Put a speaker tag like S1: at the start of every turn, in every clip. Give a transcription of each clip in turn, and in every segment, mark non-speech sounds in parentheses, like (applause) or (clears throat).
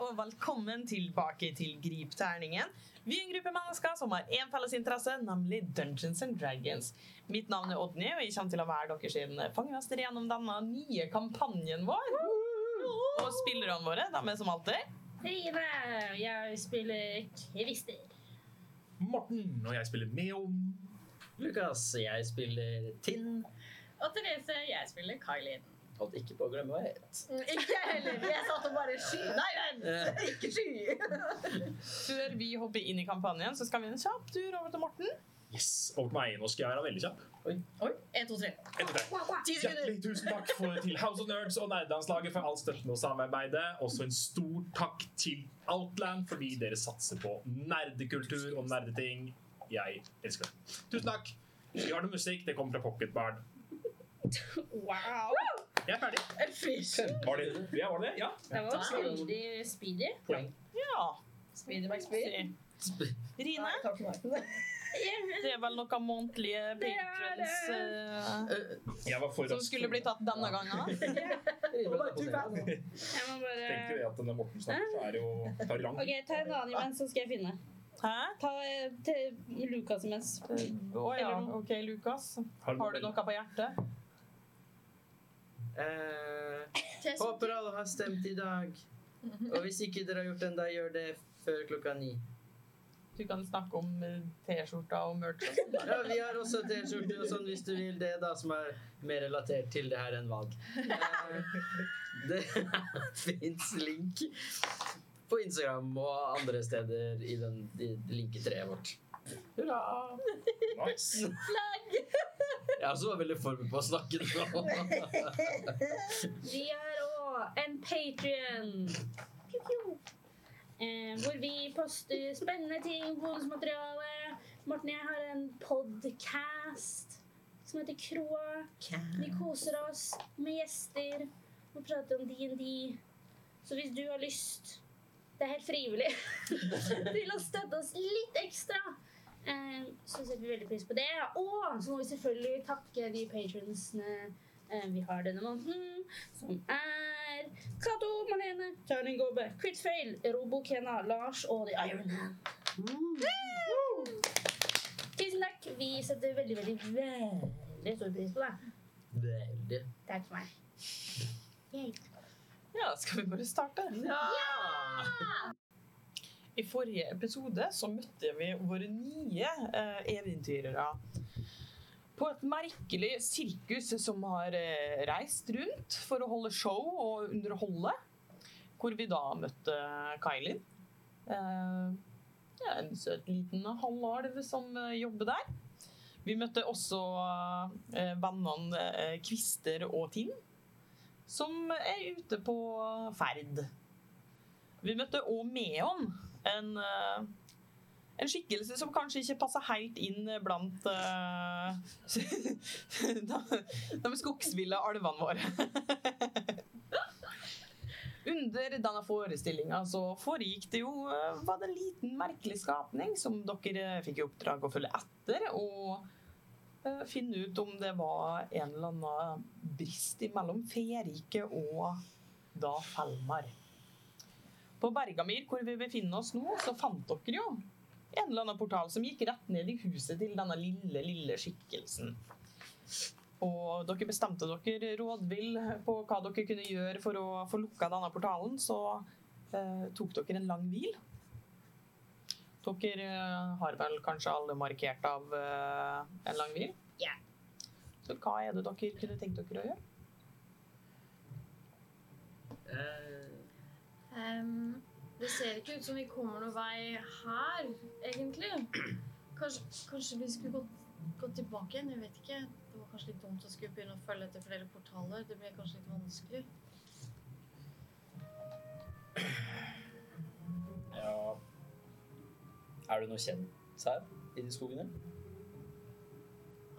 S1: og velkommen tilbake til Gripterningen. Vi er en gruppe mennesker som har én felles interesse, nemlig Dungeons and Dragons. Mitt navn er Odny, og jeg kommer til å være deres sin fangemester gjennom denne nye kampanjen vår. Og spillerne våre, de er som alltid.
S2: Trine, jeg spiller Christer.
S3: Morten, og jeg spiller Meon.
S4: Lukas, jeg spiller Tinn.
S2: Og Therese, jeg spiller Kailin.
S4: Holdt ikke på å glemme hva jeg het.
S2: Mm, Ikke jeg heller. Jeg satt og bare sky. Nei, vent! Ikke sky.
S1: Før vi hopper inn i kampanjen, så skal vi en kjapp tur over til Morten.
S3: Yes, og meg nå skal jeg være veldig kjapp.
S2: Oi. Én, to, tre.
S3: Etter deg.
S2: Ti sekunder.
S3: Hjertelig tusen takk for, til House of Nerds og Nerdelandslaget for all støtten og samarbeidet. Også en stor takk til Outland fordi dere satser på nerdekultur og nerdeting. Jeg elsker det. Tusen takk. Vi har noe musikk. Det kommer fra Pocket Barn.
S2: Wow.
S3: Jeg er ferdig.
S2: En fish.
S3: Var det ja, var det? det? Ja.
S2: Det var veldig speedy.
S1: Ja.
S2: Speedy by
S1: Rine, det er vel noen månedlige
S2: Det er
S1: patrons eh,
S3: Jeg var for
S1: som
S3: rask.
S1: skulle bli tatt denne gangen.
S2: Jeg må
S3: Tenker jo
S2: bare
S3: det at når Morten snakker, så er det jo tar lang.
S5: Ok, ta en annen imens, så skal jeg finne.
S1: Hæ?
S5: Ta eh, til Lukas imens.
S1: Å ja,
S5: Eller noe.
S1: OK, Lukas. Har du noe på hjertet?
S4: Eh, håper alle har stemt i dag. Og hvis ikke dere har gjort det ennå, gjør det før klokka ni.
S1: Du kan snakke om eh, T-skjorta og merch. og sånt.
S4: Ja, vi har også T-skjorte og sånn hvis du vil det, da, som er mer relatert til det her enn valg. Eh, det fins link på Instagram og andre steder i, den, i linketreet vårt. Hurra!
S3: (laughs) Nice.
S4: Jeg er også veldig forberedt på å snakke nå.
S2: Vi har òg en Patrion. Eh, hvor vi poster spennende ting, bonusmateriale. Morten og jeg har en podcast som heter Kroa. Vi koser oss med gjester og prater om D&D. Så hvis du har lyst, det er helt frivillig, (laughs) til å støtte oss litt ekstra, eh, så setter vi veldig pris på det. Og så må vi selvfølgelig takke de patronsene eh, vi har denne måneden, som er Cato, Malene, Karin Gåbe, Critfail, Robo Kena, Lars og The Iron Hand. Tusen takk. Vi setter veldig, veldig, veldig stor pris på det.
S4: Veldig.
S2: Takk for meg. Yay.
S1: Ja, skal vi bare starte?
S4: Ja!
S1: I forrige episode så møtte vi våre nye eh, eventyrere på et merkelig sirkus som har eh, reist rundt for å holde show og underholde. Hvor vi da møtte Kailin. Eh, ja, en søt liten halvalv som eh, jobber der. Vi møtte også eh, vennene eh, Kvister og Tinn, som er ute på ferd. Vi møtte òg Meon, en, eh, en skikkelse som kanskje ikke passer helt inn blant eh, (laughs) de, de skogsville alvene våre. (laughs) Under denne forestillinga så foregikk det jo eh, var det en liten merkelig skapning som dere eh, fikk i oppdrag å følge etter og eh, finne ut om det var en eller annen brist mellom Ferike og da Felmar. På Bergamir, hvor vi befinner oss nå, så fant dere jo en eller annen portal som gikk rett ned i huset til denne lille, lille skikkelsen. Og dere bestemte dere rådvill på hva dere kunne gjøre for å få lukka denne portalen, så eh, tok dere en lang hvil. Dere eh, har vel kanskje alle markert av eh, en lang hvil?
S2: Ja.
S1: Så hva er det dere kunne tenkt dere å gjøre?
S4: Eh,
S6: Ehm, det ser ikke ut som vi kommer noen vei her, egentlig. Kanskje, kanskje vi skulle gått, gått tilbake igjen? Jeg vet ikke. Det var kanskje litt dumt å skulle begynne å følge etter flere portaler. Det ble kanskje litt vanskelig.
S4: ja. Er du noe kjent her inni skogene?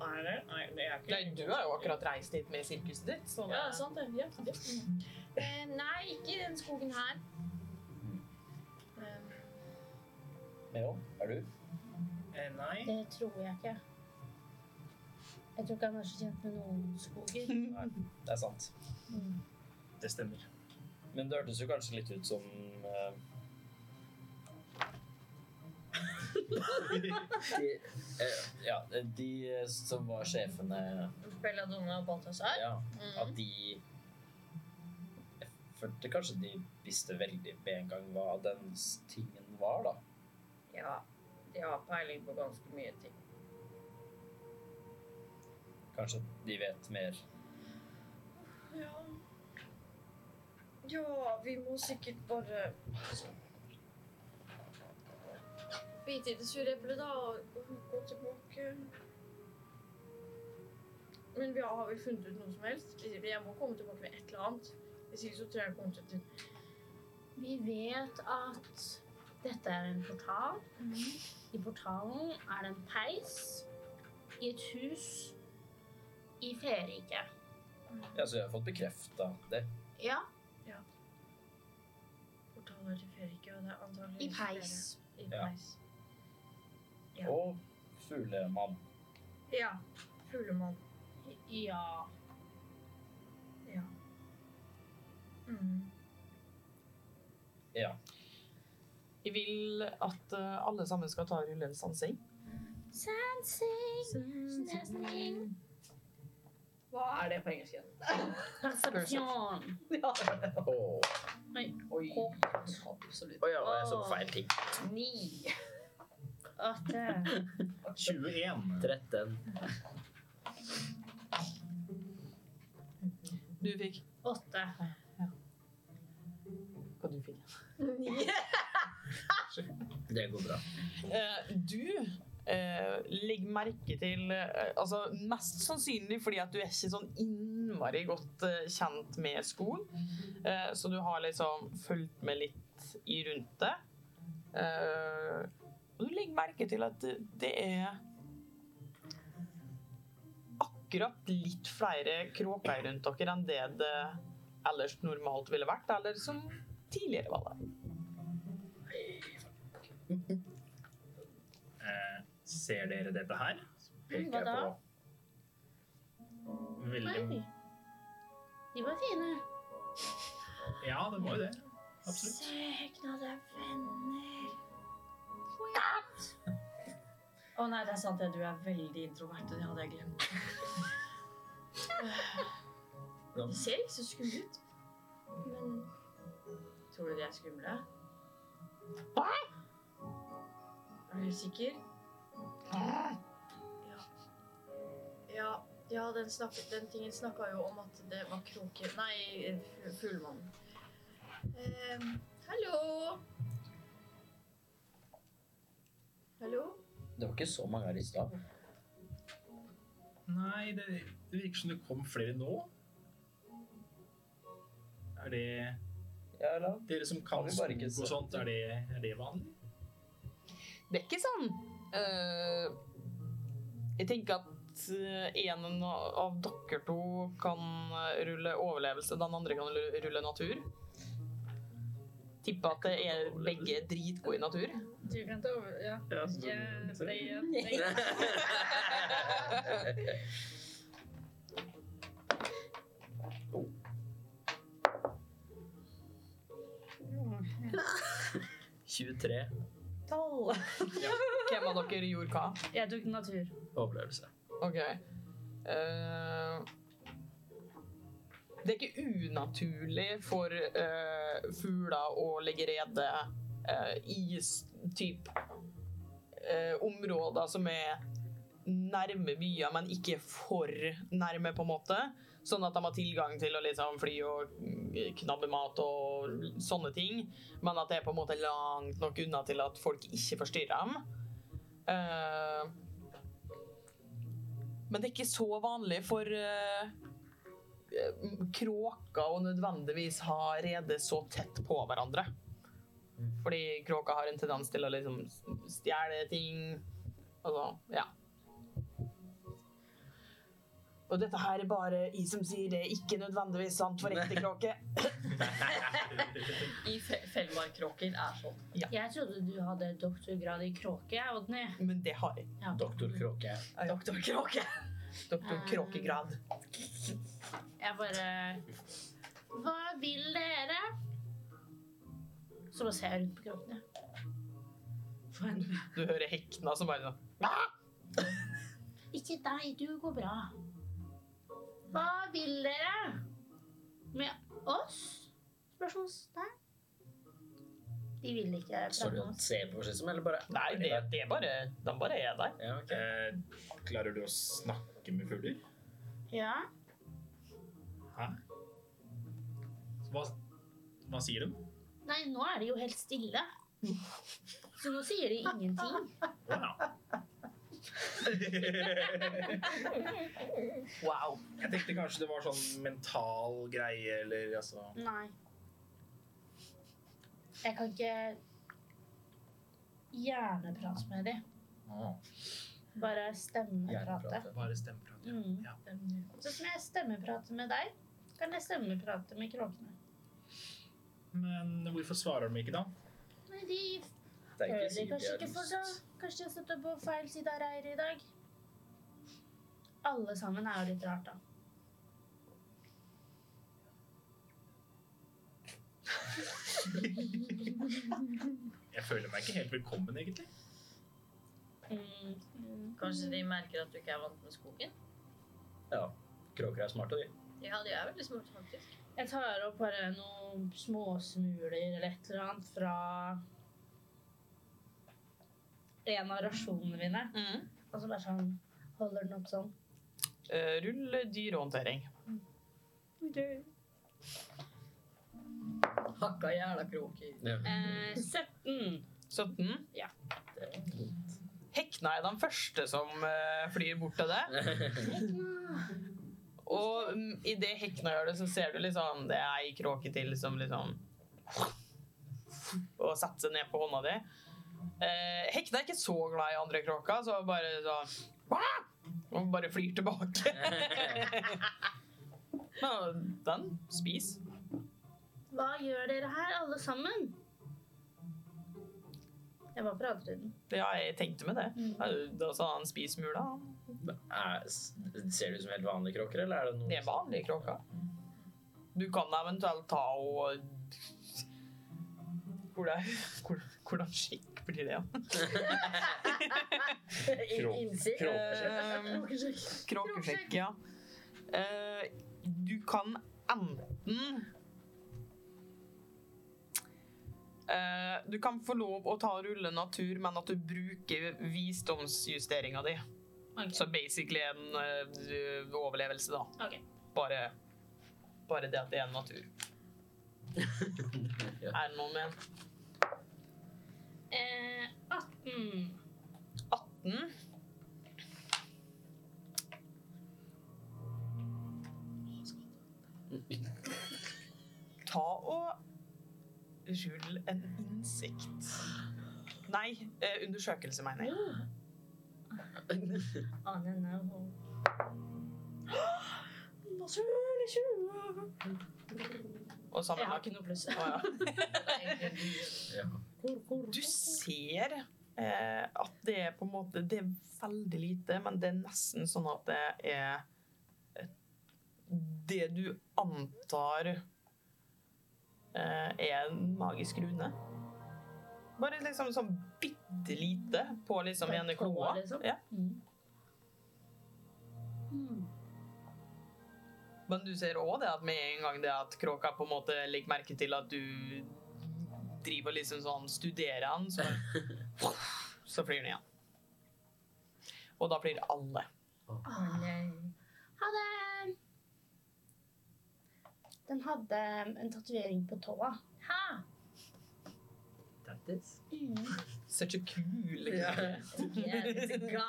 S2: Nei, det, nei, det er
S1: Nei, du har jo akkurat reist hit med sirkuset ditt. Så
S6: Ja, sant det. Ja, det. Eh, nei, ikke i den skogen her. Ehm,
S4: Meo, er du?
S3: Nei.
S2: Det tror jeg ikke. Jeg tror ikke han er så kjent med noen skoger.
S4: Det er sant.
S3: Det stemmer.
S4: Men det hørtes jo kanskje litt ut som eh,
S7: De,
S4: eh, Ja, de eh, som var sjefene
S6: Belladonna og Balthazar.
S4: Ja, at
S6: Mm.
S4: de Jeg følte kanskje de visste veldig med en gang hva den s- tingen var, da.
S6: Ja, de har peiling på ganske mye ting.
S4: Kanskje de vet mer.
S6: Ja. Ja, vi må sikkert bare altså. Bite i det sure eplet, da, og gå tilbake. Men vi har vel funnet ut noe som helst? Jeg må komme tilbake med et eller annet. Hvis ikke så tror jeg jeg kommer til
S2: Vi vet at dette er en portal. I portalen er det en peis i et hus i Feriket.
S4: Ja, så jeg har fått bekrefta det.
S2: Ja,
S6: portaler til Ferike, og det er antakeligvis
S2: i peis.
S6: I
S4: Ja.
S6: peis. Ja.
S4: Og fuglemann.
S6: Ja. Fuglemann.
S2: Ja.
S6: Ja. Mm.
S4: Ja.
S1: Jeg vil at eh, alle sammen skal ta rullens sansing.
S2: Sensing, sensing,
S8: Hva er det på engelsk igjen?
S2: persepsjon.
S7: Åh.
S8: Oi.
S7: Å
S8: Absolutt.
S7: ja, og jeg så på feil ting.
S8: Ni.
S3: 21.
S7: 13.
S1: Du fikk
S2: Åtte.
S1: hva du fikk.
S7: Det går bra.
S1: Eh, du eh, legger merke til eh, altså Mest sannsynlig fordi at du er ikke sånn innmari godt eh, kjent med skolen. Eh, så du har liksom fulgt med litt i rundt det. Eh, og du legger merke til at det, det er akkurat litt flere kråker rundt dere enn det det ellers normalt ville vært, eller som tidligere var det.
S3: Eh, ser dere dette her?
S2: Hva
S3: jeg
S2: da?
S3: på Veldig
S2: Oi. De var fine.
S3: Ja, det var jo det. Absolutt.
S2: Søkna deg venner.
S6: Å nei, det er sant det. Du er veldig introvert, og det hadde jeg glemt. De ser ikke så skumle ut. Men tror du de er skumle?
S1: Hva?
S6: Er du helt sikker? Ja. Ja, ja den, snakket, den tingen snakka jo om at det var kråke... Nei, fu- fuglemannen. Ehm, hallo? Hallo?
S4: Det var ikke så mange her i stad.
S3: Nei, det, det virker som det kom flere nå. Er det
S4: Ja, eller?
S3: dere som
S4: Har
S3: kan
S4: vi bare
S3: skog
S4: ikke
S3: og
S4: sett
S3: sånt, er det, er det vanlig?
S1: Det er ikke sånn eh, Jeg tenker at eh, en av dere to kan eh, rulle overlevelse, den andre kan rulle- rulle natur. Tipper at det er begge er dritgode i natur. (laughs)
S8: Du kan ta over. Ja.
S7: Ja, så-
S8: Jeg-
S7: så-
S8: jeg- jeg- Tolv.
S1: Hvem av dere gjorde hva?
S8: Jeg tok natur.
S7: Overlevelse.
S1: OK. Eh, det er ikke unaturlig for eh, fugler å legge rede eh, i s- typ eh, områder som er nærme byer, men ikke for nærme, på en måte. Sånn at de har tilgang til å liksom fly og mm, knabbe mat og sånne ting. Men at det er på en måte langt nok unna til at folk ikke forstyrrer dem. Eh, men det er ikke så vanlig for eh, eh, kråker å nødvendigvis ha rede så tett på hverandre. Fordi kråker har en tendens til å liksom stjele ting. Altså, ja. Og dette her er bare jeg som sier det, ikke nødvendigvis sant for ekte kråke.
S6: (laughs) I fe Fellmarkkråker er sånn.
S2: Jeg trodde du hadde doktorgrad i kråke, Odny.
S1: Men det har jeg.
S4: Doktor Kråke.
S6: Doktor Kråke.
S1: Doktor Kråkegrad.
S2: Jeg bare Hva vil dere? Så bare ser jeg rundt på kroppene.
S6: For en
S1: Du hører hekna som bare sånn
S2: Ikke deg, du går bra. Hva vil dere? Med oss? Spørsmålstegn. De vil ikke prate
S9: Sorry
S2: med
S9: å
S2: oss.
S9: se på seg som, eller bare
S1: Nei, det, det er bare, de bare er der.
S9: Ja, ok.
S3: Eh, klarer du å snakke med fugler?
S2: Ja.
S3: Hva, hva sier de?
S2: Nei, nå er de jo helt stille. Så nå sier de ingenting.
S3: (laughs) Wow. jeg
S1: Wow.
S3: tenkte kanskje det var sånn mental greie, eller altså
S2: Nei. Jeg kan ikke hjerneprate med dem. Bare stemmeprate.
S9: Hjerneprate.
S3: Bare stemmeprat.
S2: Mm.
S3: Ja.
S2: Sånn som jeg stemmeprater med deg, kan jeg stemmeprate med kråkene.
S3: Men hvorfor svarer de ikke, da?
S2: Nei, de
S4: Det
S2: føler
S4: er ikke sikkert
S2: kanskje ikke
S4: jeg har
S2: for det.
S4: lyst.
S2: Kanskje de har stått opp på feil side av reiret i dag. Alle sammen er jo litt rart, da.
S3: Jeg føler meg ikke helt velkommen, egentlig.
S2: Mm.
S6: Kanskje de merker at du ikke er vant med skogen?
S4: Ja. Kråker er smarte, de.
S6: Ja, de er veldig smarte, faktisk.
S2: Jeg tar opp bare noen småsmuler eller et eller annet fra en av rasjonene mine.
S1: Mm.
S2: Og så bare sånn holder den opp sånn.
S1: Eh, Rull dyrehåndtering.
S6: Hakka jævla kråker.
S4: (laughs)
S2: Eh, 17.
S1: 17.
S2: Ja.
S1: Hekna er den første som eh, flyr bort til deg. Og mm, i det hekna gjør det, så ser du liksom Det er ei kråke til som liksom Og setter seg ned på hånda di. Eh, hekna er ikke så glad i andre kråker, så bare sånn Og bare flyr tilbake. Men den spiser.
S2: Hva gjør dere her, alle sammen? Jeg bare prater i (laughs) den.
S1: Ja, jeg tenkte med det. Da sa han spis mula.
S4: Er, ser det ut som helt vanlige kråker, eller er det noe (laughs)
S1: Det er vanlige kråker. Du kan eventuelt ta og Hvordan, hvordan, hvordan skikk blir det?
S3: Krå-
S6: Innsikt.
S2: (laughs)
S1: Ehm, Kråkeskjegg, ja. Eh, du kan enten Eh, Du kan få lov å ta og rulle natur, men at du bruker visdomsjusteringa di.
S2: Ok.
S1: Så basically en eh, overlevelse, da.
S2: Ok.
S1: Bare, bare det at det er en natur. Er det noen med en
S2: Eh, 18.
S1: 18? Ta og rull en innsikt. Nei, eh, undersøkelse, mener jeg.
S2: I don't know.
S1: Og sammen
S2: Jeg har ikke noe pluss.
S1: Å, ja.
S4: Ja.
S1: Du ser eh, at det er på en måte Det er veldig lite, men det er nesten sånn at det er eh, Det du antar eh, er en magisk rune. Bare liksom sånn bitte lite på liksom
S2: På
S1: ene
S2: et tå,
S1: kloa.
S2: liksom?
S1: Ja.
S2: Mm. Mm.
S1: Men du ser òg det at med en gang det at kråka på en måte legger merke til at du driver liksom sånn studerer han, så, så flyr den igjen. Og da flyr alle.
S6: Å, nei.
S2: eh, Ha det! Den hadde en tatovering på tåa.
S6: Hæ?
S9: Tattis.
S2: Mm.
S1: Such a cool
S2: (laughs)
S6: Kulekråka.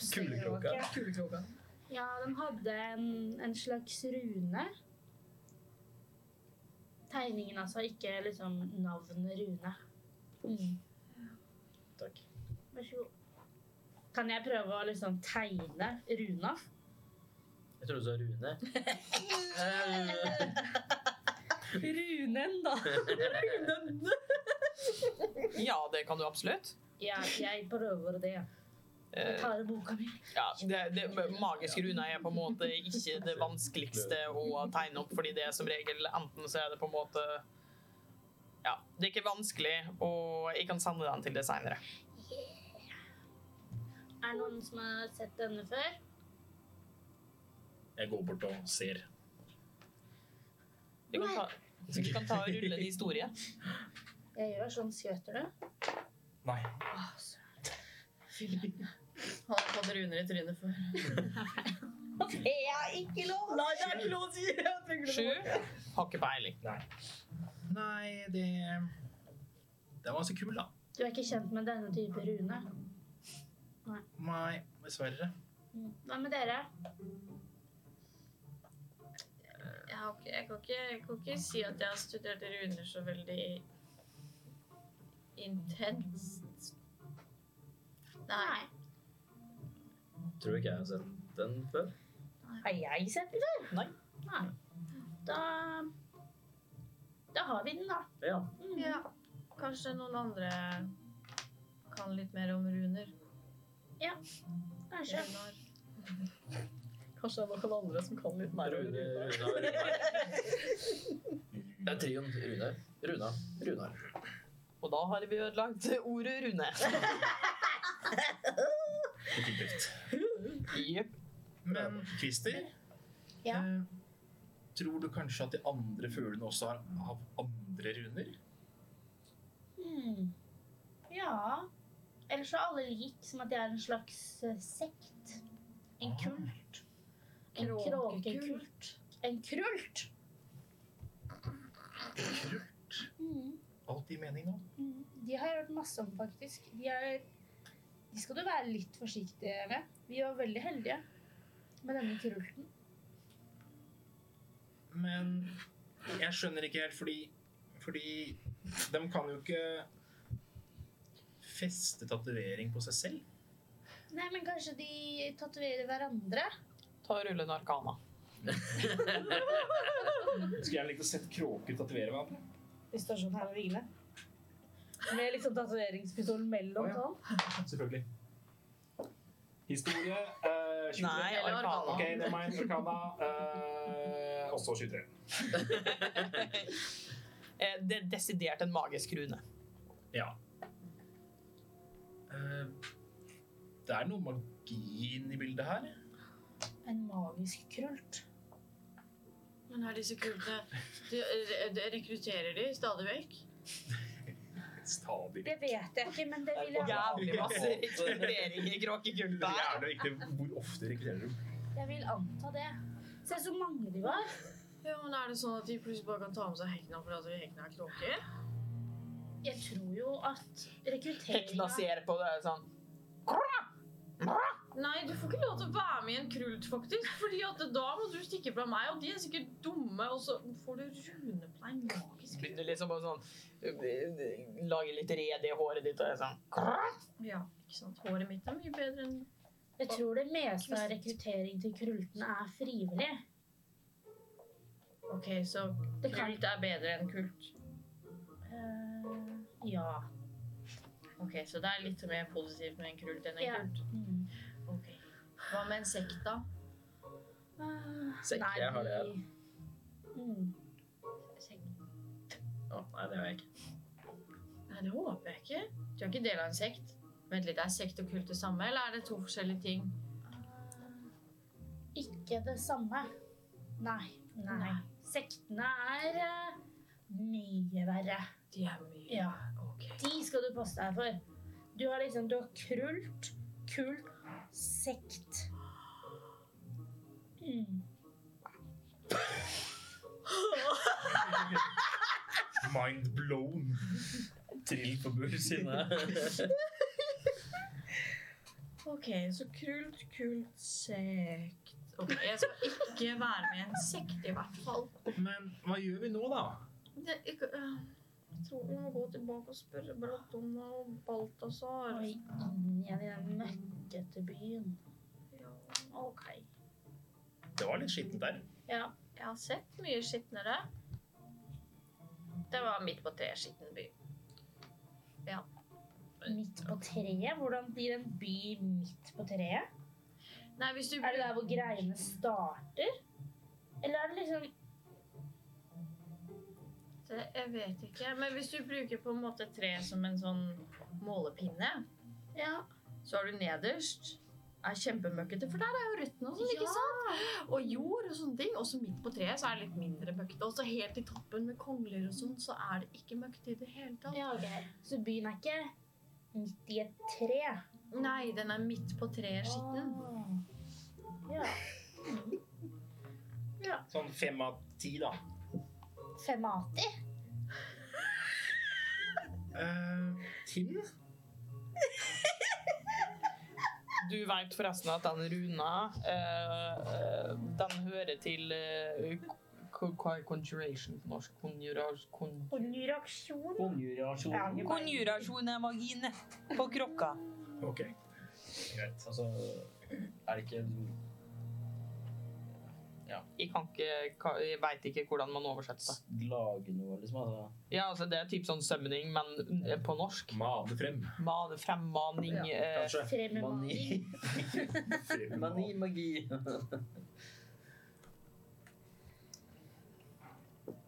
S4: Kulekråka.
S6: Kulekråka.
S2: Ja, den hadde en, en slags rune. Tegningen altså, ikke liksom navnet Rune. Mm.
S4: Takk.
S2: Vær så god. Kan jeg prøve å liksom tegne Runa? (laughs)
S9: Jeg trodde du sa Rune.
S2: Runen, da.
S1: Ja, det kan du absolutt.
S2: Ja, jeg prøver det. Jeg
S1: Eh,
S2: tar i boka mi.
S1: ja, det, det, magiske runer er på en måte ikke det vanskeligste å tegne opp, fordi det er som regel enten så er det på en måte Ja, det er ikke vanskelig, og jeg kan sende den til deg seinere.
S2: Er det noen som har sett denne før?
S3: Jeg går bort og ser.
S1: Du kan ta, du kan ta og rulle en historie.
S2: Jeg gjør sånn. Skjøter du?
S3: Nei.
S6: Han har fått runer i trynet før.
S2: Det er ikke lov! Nei, det er ikke lov å si! Jeg tenker det
S1: Sju. Har ikke peiling.
S3: Nei, det Det var ganske kul, da.
S2: Du er ikke kjent med denne type rune.
S3: Nei, dessverre.
S6: Mm.
S2: Hva med dere?
S6: Jeg, har ikke, jeg, kan ikke, jeg kan ikke si at jeg har studert runer så veldig intenst. Nei.
S9: Tror ikke jeg har sett den før.
S2: Har jeg sett den før?
S1: Nei.
S2: Nei. Da Da har vi den, da.
S9: Ja.
S2: Mm.
S6: Ja. Kanskje noen andre kan litt mer om runer.
S2: Kanskje.
S6: Runar.
S1: Kanskje det er noen andre som kan litt mer
S9: Rune, Runa, Runar. Det er trioen. Rune, Runa, Runar.
S1: Og da har vi ødelagt ordet Rune.
S3: Definitivt.
S1: Jepp.
S3: Men Christer,
S2: Ja.
S3: eh, tror du kanskje at de andre fuglene også har, har andre runer?
S2: Hmm. Ja Ellers så er alle lik, som at de er en slags eh, sekt. En
S3: Ah.
S2: kult. En
S6: Kråkekult.
S2: kråkekult. En krult!
S3: Kult.
S2: Mm.
S3: Alt gir mening nå.
S2: Mm. De har jeg hørt masse om, faktisk. De, er, de skal du være litt forsiktig med. Vi var veldig heldige med denne krulten.
S3: Men jeg skjønner ikke helt, fordi Fordi de kan jo ikke feste tatovering på seg selv.
S2: Nei, men kanskje de tatoverer hverandre?
S1: Ta og rulle en arkana.
S3: Skulle gjerne likt å sett kråker tatovere hverandre.
S2: De står sånn her og hviler. Med liksom tatoveringspistol mellom
S3: Å, ja.
S2: sånn.
S3: Selvfølgelig. Historie eh, 23.
S1: Nei,
S6: Eller
S1: arkana.
S3: Ok, det er meg, Orkana. Eh, også 23.
S1: Eh, Det er desidert en magisk rune.
S3: Ja. Eh, det er noe magi inni bildet her.
S2: En magisk krult.
S6: Men er disse kulene de, de, de Rekrutterer de stadig vekk?
S3: Stadig.
S2: Det vet jeg ikke, men det vil jeg,
S1: Jævlig masse rekruttering i
S3: Det
S1: kråkekulta.
S3: er jævlig viktig hvor ofte rekrutterer du.
S2: jeg vil anta det. Se så mange de var.
S6: Ja, men Er det sånn at de plutselig bare kan ta med seg hekna fordi hekna er kråker?
S2: Jeg tror jo at
S1: Hekna
S2: rekrutteringa
S1: ser på det sånn
S6: Nei, du får ikke lov til å være med i en krult, faktisk. Fordi at da må du stikke fra meg, og de er sikkert dumme, og så får du rune på deg magisk.
S1: Begynner liksom å sånn øh, Lage litt rede i håret ditt og er sånn «Krrr».
S6: Ja, ikke sant. Håret mitt er mye bedre enn
S2: Jeg tror det meste av rekruttering til krultene er frivillig.
S6: OK, så
S2: Det kan
S6: kult er bedre enn kult.
S2: Eh, Ja.
S6: Ok, Så det er litt mer positivt med en krult enn en
S2: Ja.
S6: kult?
S2: Mm.
S6: Ok. Hva med en sekt, da?
S2: Ah,
S9: Sekk,
S2: nei,
S9: jeg har det her.
S2: de- Mm.
S6: Sekt?
S9: Å, nei, det har jeg ikke.
S6: Nei, det håper jeg ikke. Du er ikke del av en sekt? Vent litt, Er sekt og kult det samme, eller er det to forskjellige ting?
S2: Ah, Ikke det samme. Nei. Nei.
S6: Nei.
S2: Sektene er eh, mye verre.
S6: De er mye
S2: Ja.
S6: Ok.
S2: De skal du passe deg for. Du har liksom Du har krult, kult, sekt. Mm.
S3: Mind blown.
S9: Trill på bursinne.
S6: Ok, så kult, kult, sekt Ok, Jeg skal ikke være med i en sekt, i hvert fall.
S3: Men hva gjør vi nå, da?
S6: Det, er ikke, øh, jeg tror vi må gå tilbake og spørre Bratonna og Balthazar.
S2: Og inn igjen i den møkkete byen.
S6: Ja.
S2: OK.
S3: Det var litt skittent der.
S2: Ja.
S6: Jeg har sett mye skitnere. Det var midt på treet skitten by.
S2: midt på treet? Hvordan blir en by midt på treet?
S6: Nei, hvis du
S2: Er det der hvor greiene starter? Eller er det liksom
S6: Det- Jeg vet ikke. Men hvis du bruker på en måte tre som en sånn målepinne,
S2: Ja.
S6: så har du nederst er kjempemøkkete, for der er jo røttene og sånn, ikke
S2: Ja.
S6: sant? Og jord og sånne ting. Og så midt på treet så er det litt mindre møkkete. Og så helt i toppen med kongler og sånn, så er det ikke møkkete i det hele tatt.
S2: ja ok. Så byen er ikke midt i et tre?
S6: Nei, den er midt på treet skitten.
S2: Ah. Ja.
S4: Sånn fem av ti, da.
S2: Femati?
S4: Eh, Tim?
S1: Du veit forresten at den runa eh, eh, Den hører til eh, ko- Hva er conjuration på norsk? Konjuras- kon-
S2: Konjuraksjon? Ja,
S4: Konjurasjon.
S2: ikke bare-
S1: Konjurasjon er magien på krokka.
S3: Ok.
S4: Greit. Altså, er det ikke
S1: Jeg, kan ikke- ka- jeg veit ikke hvordan man oversetter det.
S4: lage noe, liksom? Altså.
S1: Ja, altså Det er typ sånn summoning, men eh, på norsk.
S3: Mane frem,
S1: Mane, fremmaning eh,
S3: kanskje.
S2: Frem med magi.
S3: (laughs)
S9: Mani. Mani, magi.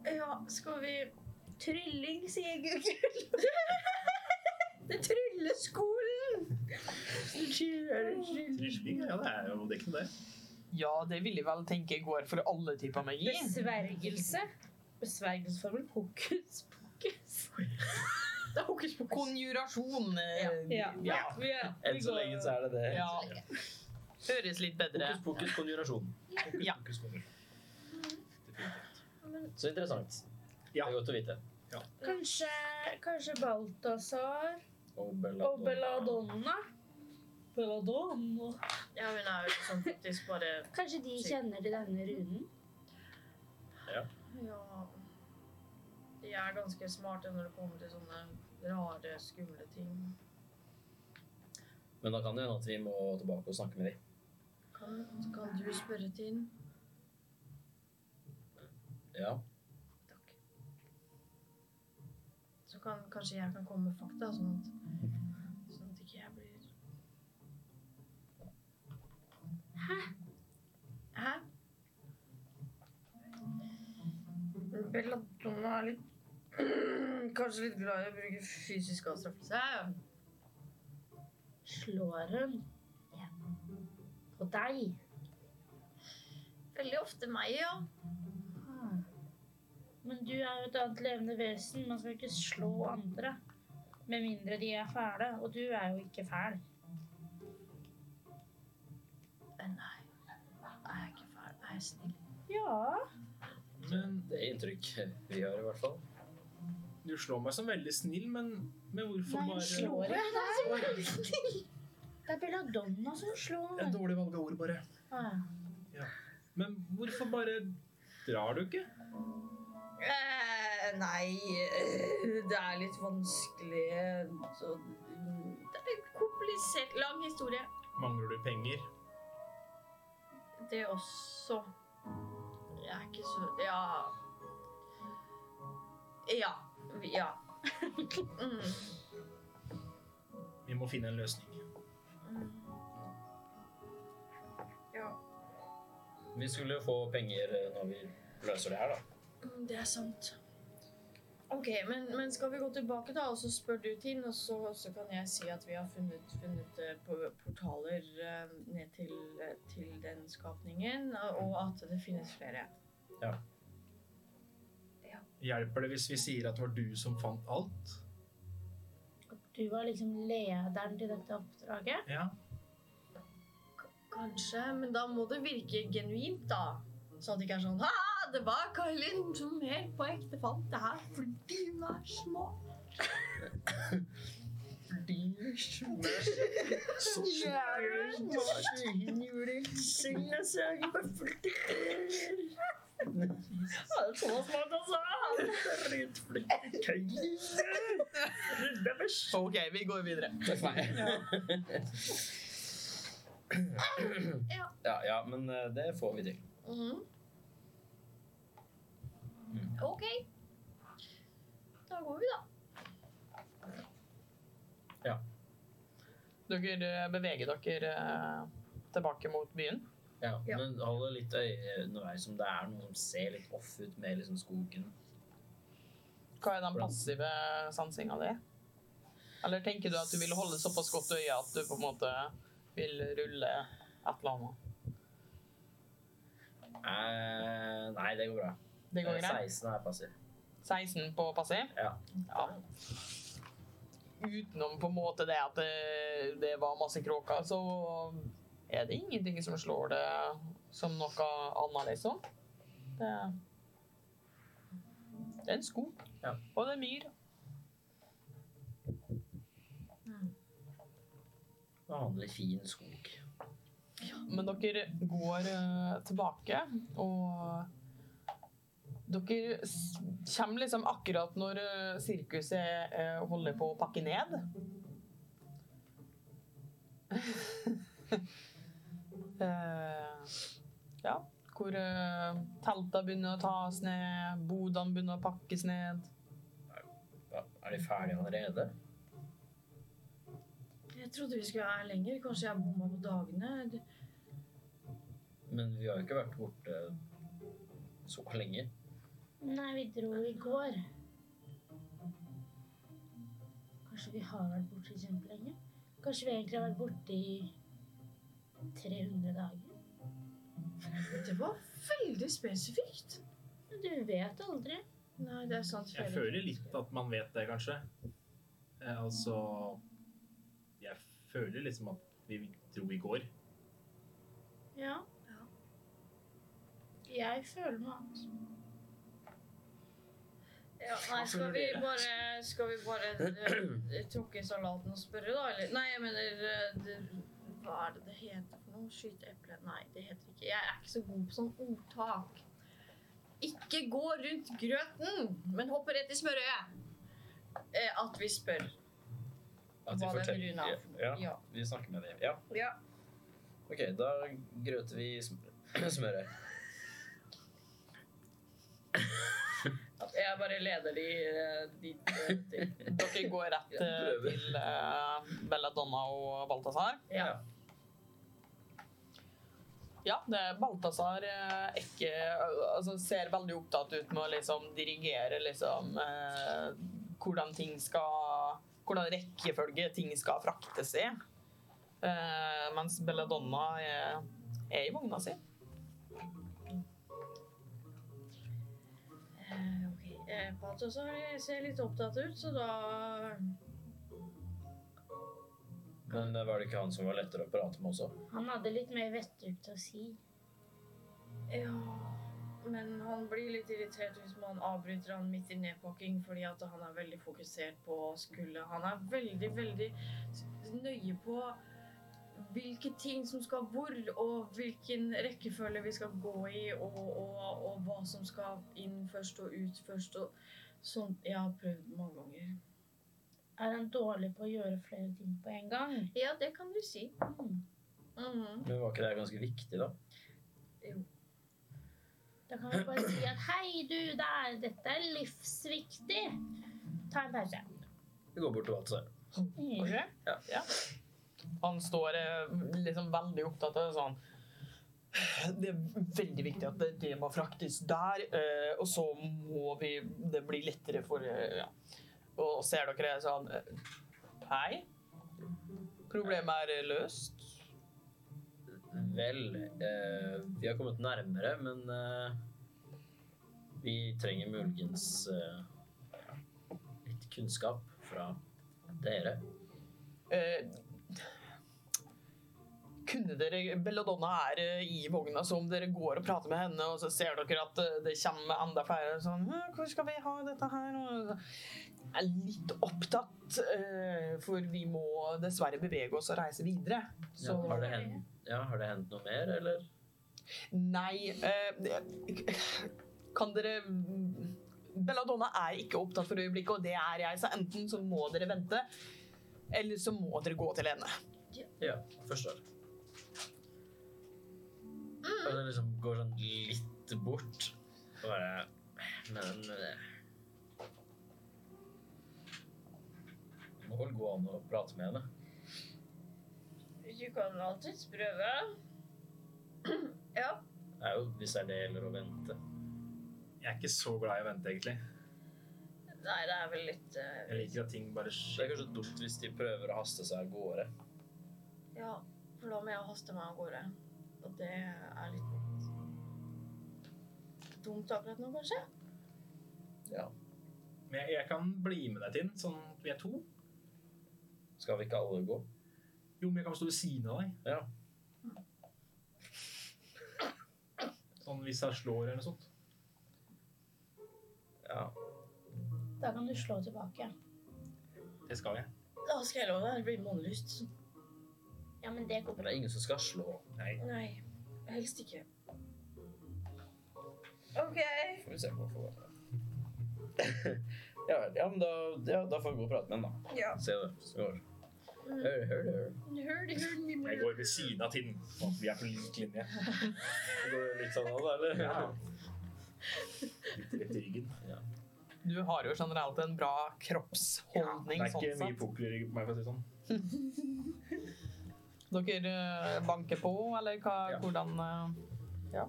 S6: Ja, skal vi
S2: Trylling, sier Gugge.
S6: (laughs) Det er trylleskolen!
S3: Trylling, ja, det er jo det er ikke noe det.
S1: Ja, det vil jeg vel tenke går for alle typer magi.
S2: Besvergelse. Besvergelsesformel hokus pokus.
S6: Det er hokus pokus.
S1: Konjurasjon. eh,
S2: Ja.
S1: ja.
S2: Vi er-
S4: Enn så lenge så er det det.
S1: Ja. Høres litt bedre.
S4: Fokus, fokus, konjurasjon. Fokus,
S1: Ja.
S4: fokus, konjurasjon.
S6: Men
S4: Så interessant.
S3: Ja.
S4: Det er godt å vite.
S2: Kanskje, kanskje Balthazar
S4: Obelado.
S2: og Belladonna. Belladonna.
S6: ja, hun er jo sånn faktisk bare
S2: Kanskje de kjenner til denne runen?
S6: Ja De er ganske smarte når det kommer til sånne rare, skumle ting.
S4: Men da kan det hende at vi må tilbake og snakke med dem.
S6: Kan, kan du spørre Tinn?
S4: Ja.
S6: Takk. Så kan kanskje jeg kan komme med fakta, sånn at, sånn at ikke jeg blir Hæ? Hæ? Belladonna er litt Kanskje litt (clears throat) glad i å bruke fysisk avstraffelse.
S2: Slår hun en på deg?
S6: Veldig ofte meg, ja.
S2: Ah. Men du er jo et annet levende vesen. Man skal ikke slå andre. Med mindre de er fæle. Og du er jo ikke fæl.
S6: Eh, Nei, jeg er ikke fæl. Jeg er snill.
S2: Ja.
S3: Men
S4: Det er inntrykk vi gjør, i hvert fall.
S3: du slår meg som veldig snill, men, men hvorfor
S2: Nei, hun
S3: bare
S2: slår ikke deg. Det er Belladonna som slår.
S3: Det er dårlig valg av ord, bare.
S2: Ah.
S3: Men hvorfor bare drar du ikke?
S6: Eh, nei, eh, det er litt vanskelig så, Det er en komplisert, lang historie.
S3: Mangler du penger?
S6: Det også. Jeg er ikke så Ja. Ja. vi- Ja. (laughs) mm.
S3: Vi må finne en løsning.
S6: Mm. Ja,
S4: Vi skulle jo få penger eh, når vi løser det her, da.
S6: mm, det er sant. Ok, men, men skal vi gå tilbake, da, og så spør du Tinn, og så, så kan jeg si at vi har funnet, funnet eh, på- portaler eh, ned til, eh, til den skapningen, og at det finnes flere.
S3: Hjelper det hvis vi sier at det var du som fant alt?
S2: Du var liksom lederen til dette oppdraget.
S3: Ja.
S6: Kanskje, men da må det virke genuint, da. Så at det ikke er sånn Ha, det var Kailin som helt på ekte fant det her fordi hun er smart.
S3: Så
S1: OK, vi går videre.
S4: Takk for meg. (clears throat)
S6: Ja.
S4: ja, ja, men eh, det får vi til.
S2: Mm-hmm.
S6: Mhm. OK. Da går vi, da.
S4: Ja.
S1: Dere eh, beveger dere eh, tilbake mot byen.
S4: Ja,
S6: Ja.
S4: men holde litt øye underveis om det er noe som ser litt off ut med liksom skogen.
S1: Hva er den passive sansinga di? Eller tenker du at du vil holde såpass godt øye at du på en måte vil rulle et eller annet?
S4: Eh, nei, det går bra.
S1: Det går
S4: Eh,
S1: greit?
S4: 16 er passiv.
S1: 16 på passiv?
S4: Ja.
S1: Ja. Utenom på en måte det at det, det var masse kråker, så er det ingenting som slår det som noe annet, liksom. Det, det er en skog.
S4: Ja.
S1: Og det er myr.
S4: Vanlig fin skog.
S1: Men dere går eh, tilbake, og dere s- kommer liksom akkurat når eh, sirkuset eh, holder på å pakke ned. (laughs) Eh, ja, hvor uh, telta begynner å tas ned, bodene begynner å pakkes ned.
S4: Ja, er de ferdige allerede?
S6: Jeg trodde vi skulle være her lenger. Kanskje jeg bomma på dagene. Det-
S4: Men vi har jo ikke vært borte så lenge.
S2: Nei, vi dro i går. Kanskje vi har vært borte kjempelenge? Kanskje vi egentlig har vært borte i 300 dager?
S6: Det var veldig spesifikt.
S2: Men Du vet aldri.
S6: Nei, det er sant.
S3: Jeg
S6: Felix.
S3: føler litt at man vet det, kanskje. Eh, altså Jeg føler liksom at vi dro i går.
S2: Ja. Jeg føler noe annet.
S6: Ja, nei, skal vi bare, skal vi bare eh, tråkke i salaten og spørre, da? Eller? Nei, jeg mener eh, det, Hva er det det heter for noe? Skyte eple? Nei, det heter ikke Jeg er ikke så god på sånn ordtak. Ikke gå rundt grøten, men hopp rett i smørøyet. Eh, At vi spør
S4: At vi
S6: hva den
S4: forteller
S6: runda er for noe.
S4: ja,
S6: Ja.
S4: vi snakker med dem. Ja.
S6: ja.
S4: OK, da grøter vi sm- (clears throat) smøret.
S6: Jeg bare leder de eh, dit. eh, dit.
S1: (laughs) Dere går rett eh,
S4: Prøver.
S1: til eh, Belladonna og Balthazar.
S6: Ja.
S1: Ja, det er Balthazar eh, ikke altså, ser veldig opptatt ut med å liksom dirigere liksom eh, hvordan ting skal Hvordan rekkefølge ting skal fraktes i. Eh, mens Belladonna er, er i vogna si.
S6: Eh, Ok, eh, Pat også har- ser litt opptatt ut, så da
S4: Men eh, var det ikke han som var lettere å prate med også?
S2: Han hadde litt mer vettug til å si.
S6: Ja, men han blir litt irritert hvis man avbryter han midt i nedpakking, fordi at han er veldig fokusert på å skulle Han er veldig, veldig s- nøye på hvilke ting som skal hvor, og hvilken rekkefølge vi skal gå i, og, og, og hva som skal inn først og ut først. og Sånt jeg har prøvd mange ganger.
S2: Er han dårlig på å gjøre flere ting på en gang? Mm.
S6: Ja, det kan du si. Mhm.
S4: Men var ikke det ganske viktig, da?
S2: Da kan vi bare si at hei, du der, dette er livsviktig. Ta en pause.
S4: Vi går bort til Balthazar.
S2: Mm.
S4: Ja.
S1: Ja. Han står eh, liksom veldig opptatt av det sånn Det er veldig viktig at det, det må fraktes der, eh, og så må vi Det blir lettere for eh, ja. Og ser dere sånn eh, Hei. Problemet er løst.
S4: Vel, eh, vi har kommet nærmere, men eh, vi trenger muligens eh, ja, litt kunnskap fra dere.
S1: Eh, kunne dere Belladonna er eh, i vogna, så om dere går og prater med henne, og så ser dere at eh, det kommer enda flere sånn «Hæ, Hvor skal vi ha dette her? Og jeg er litt opptatt, eh, for vi må dessverre bevege oss og reise videre.
S4: Ja,
S1: Så
S4: har, det hendt, ja, har det hendt noe mer, eller?
S1: Nei eh, Kan dere Belladonna er ikke opptatt for øyeblikket, og det er jeg, så enten så må dere vente, eller så må dere gå til henne.
S4: Ja, forstår. Og det liksom går sånn litt bort. Og bare Men eh, Det må vel gå an å prate med henne.
S10: Du kan alltids prøve. (clears throat) ja.
S4: Det er jo hvis det er det gjelder å vente.
S3: Jeg er ikke så glad i å vente, egentlig.
S10: Nei, det er vel litt eh,
S3: Jeg liker at ting bare
S4: Det er
S3: skjer.
S4: kanskje dumt hvis de prøver å haste seg av gårde.
S10: Ja, for da må jeg haste meg av gårde. Og det er litt dumt akkurat nå, kanskje?
S3: Men jeg, jeg kan bli med deg, Tinn. Sånn, vi er to.
S4: Skal vi ikke alle gå?
S3: Jo, men jeg kan stå ved siden av deg.
S4: Ja.
S3: Sånn hvis jeg slår eller noe sånt.
S4: Ja.
S2: Da kan du slå tilbake.
S3: Det skal jeg.
S10: Da skal jeg love deg, det blir månelyst.
S2: Ja, men det går
S4: Men det er ingen som skal slå.
S3: Nei.
S10: Nei, helst ikke. OK.
S4: Får vi se om vi får gå. (laughs) ja vel. Ja, men da, ja, da får vi gå og prate med den, da. Mm.
S10: Ja.
S4: Se det. Så går. Hør, hør, hør.
S10: Hør, hør,
S3: Jeg går ved siden av Tinn. Sånn at vi er på lik linje.
S4: Går det litt sånn av, da, eller?
S3: Litt rett i ryggen.
S1: Du har jo generelt en bra
S3: Det
S1: kroppsholdning.
S3: er ikke
S1: sånn
S3: mye
S1: sett.
S3: pokerrygg på meg, for å si det sånn.
S1: Dere eh, banker på, eller hva,
S4: Ja.
S1: hvordan eh,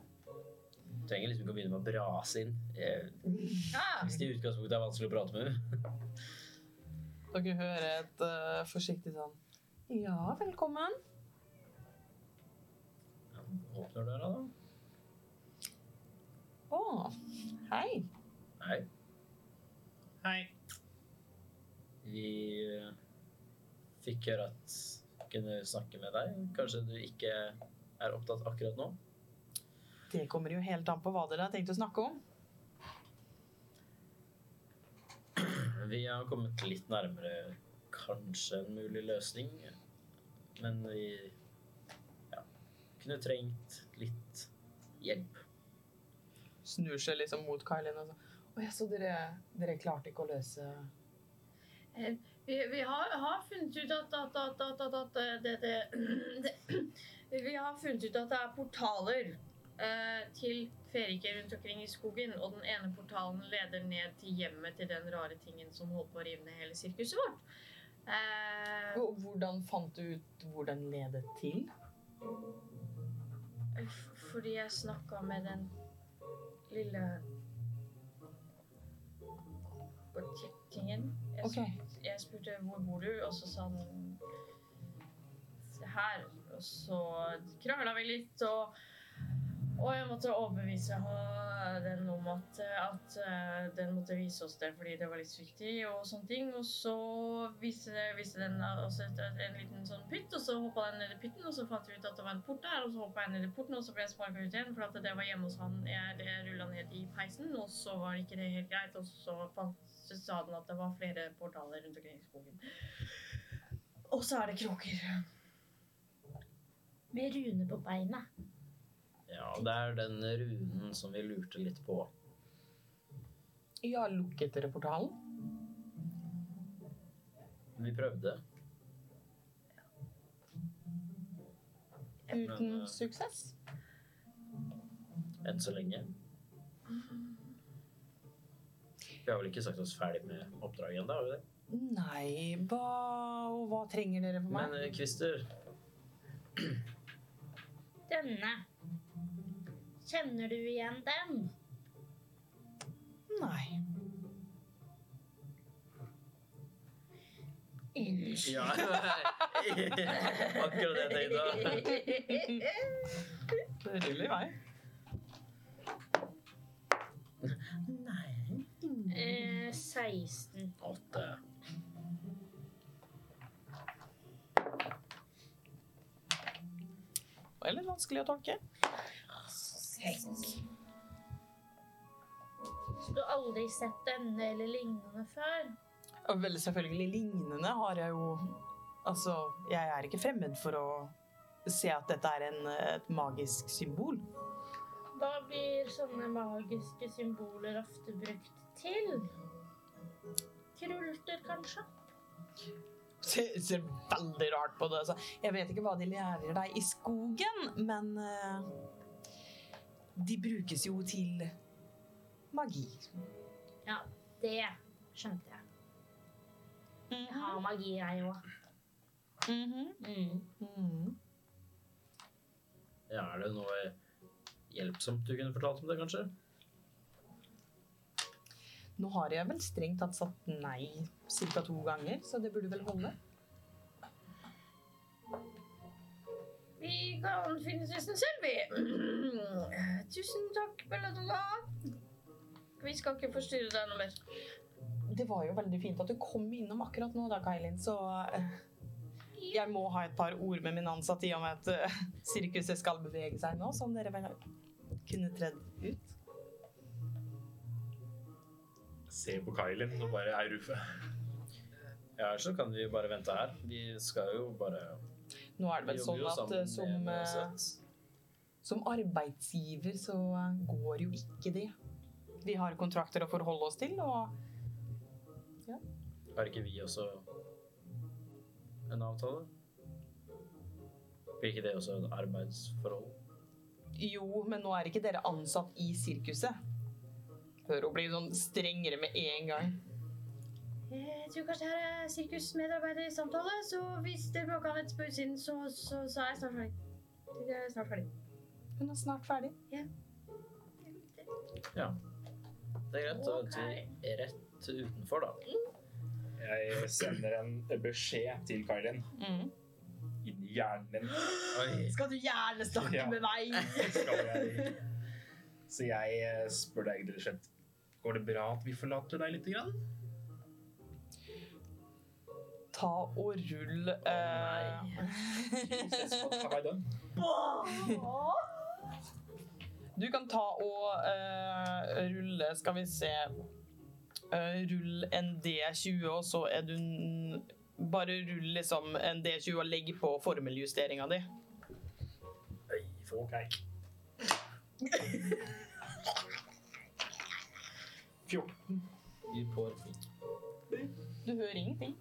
S4: Trenger liksom ikke å begynne med å brase inn. eh, Hvis det i utgangspunktet er vanskelig å prate med henne.
S1: Dere hører et eh, forsiktig sånn Ja, velkommen.
S4: Åpner døra, da.
S1: Å, hei.
S4: Nei.
S3: Hei.
S4: Vi eh, fikk høre at vi kunne snakke med deg. Kanskje du ikke er opptatt akkurat nå?
S1: Det kommer jo helt an på hva dere har tenkt å snakke om.
S4: Vi har kommet litt nærmere kanskje en mulig løsning. Men vi ja, kunne trengt litt hjelp.
S1: Snur seg liksom mot Kailin og sånn. Å ja, så dere, dere klarte ikke å løse
S6: Eh, Vi, vi har, har funnet ut at, at, at, at, at, at eh, det, det, (clears throat) det Vi har funnet ut at det er portaler eh, til feriker rundt omkring i skogen. Og den ene portalen leder ned til hjemmet til den rare tingen som holdt på å rive ned hele sirkuset vårt. Eh,
S1: Hvor- Hvordan fant du ut hvor den ledet til?
S6: f- fordi jeg snakka med den lille tingen. Jeg
S1: Ok,
S6: jeg spurte hvor bor du, og så sa han «Se her. Og så krangla vi litt, og, og jeg måtte overbevise ha- den om at, at eh, den måtte vise oss det fordi det var litt viktig, og sånne ting. Og så viste, viste den oss et, et, en liten sånn pytt, og så hoppa den ned i pytten, og så fant vi ut at det var en port der, og så hoppa jeg ned i porten, og så ble jeg sparka ut igjen, for at det var hjemme hos han. Jeg, jeg rulla ned i peisen, og så var ikke det helt greit, og så fant så sa den at det var flere portaler rundt omkring i skogen. Og så er det kroker.
S2: med Rune på beinet.
S4: Ja, det er den runen som vi lurte litt på.
S1: ja, lukket dere portalen?
S4: Vi prøvde.
S1: Uten
S4: Men, eh,
S1: suksess?
S4: Enn så lenge.
S1: Mhm.
S4: Vi har vel ikke sagt oss ferdig med oppdraget ennå, har vi det?
S1: Nei, hva, og hva trenger dere for meg?
S4: Men eh, Christer,
S1: (laughs)
S2: Denne. Kjenner du igjen den?
S1: Nei.
S4: Ja. (laughs) Akkurat det jeg
S1: (laughs)
S4: tenkte.
S1: Det ruller i vei.
S2: Eh, 16.
S4: Åtte.
S1: Det var litt vanskelig å tolke.
S2: Så du har aldri sett denne eller lignende før?
S1: Og vel, selvfølgelig lignende har jeg jo Altså, jeg er ikke fremmed for å se at dette er en, et magisk symbol. (laughs)
S2: Hva blir sånne magiske symboler ofte brukt til? Krulter, kanskje?
S1: Ser, ser veldig rart på det. Altså. Jeg vet ikke hva de lærer deg i skogen, men eh, de brukes jo til magi.
S2: Det skjønte jeg. Jeg har magi, jeg òg.
S1: Mhm.
S4: Ja, Er det noe hjelpsomt du kunne fortalt om det, kanskje?
S1: Nå har jeg vel strengt tatt sagt nei ca. to ganger, så det burde vel holde.
S6: Vi kan finne tusen selv, vi. (clears throat) Tusen takk, Belladonna. Vi skal ikke forstyrre deg noe mer.
S1: Det var jo veldig fint at du kom innom akkurat nå, da, Kailin, så eh, jeg må ha et par ord med min ansatte i og med at eh, sirkuset skal bevege seg nå, som dere vel kunne tredd ut.
S3: Se på Kailin og bare ei ruffe.
S4: Ja, ellers så kan vi bare vente her. Vi skal jo bare
S1: Nå er det vel
S4: Vi jobber
S1: sånn
S4: jo
S1: at eh,
S4: sammen
S1: som,
S4: med
S1: eh,
S4: Nøset.
S1: som arbeidsgiver så eh, går jo ikke det. Vi har kontrakter å forholde oss til, og
S4: Har ikke vi også en avtale? Blir ikke det også et arbeidsforhold?
S1: jo, men nå er ikke dere ansatt i sirkuset. Hører hun blir sånn strengere med en gang.
S6: Eh, Jeg tror kanskje det her er sirkusmedarbeider i samtale, så hvis dere bråker litt på utsiden, så, så, så er jeg snart ferdig. Jeg er snart ferdig.
S1: Hun er snart ferdig.
S4: Det er greit, da venter vi rett utenfor, da.
S3: Jeg sender en beskjed til Kailin.
S4: Mm.
S3: Inn i hjernen min.
S4: Oi.
S1: Skal du gjerne
S3: Ja. med
S1: meg?
S3: skal jeg. Så jeg eh, spør deg rett og slett Går det bra at vi forlater deg litt? Grann?
S1: Ta og rull eh, Du kan ta og eh, rulle Skal vi se Eh, Rull en D20, og så er du n- Bare rull liksom en D20 og legg på formeljusteringa di.
S3: (laughs) Ok. 14.
S4: Vi får
S1: Du hører ingenting.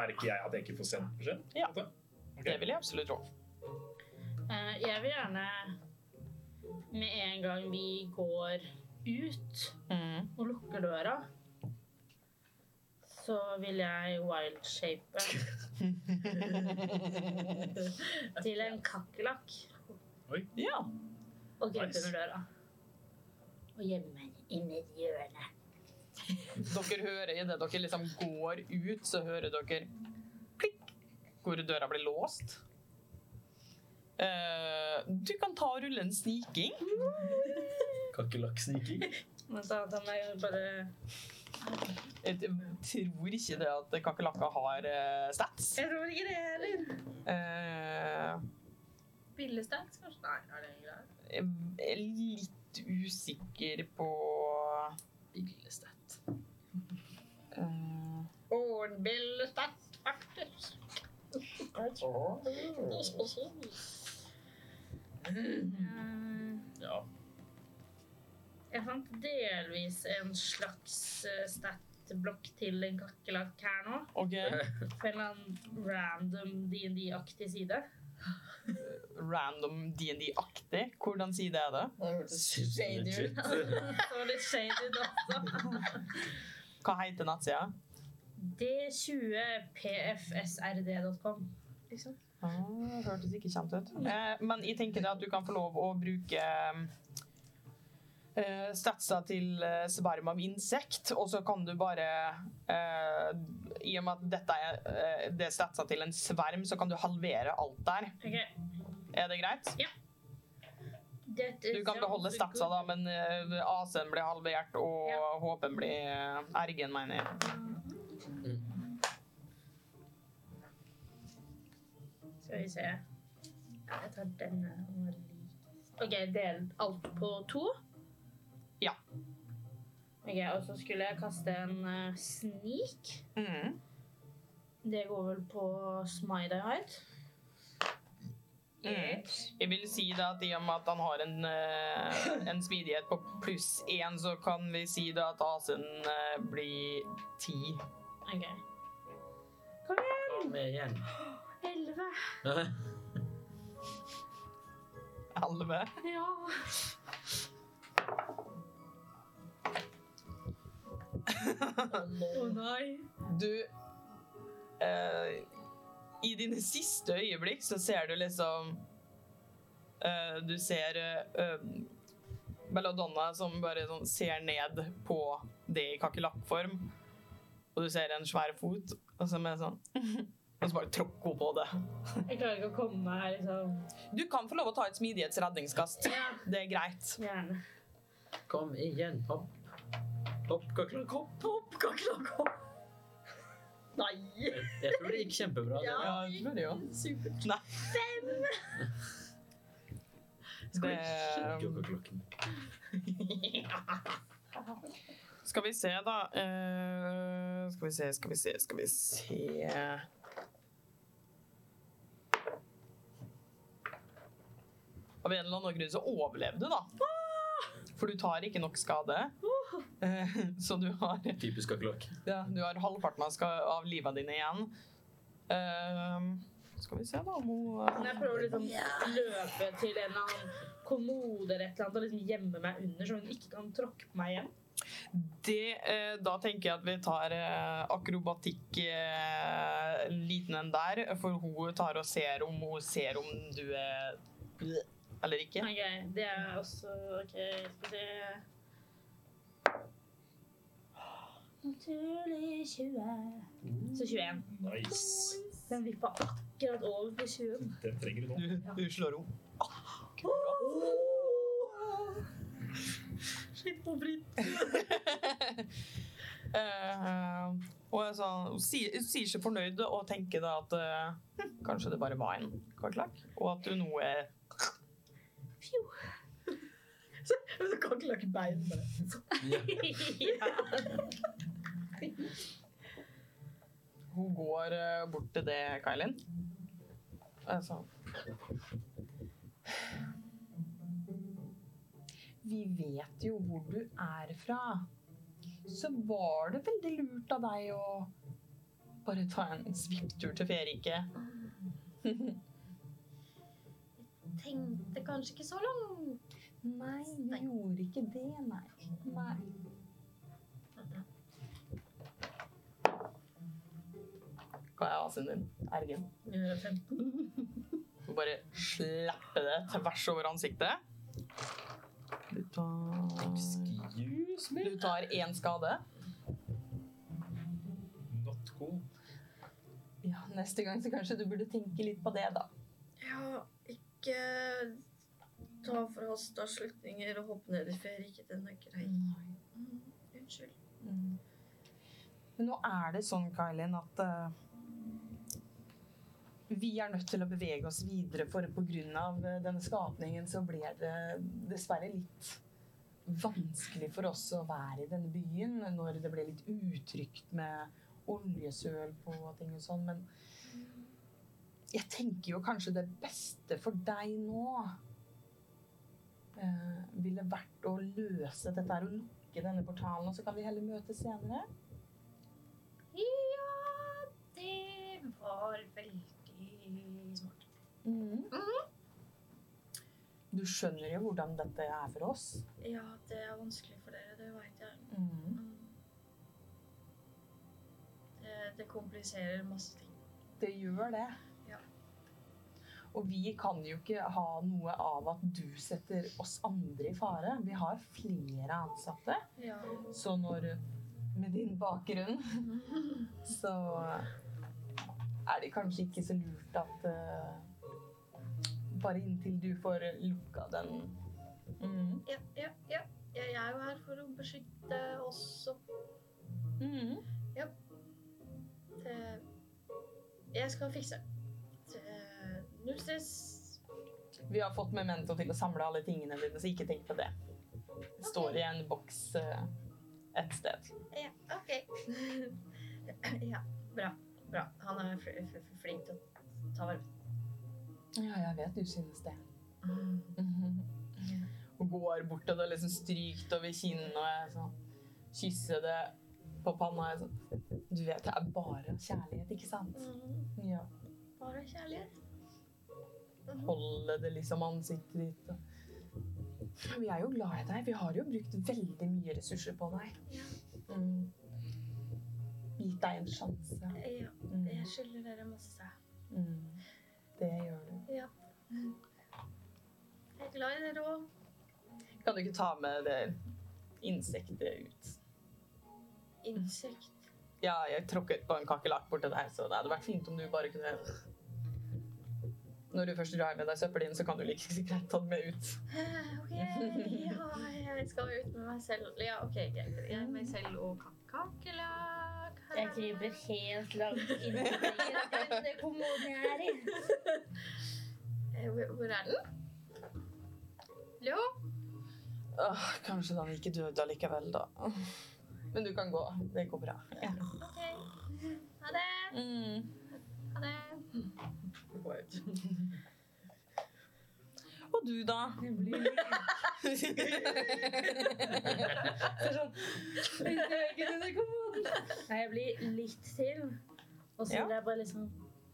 S3: Merker jeg at jeg ikke får sendt beskjed?
S1: Ja.
S3: Ok.
S1: Det vil jeg absolutt tro.
S2: Eh, Jeg vil gjerne med en gang vi går ut
S1: Mm.
S2: og lukker døra, så vil jeg wildshape til en kakerlakk
S1: Ja.
S2: og gripe
S3: Nice.
S2: under døra. Og gjemme meg inn i et hjørne.
S1: Dere hører i det dere liksom går ut, så hører dere klikk, hvor døra blir låst. Eh, du kan ta og rulle en sniking.
S4: kakerlakksniking.
S2: Men da kan jeg jo bare
S1: Jeg tror ikke det at kakerlakka har eh, stats.
S2: Jeg tror ikke det heller.
S1: Eh,
S6: Billestats, kanskje? Nei, er det en greie?
S1: jeg er litt usikker på
S4: Billestat.
S1: eh,
S2: Ordbillestats, faktisk. Eh,
S4: Ja.
S2: Jeg fant delvis en slags eh, stat-blokk til en kakerlakk her nå.
S1: OK.
S2: På en eller annen random D&D-aktig side.
S1: Random DND-aktig. Hvordan side er det?
S6: Det hørtes shady ut.
S2: Det var litt shady også.
S1: Hva heter nettsida?
S2: D20pfsrd.com.
S1: Ah, hørtes ikke kjent ut. Eh, men jeg tenker at du kan få lov å bruke eh, statsa til eh, sverm av insekt, og så kan du bare eh, I og med at dette er, eh, det er statsa til en sverm, så kan du halvere alt der.
S2: Ok,
S1: Er det greit?
S2: dette
S1: Du kan beholde statsa, da, men eh, AC-en blir halvert, og
S2: Ja.
S1: håpen blir eh, ergen, mener jeg.
S2: Skal vi se. Jeg tar denne. den var lik. OK, del alt på to.
S1: Ja.
S2: Ok, Og så skulle jeg kaste en eh, sneak.
S1: Mm.
S2: Det går vel på smite I hide.
S1: Mm. Jeg vil si da at i og med at han har en, eh, en smidighet på pluss én, så kan vi si da at AC-en eh, blir ti.
S2: OK.
S4: Kom igjen.
S2: Elleve.
S1: Elleve.
S2: Ja. Å nei.
S1: Du eh, I dine siste øyeblikk så ser du liksom eh, Du ser eh, eh, Belladonna som bare sånn ser ned på det i kakerlakkform. Og du ser en svær fot, og så med sånn (laughs) Og så bare tråkker hun på det.
S2: Jeg klarer ikke å komme meg her, liksom.
S1: Du kan få lov å ta et smidighetsredningskast.
S6: Ja.
S1: Det er greit.
S2: Gjerne.
S9: Kom igjen, hopp. Hopp, kakerlakk, hopp.
S6: Hopp, kakerlakk, hopp. Nei!
S9: Jeg jeg tror det gikk kjempebra. det.
S6: Ja,
S1: det tror jeg jo.
S6: Supert.
S1: ehm. Det, (laughs)
S9: Kakerlakken.
S1: Skal vi se, da. Eh, skal vi se, skal vi se, skal vi se Av en eller annen grunn så overlevde du, da. For du tar ikke nok skade. Eh, så du har,
S4: Typisk kakerlakk.
S1: ja, du har halvparten av, ska- av livet dine igjen. Eh, skal vi se, da, om hun eh,
S2: Men jeg prøver å liksom løpe til en eller annen kommode eller et eller annet og liksom gjemme meg under, så hun ikke kan tråkke på meg igjen.
S1: Det, eh, da tenker jeg at vi tar eh, akrobatikk eh, en liten en der, for hun tar og ser om hun ser om du er eller ikke.
S2: Ok, det er også OK, skal vi se Naturlig 20. Så 21.
S3: Nice.
S2: Den vippa akkurat over på 20.
S3: Den trenger du nå.
S1: Du, du slår henne.
S2: Shit på Britt.
S1: Eh, og jeg sa, hun sier, hun sier seg fornøyd og tenker da at eh, hm, kanskje det bare var en kartlakk, og at hun nå er
S6: Men du kan ikke lage bein bare.
S1: Hun går eh, bort til det, Kailin. Altså. Vi vet jo hvor du er fra. Så var det veldig lurt av deg å bare ta en svipptur til Ferike.
S11: Tenkte kanskje ikke så langt.
S1: Nei, du gjorde ikke det, nei. nei. Hva er asen din? Ergen?
S6: 15.
S1: Og bare slappe det tvers over ansiktet. Du tar
S3: Excuse me.
S1: Du tar én skade.
S3: Not cool.
S1: Ja, neste gang så kanskje du burde tenke litt på det, da.
S6: Ja, ikke ta forhasta slutninger og hoppe ned i ferie. Ikke den er grei. Mm, unnskyld.
S1: Mm. Men nå er det sånn, Kailin, at eh, vi er nødt til å bevege oss videre, for pga. eh, denne skapningen så blir det dessverre litt vanskelig for oss å være i denne byen når det blir litt utrygt med oljesøl på og ting og sånn, men jeg tenker jo kanskje det beste for deg nå eh, ville vært å løse dette her og lukke denne portalen, og så kan vi heller møtes senere.
S11: Ja, det var veldig smart.
S1: Du skjønner jo hvordan dette er for oss.
S6: Ja, det er vanskelig for dere, det veit jeg. Mm. Det, det kompliserer masse ting.
S1: Det gjør det.
S6: Ja.
S1: Og vi kan jo ikke ha noe av at du setter oss andre i fare. Vi har flere ansatte,
S6: Ja.
S1: så når med din bakgrunn, så er det kanskje ikke så lurt at eh, bare inntil du får lukka den. Mhm.
S6: Ja, ja, ja. Jeg er jo her for å beskytte oss og
S1: Mhm.
S6: det Jeg skal fikse. Det, null stress.
S1: Vi har fått memento til å samle alle tingene dine, så ikke tenk på det. Det står i en boks eh, et sted.
S6: Ja, OK. (laughs) ja, bra. Bra. Han er fl fl fl- flink til å ta vare på
S1: Ja, jeg vet du synes (laughs) det.
S6: Mm.
S1: Hun går bort til det, liksom strykt over kinnet, og jeg sånn, kysser det på panna. Jeg, sånn. Du vet, det er bare kjærlighet, ikke sant? Ja.
S6: Mm. Bare kjærlighet.
S1: Holde det liksom ansiktet ditt. Og... Vi er jo glad i deg. Vi har jo brukt veldig mye ressurser på deg. Mm. Gitt gitt deg en sjanse.
S11: Ja,
S1: Mm.
S11: jeg skylder dere masse.
S1: Mm. Det gjør du.
S11: Jeg er glad i dere òg.
S1: Kan du ikke ta med det insektet ut?
S2: (laughs)
S11: Insekt.
S1: Ja, jeg tråkket på en kakerlakk borti der, så det hadde vært fint om du bare kunne Når du først drar med deg søppelet inn, så kan du like så greit ta det med ut.
S11: Eh, OK. Ja, jeg skal ut med meg selv. Ja, OK, greit. Jeg er meg selv og kak- kakerlakk.
S2: Jeg kryper
S11: (laughs)
S2: helt langt inn i den kommoden jeg er i.
S11: Eh, Hvor hvor er den? Hallo?
S1: Åh, kanskje den ikke døde allikevel, da. Men du kan gå. Det går bra. Mm. Ja.
S11: OK. Ha det. Ha det.
S1: Og du, (laughs) da?
S2: Jeg blir
S1: Så sånn,
S2: litt øken under kommoden. Nei, jeg blir litt til. Og så
S1: Ja.
S2: vil jeg bare liksom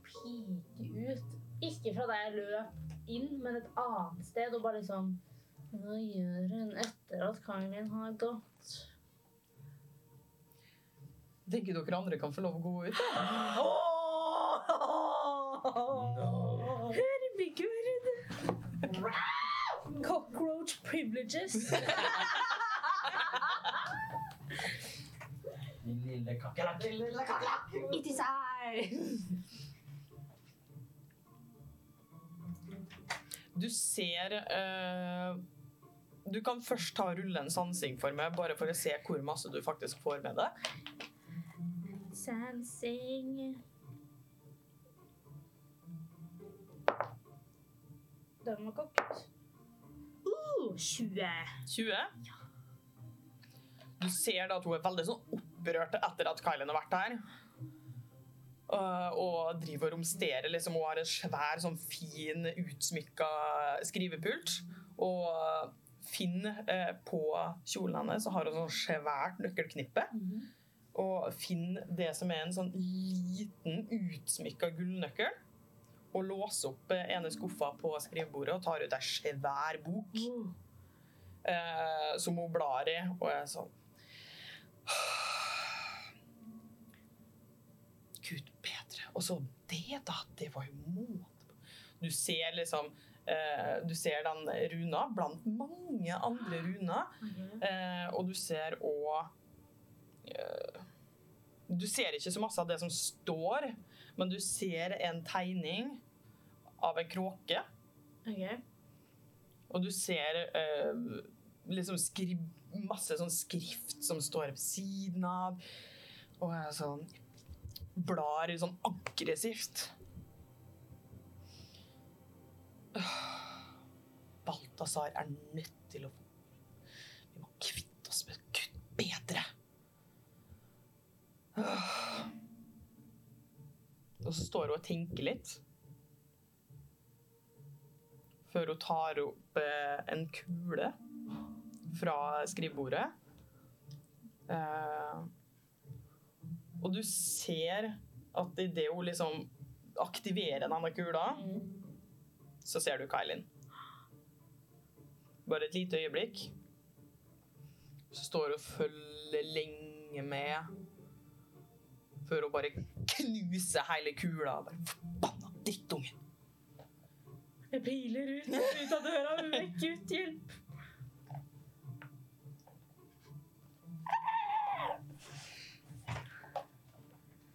S2: pike ut. Ikke fra der jeg løp inn, men et annet sted. Og bare liksom Hva gjør hun etter at karen min har gått?
S1: Tenker dere andre kan få lov å gå ut? da?
S2: Herregud! Cockroach privileges.
S9: Min lille kakerlakk.
S2: It is I!
S1: Du ser eh, Du kan først ta og rulle en sansing for meg, bare for å se hvor masse du faktisk får med deg.
S2: Sansing Den var kokt. Uh, 20.
S1: 20. Du ser da at hun er veldig sånn opprørt etter at Kylen har vært her. Uh, og driver og romsterer. Liksom. Hun har en svær, sånn fin, utsmykka skrivepult. Og Finn eh, på kjolen hennes så har hun sånn svært nøkkelknippe. Og Finn det som er en sånn liten, utsmykka gullnøkkel. Og låser opp eh, ene skuffa på skrivebordet og tar ut ei svær bok eh, som hun blar i, og jeg er sånn Gud bedre. Og så det, da. Det var jo måte på. Du ser liksom eh, Du ser den runa blant mange andre runer, eh, og du ser òg eh, Du ser ikke så masse av det som står, men du ser en tegning av en kråke.
S2: Ok.
S1: Og du ser eh, liksom skri masse sånn skrift som står ved siden av. Og jeg er sånn blar i sånn aggressivt. Øh. Balthazar er nødt til å Vi må kvitte oss med Gud bedre. Øh. Og så står hun og tenker litt før hun tar opp eh, en kule fra skrivebordet. Eh, og du ser at idet hun liksom aktiverer denne kula, så ser du Kailin. Bare et lite øyeblikk. Så står hun og følger lenge med før hun bare knuser hele kula. Bare, Forbanna drittungen!
S2: Jeg piler ut, ut av døra. Vekk ut, hjelp!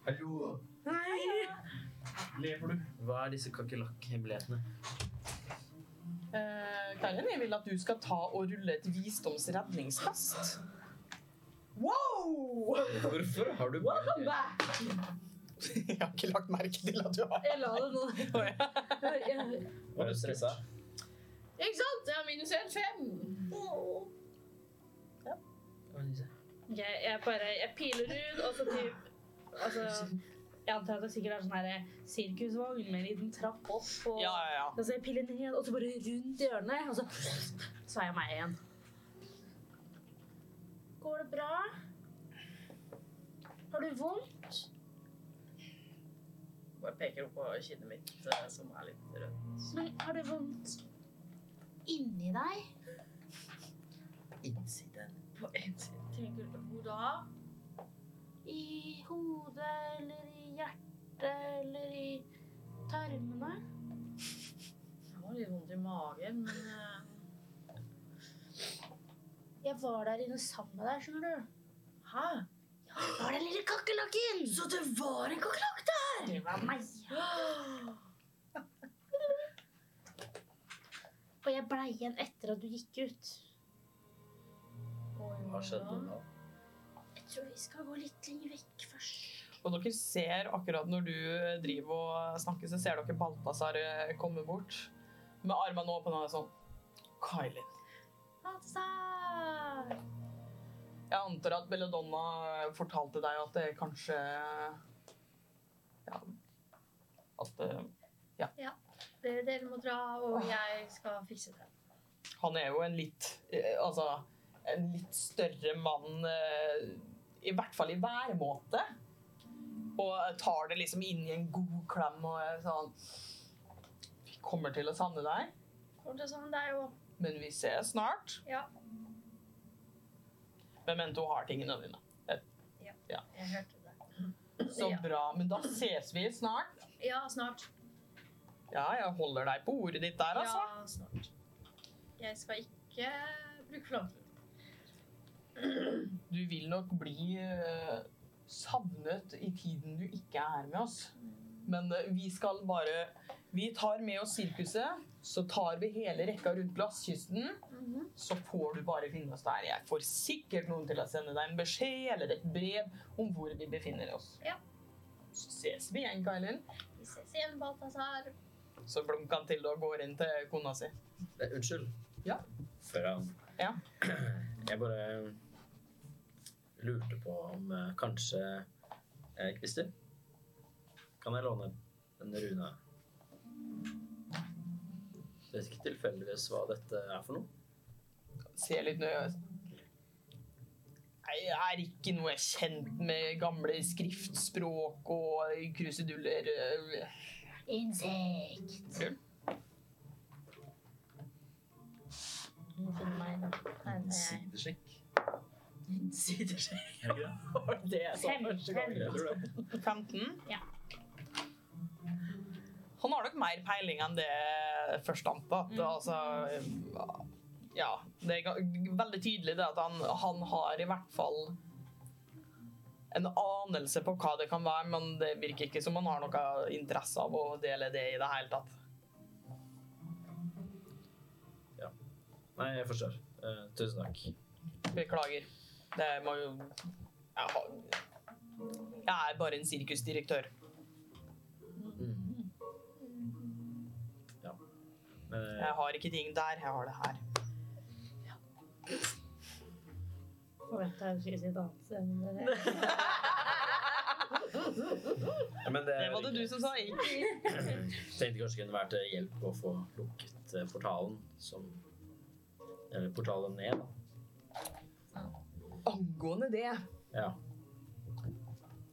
S9: Hallo.
S2: Nei!
S3: Lever du?
S9: Hva er disse kakerlakk-hemmelighetene?
S1: Eh, Karin, jeg vil at du skal ta og rulle et visdomsredningskast. Wow!
S4: Hvorfor har du bare det?
S1: Jeg har ikke lagt merke til at du har
S2: Jeg la det nå.
S1: Å, ja.
S2: Jeg-
S4: Var du stressa?
S6: Ikke sant? Jeg har minus 1, 5.
S2: Jeg, jeg bare jeg piler ut, og så typ altså, Jeg antar at det sikkert er sånn her sirkusvogn med en liten trapp opp. Og,
S1: ja, ja, ja.
S2: og så jeg piler ned, og så bare rundt hjørnet, og så, så er jeg meg igjen. Går det bra? Har du vondt?
S6: Bare peker opp på kinnet mitt, eh, som er litt rødt.
S2: Men har du vondt inni deg?
S6: På en side.
S11: Tenker du hvor da?
S2: I hodet? tarmene.
S6: Jeg har litt vondt i magen, men eh,
S2: Jeg var der inne sammen med deg, skjønner du.
S6: Hæ?
S2: Jeg var den lille kakerlakken!
S6: Så det var en kakerlakk der!
S2: Det var meg.
S6: Åh,
S2: Og jeg blei igjen etter at du gikk ut.
S4: Hva skjedde nå?
S2: Jeg tror vi skal gå litt lenger vekk først.
S1: Og dere ser akkurat når du driver og snakker, så ser dere Balthazar eh, komme bort med armene åpne og sånn Kylie.
S6: Balthazar!
S1: Jeg antar at Belladonna eh, fortalte deg at det kanskje Ja. At eh,
S6: Dere, dere må dra, og jeg skal fikse det.
S1: han er jo en litt eh, Altså en litt større mann eh, I hvert fall i væremåte. Og tar det liksom inn i en god klem og er sånn Vi kommer til å savne deg,
S6: Kommer til å savne deg òg.
S1: men vi ses snart.
S6: Ja.
S1: Memento har tingene dine.
S6: Jeg hørte det.
S1: Så
S6: Ja.
S1: bra. Men da ses vi snart.
S6: Ja, snart.
S1: Ja, jeg holder deg på ordet ditt der, altså.
S6: Ja, snart. Jeg skal ikke bruke for lang tid.
S1: Du vil nok bli eh, savnet i tiden du ikke er med oss. Men eh, vi skal bare Vi tar med oss sirkuset. Så tar vi hele rekka rundt glasskysten.
S6: Mhm.
S1: Så får du bare finne oss der. Jeg får sikkert noen til å sende deg en beskjed eller et brev om hvor vi befinner oss.
S6: Ja.
S1: Så ses vi igjen, Kailin.
S6: Vi ses igjen, Balthazar.
S1: Så blunker han til og går inn til kona si.
S9: Eh, Unnskyld.
S4: Før han
S1: Ja.
S4: (clears throat) Jeg bare lurte på om eh, kanskje eh, Christer? Kan jeg låne en rune? Du vet ikke tilfeldigvis hva dette er for noe?
S1: ser litt nøye Jeg er ikke noe jeg er kjent med gamle skriftspråk og kruseduller. eh,
S2: Insekt.
S1: Kul.
S2: Nå finner meg en- Nei, nei,
S4: Sidesjekk.
S3: Er
S1: (laughs)
S3: det ikke det?
S1: Det er
S2: Fem, Altså, fem.
S4: Jeg tror det.
S1: 15?
S2: Ja.
S1: Han har nok mer peiling enn det først antatt. Altså, ja, det er ga- veldig tydelig det at han, han har i hvert fall en anelse på hva det kan være, men det virker ikke som han har noe interesse av å dele det i det hele tatt.
S4: Nei, jeg forstår. Eh, tusen takk.
S1: Beklager. Det må jo Jeg har- Jeg er bare en sirkusdirektør. Mm.
S4: Mm. Men, eh,
S1: Jeg har ikke ting der, jeg har det her.
S2: Forventa jeg skulle si et annet sted, men det-
S4: ja, men det,
S1: Det var det du som sa. Ikke.
S4: Tenkte kanskje det kunne vært til hjelp å få lukket eh, portalen som Eller portalen ned, da.
S1: Angående det
S4: Ja.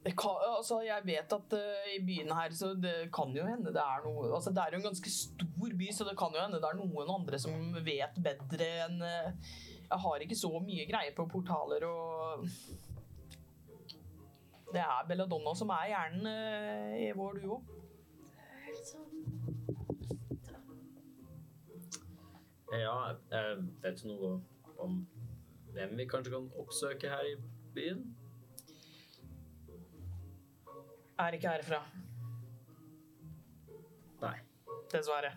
S1: det kan, altså Jeg vet at eh, i byen her så det kan jo hende det er noe altså Det er jo en ganske stor by, så det kan jo hende det er noen andre som vet bedre enn eh, Jeg har ikke så mye greie på portaler og Det er Belladonna som er hjernen eh, i vår duo.
S6: Helt sånn.
S4: Ja, eh, vet du noe om hvem vi kanskje kan oppsøke her i byen?
S1: Er ikke herfra.
S4: Nei.
S1: Dessverre.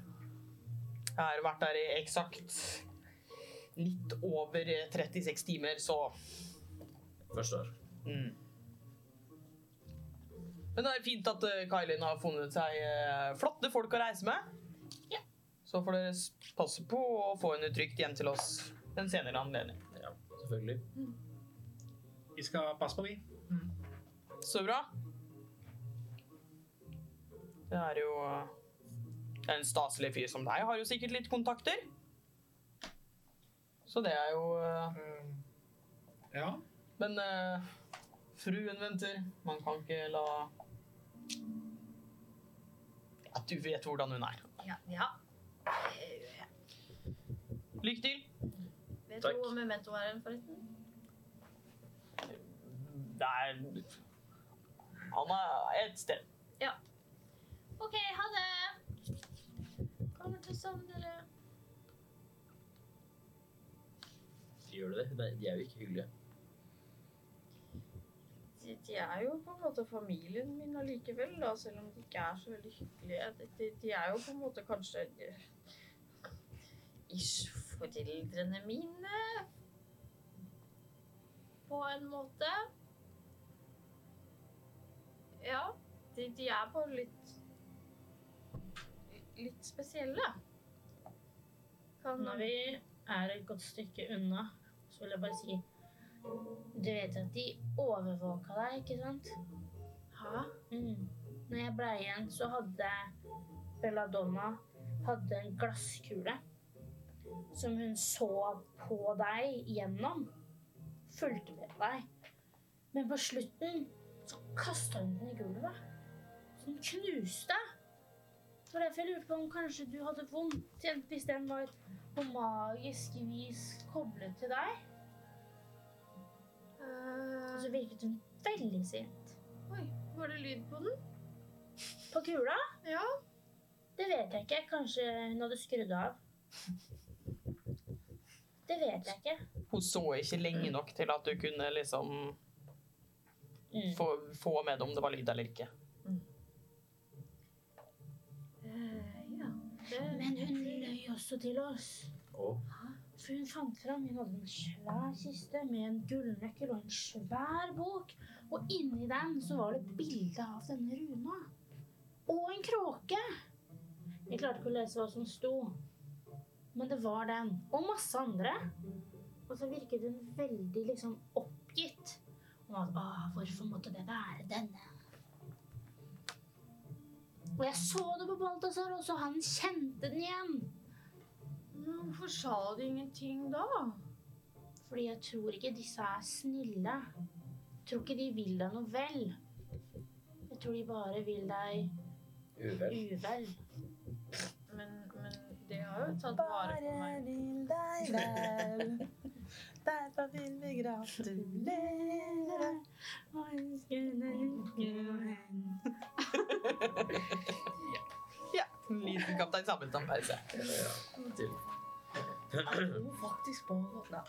S1: Jeg har vært der i eksakt litt over 36 timer, så
S4: Forstår.
S1: mm. Men det er fint at eh, Kailin har funnet seg eh, flotte folk å reise med.
S2: Ja.
S1: Så får dere s- passe på å få henne trygt hjem til oss ved en senere anledning.
S4: Ja, selvfølgelig.
S3: Vi skal passe på, vi.
S1: Så bra. Det er jo eh, En staselig fyr som deg har jo sikkert litt kontakter. Så det er jo eh,
S3: Mm. Ja.
S1: Men eh, fruen venter. Man kan ikke la At du vet hvordan hun er.
S6: Ja. ja. Eh,
S1: Lykke til.
S6: Vet
S4: Takk.
S6: du hvor memento er hen, forresten?
S1: Det er Han er et sted.
S11: OK, ha det! Kommer til å savne dere.
S4: Gjør du det? Nei, de er jo ikke hyggelige.
S6: De, de er jo på en måte familien min allikevel, da, selv om de ikke er så veldig hyggelige. De, de, de er jo på en måte kanskje eh, ish foreldrene mine. På en måte. Ja, de, de er bare litt litt spesielle. Kan
S2: (laughs) Når vi er et godt stykke unna, så vil jeg bare si Du vet at de overvåka deg, ikke sant?
S6: Hæ?
S2: Mm. Når jeg ble igjen, så hadde Belladonna hadde en glasskule som hun så på deg gjennom. Fulgte med deg. Men på slutten så kasta hun den i gulvet. Så den knuste. Det var derfor jeg lurte på om kanskje du hadde vondt igjen hvis den var på magisk vis koblet til deg. Og
S11: Eh,
S2: så virket hun veldig sint.
S11: oi, var det lyd på den?
S2: På kula?
S11: Ja.
S2: Det vet jeg ikke. Kanskje hun hadde skrudd av. Det vet jeg ikke.
S1: Hun så ikke lenge nok til at du kunne liksom
S2: Mm.
S1: få, få med om det var lyd eller ikke.
S11: Eh, ja. Det,
S2: Men hun løy også til oss.
S4: Å?
S2: For hun fant fram Hun hadde en svær kiste med en gullnøkkel og en svær bok. Og inni den så var det bilde av denne Runa. Og en kråke. Jeg klarte ikke å lese hva som sto, men det var den. Og masse andre. Og så virket hun veldig liksom oppgitt. Om at Åh, hvorfor måtte det være denne? Og jeg så det på Balthazar også. Han kjente den igjen.
S11: men hvorfor sa du ingenting da?
S2: Fordi jeg tror ikke disse er snille. Jeg tror ikke de vil deg noe vel. Jeg tror de bare vil deg
S4: Uvel.
S2: uvel.
S6: Men, men de har jo tatt vare på meg.
S1: vil deg vel. Derfor vil vi gratulere. Ja. En liten Kaptein Sabeltann-pause.
S4: Til.
S6: Jo, faktisk på Nei.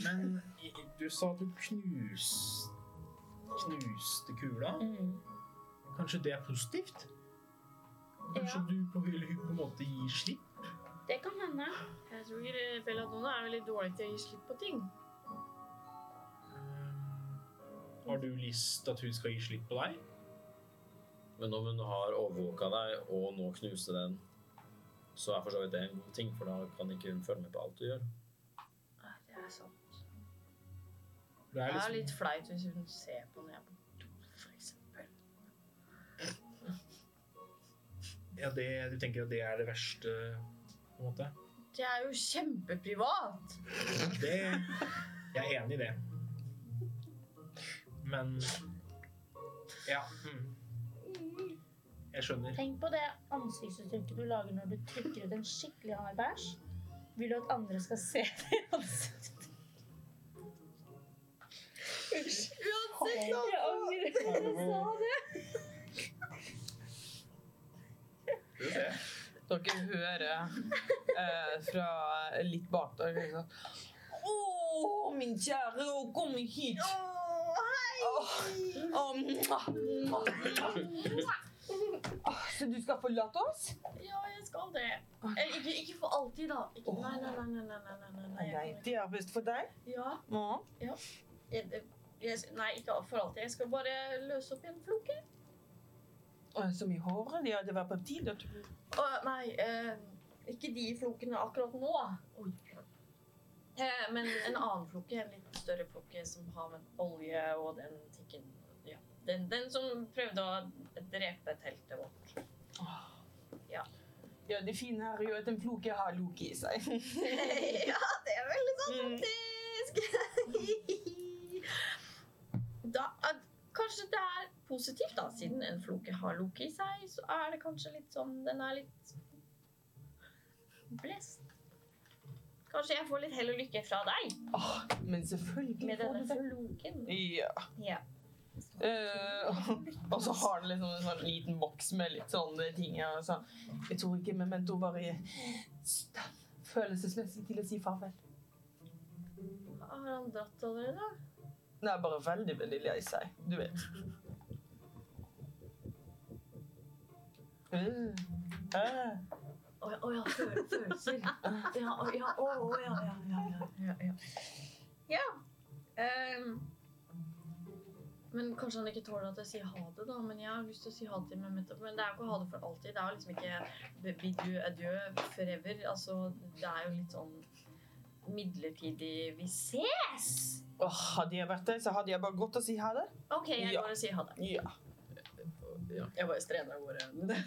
S3: Men i- i- du sa at du knus, knuste kula.
S2: Mm.
S3: Kanskje det er positivt? Kanskje
S2: Ja.
S3: du på, eller hun på en måte gir slipp? Mm.
S2: Det kan hende.
S6: Jeg tror eh, Belladonna er veldig dårlig til å gi slipp på ting.
S3: Har du lyst til at hun skal gi slipp på deg?
S4: Men om hun har overvåka deg og nå knuste den, så er for så vidt det en god ting, for da kan ikke hun følge med på alt du gjør.
S6: Nei, det er sant.
S3: Det
S6: Det
S3: er
S6: er
S3: liksom,
S6: litt flaut hvis hun ser på når jeg er på do, for eksempel.
S3: ja, det, du tenker at det er det verste, på en måte?
S6: Det er jo kjempeprivat!
S3: Det, jeg er enig i det. Men Ja. mm. Jeg skjønner.
S2: Tenk på det ansiktsuttrykket du lager når du trykker ut en skikkelig hard bæsj. Vil du at andre skal se det i ansiktet? Uansett, jeg angrer på at jeg sa det.
S3: Skal vi se.
S1: Dere hører eh, fra litt bak der liksom. Å, min kjære, å, kom hit! Åh, åh, mwah, mwah, mwah. Åh, Så du skal forlate oss?
S6: Ja, jeg skal det. Eh, ikke, ikke for alltid, da. Ikke, nei, nei, nei, nei, nei, nei, nei, nei. jeg kan
S1: det er best for deg.
S6: ikke. Ja,
S1: Ja.
S6: jeg, jeg, nei, ikke for alltid. Jeg skal bare løse opp i en floke.
S1: Åh, Så mye hårere. Ja, det var på tide at du
S6: Å, nei, eh, ikke de flokene akkurat nå. Eh, men en annen floke, en litt større floke som har med olje og den tikken ja. den, den som prøvde å drepe teltet vårt.
S1: Ja, det fine her er jo at en floke har Loki i seg. (laughs)
S6: (laughs) ja, det er veldig sånn
S1: Mm.
S6: faktisk! (laughs) da, at, kanskje det er positivt, da. Siden en floke har loke i seg, så er det kanskje litt sånn Den er litt blest. Kanskje jeg får litt hell og lykke fra deg
S1: Åh, men selvfølgelig
S6: med denne
S1: får du det.
S6: floken.
S1: Ja.
S6: Ja.
S1: Eh, (laughs) og så har den liksom en sånn liten boks med litt sånne ting. Og så, jeg tror ikke memento var i stand følelsesmessig til å si farvel.
S6: Har han dratt allerede?
S1: Den er bare veldig, veldig lei seg. Du vet. Mm. Eh.
S6: Å ja, å ja, føl- følelser. Ja, å ja, å, å ja, ja, ja, ja, ja, ja. Ja. ehm, men kanskje han ikke tåler at jeg sier ha det, da. Men jeg har lyst til å si ha det til meg. Men men det er jo ikke ha det for alltid. Det er jo liksom ikke be- bid you adieu forever. Altså, det er jo litt sånn midlertidig Vi ses!
S1: Åh, hadde jeg vært der, så hadde jeg bare gått og si ha det.
S6: OK, jeg
S1: Ja.
S6: går og sier ha det.
S1: Ja.
S12: Jeg bare strener av gårde.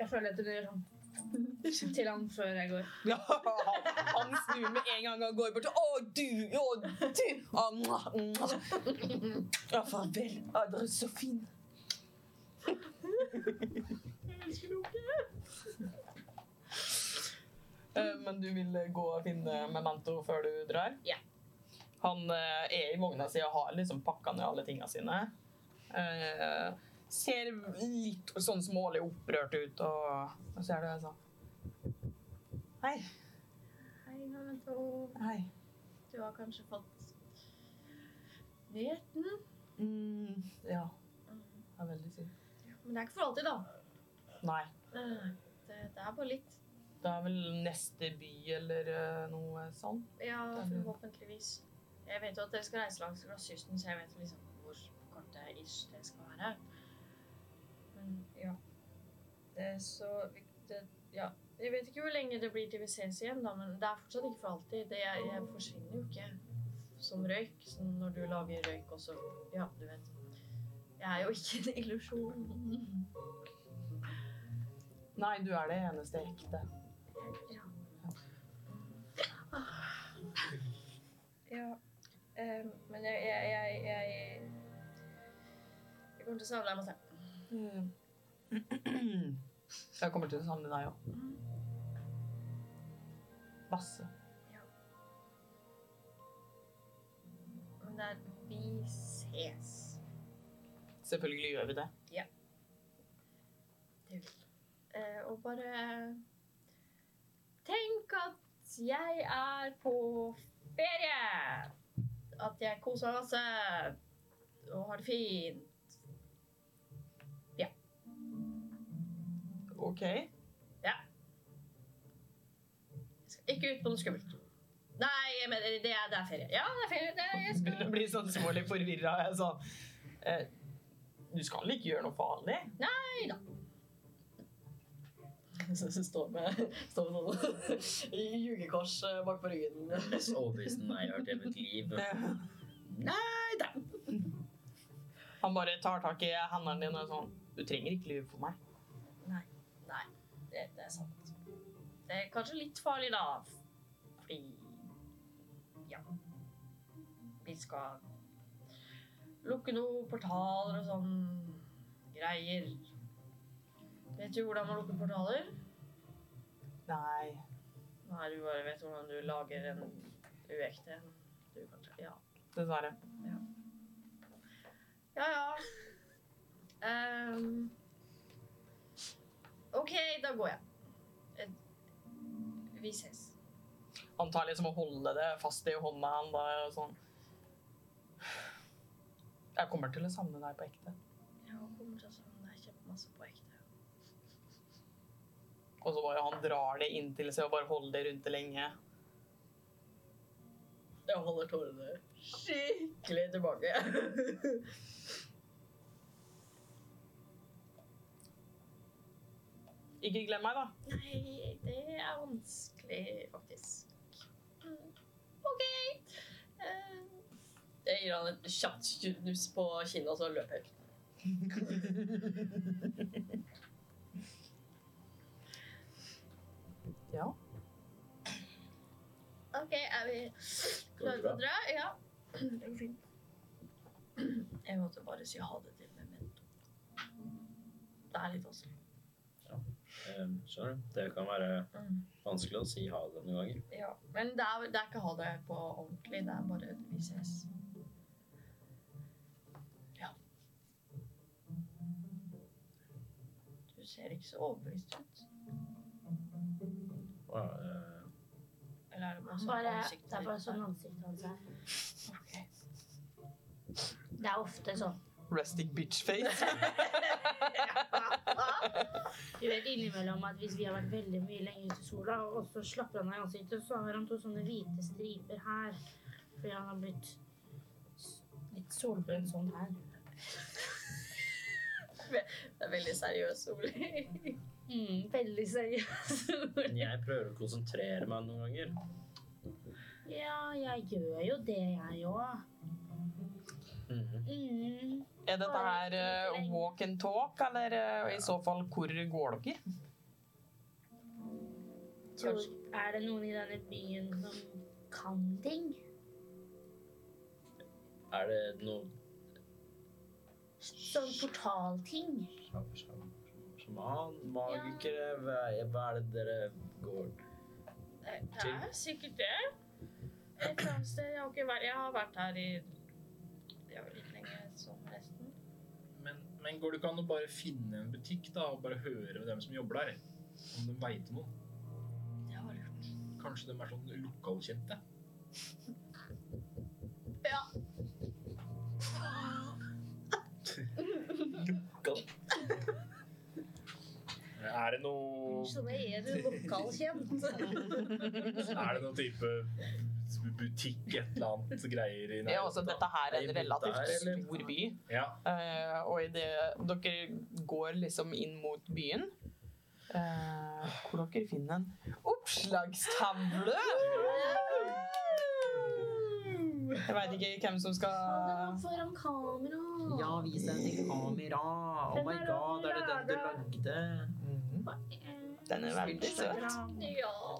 S2: Jeg føler at det blir (laughs) sånn til han før jeg går.
S1: Ja, han, han snur med en gang og går bort og Å, du! Å, du! Å, mwah, mwah. Ja, farvel. Å, dere er så fine. Eh, Men du vil eh, gå og finne Memento før du drar?
S2: Ja.
S1: Han eh, er i vogna si og har liksom pakka ned alle tinga sine. Eh, ser litt sånn smålig opprørt ut, og, og så er det sånn Hei.
S6: Hei, Memento.
S1: Hei.
S6: Du har kanskje fått nyheten?
S1: Mm, ja,
S6: Mm.
S1: det er veldig synd.
S6: Men det er ikke for alltid, da.
S1: Nei,
S6: Nei, nei, nei. Det, det er bare litt.
S1: det er vel neste by eller eh, noe sånt.
S6: Ja,
S1: Det er det.
S6: forhåpentligvis. Jeg vet jo at dere skal reise langs glasskysten, så jeg vet liksom hvor kort det er ish det skal være. Men ja. Det er så vi- det, Ja. Jeg vet ikke hvor lenge det blir til vi ses igjen, da, men det er fortsatt ikke for alltid. Det, jeg, jeg forsvinner jo ikke som røyk. Som når du lager røyk også. Ja, du vet. Jeg er jo ikke en illusjon.
S1: Nei, du er det eneste ekte. (clears throat)
S6: Ja. eh, men jeg jeg, jeg, jeg jeg kommer til å savne deg masse.
S1: Mm. Jeg kommer til å savne deg òg. Masse.
S6: Men det er Vi ses.
S1: Selvfølgelig gjør vi det.
S6: Eh, og bare Tenk at jeg er på ferie! At jeg koser meg masse og har det fint.
S1: OK?
S6: Jeg skal ikke ut på noe skummelt. Nei, jeg mener, det er, det er ferie. Ja, det er ferie. Det er, jeg
S1: Begynner å
S6: skal
S1: bli sånn smålig forvirra. Jeg sa eh, Du skal ikke gjøre noe farlig?
S12: Så så står med, står med sånn jugekors eh, bak på ryggen.
S4: Mest overbevisende jeg har hørt i hele mitt liv.
S1: Eh,
S4: Nei da!
S1: Han bare tar tak i hendene dine og sånn Du trenger ikke lyve for meg.
S6: det, det er sant. Det er kanskje litt farlig, da. Fordi Ja. Vi skal lukke noen portaler og sånn greier. Vet du hvordan man lukker portaler?
S1: Nei.
S6: Nei, du bare vet hvordan du lager en uekte en. Du kanskje Ja.
S1: Dessverre.
S6: Ja, ja. Ehm, OK, da går jeg. Eh, Vi ses.
S1: Han tar liksom og holder det fast i hånda han der og sånn. Jeg kommer til å savne deg på ekte.
S6: Ja, hun kommer til å savne deg kjempemasse på ekte.
S1: Og så bare han drar det inn til seg og bare holder det rundt det lenge.
S12: Jeg holder tårene skikkelig tilbake. (laughs)
S1: Ikke glem meg, da.
S6: Nei, det er vanskelig, faktisk. Mm. OK. Eh,
S12: Jeg gir han et kjapt knuss på kinnet, og så løper jeg.
S1: Ja.
S6: OK, er vi klare til å dra? Ja. Det går fint. Jeg måtte bare si ha det til Memento. Det er litt vanskelig.
S4: Um, skjønner du? Det kan være
S6: Mm.
S4: vanskelig å si ha det noen ganger.
S6: Ja. Men det er, det er ikke ha det på ordentlig. Det er bare vi ses. Ja. ser ikke så overbevist ut.
S4: Hva, eh,
S6: Eller er det bare sånn
S2: Bare,
S6: ansiktet
S2: det er bare
S6: ditt
S2: sånn
S6: der?
S2: ansiktet hans er.
S6: Ok. (laughs)
S2: Det er ofte sånn.
S1: Resting bitch face.
S2: Du vet innimellom at hvis vi har vært veldig mye lenge ute i sola, og så slapper han av i ansiktet, så har han to sånne hvite striper her. Fordi han har blitt s- litt solbrent sånn her.
S6: Det er veldig seriøs, Ole.
S2: Mm, veldig seriøs.
S4: men jeg prøver å konsentrere meg noen ganger.
S2: (laughs) ja, jeg gjør jo det, jeg òg.
S4: Mhm.
S2: Mm.
S1: Er dette her eh, walk and talk, eller eh, i så fall hvor går dere?
S2: Tror, er det noen i denne byen som kan ting?
S4: Er det noe
S2: Sånn portalting?
S4: sjam- sjam- sjaman, magikere hva, hva er det dere går
S6: Det det er sikkert det. Et eller annet sted. Jeg har, ikke vært, jeg har vært her i Det er vel litt lenge sånn som resten.
S3: Men, men går det ikke an å bare finne en butikk da, og bare høre med dem som jobber der? Om de veit noe?
S6: Det var lurt.
S3: Kanskje de er sånn lokalkjente?
S4: Lokal.
S3: Er det noe
S2: Så det er du (laughs) lokalkjent.
S3: Er det noen type butikk, et eller annet greier i
S1: Det er også, altså, dette her er en relativt
S4: Der, eller?
S1: stor by.
S3: Ja.
S1: eh, og i det, dere går liksom inn mot byen. Eh, hvor dere finner en oppslagstavle! Jeg veit ikke hvem som skal
S2: Foran kamera.
S9: Ja, vis deg til kamera. Oh my god, er det den du lagde?
S1: Mhm. Den er veldig søt.
S6: Ja.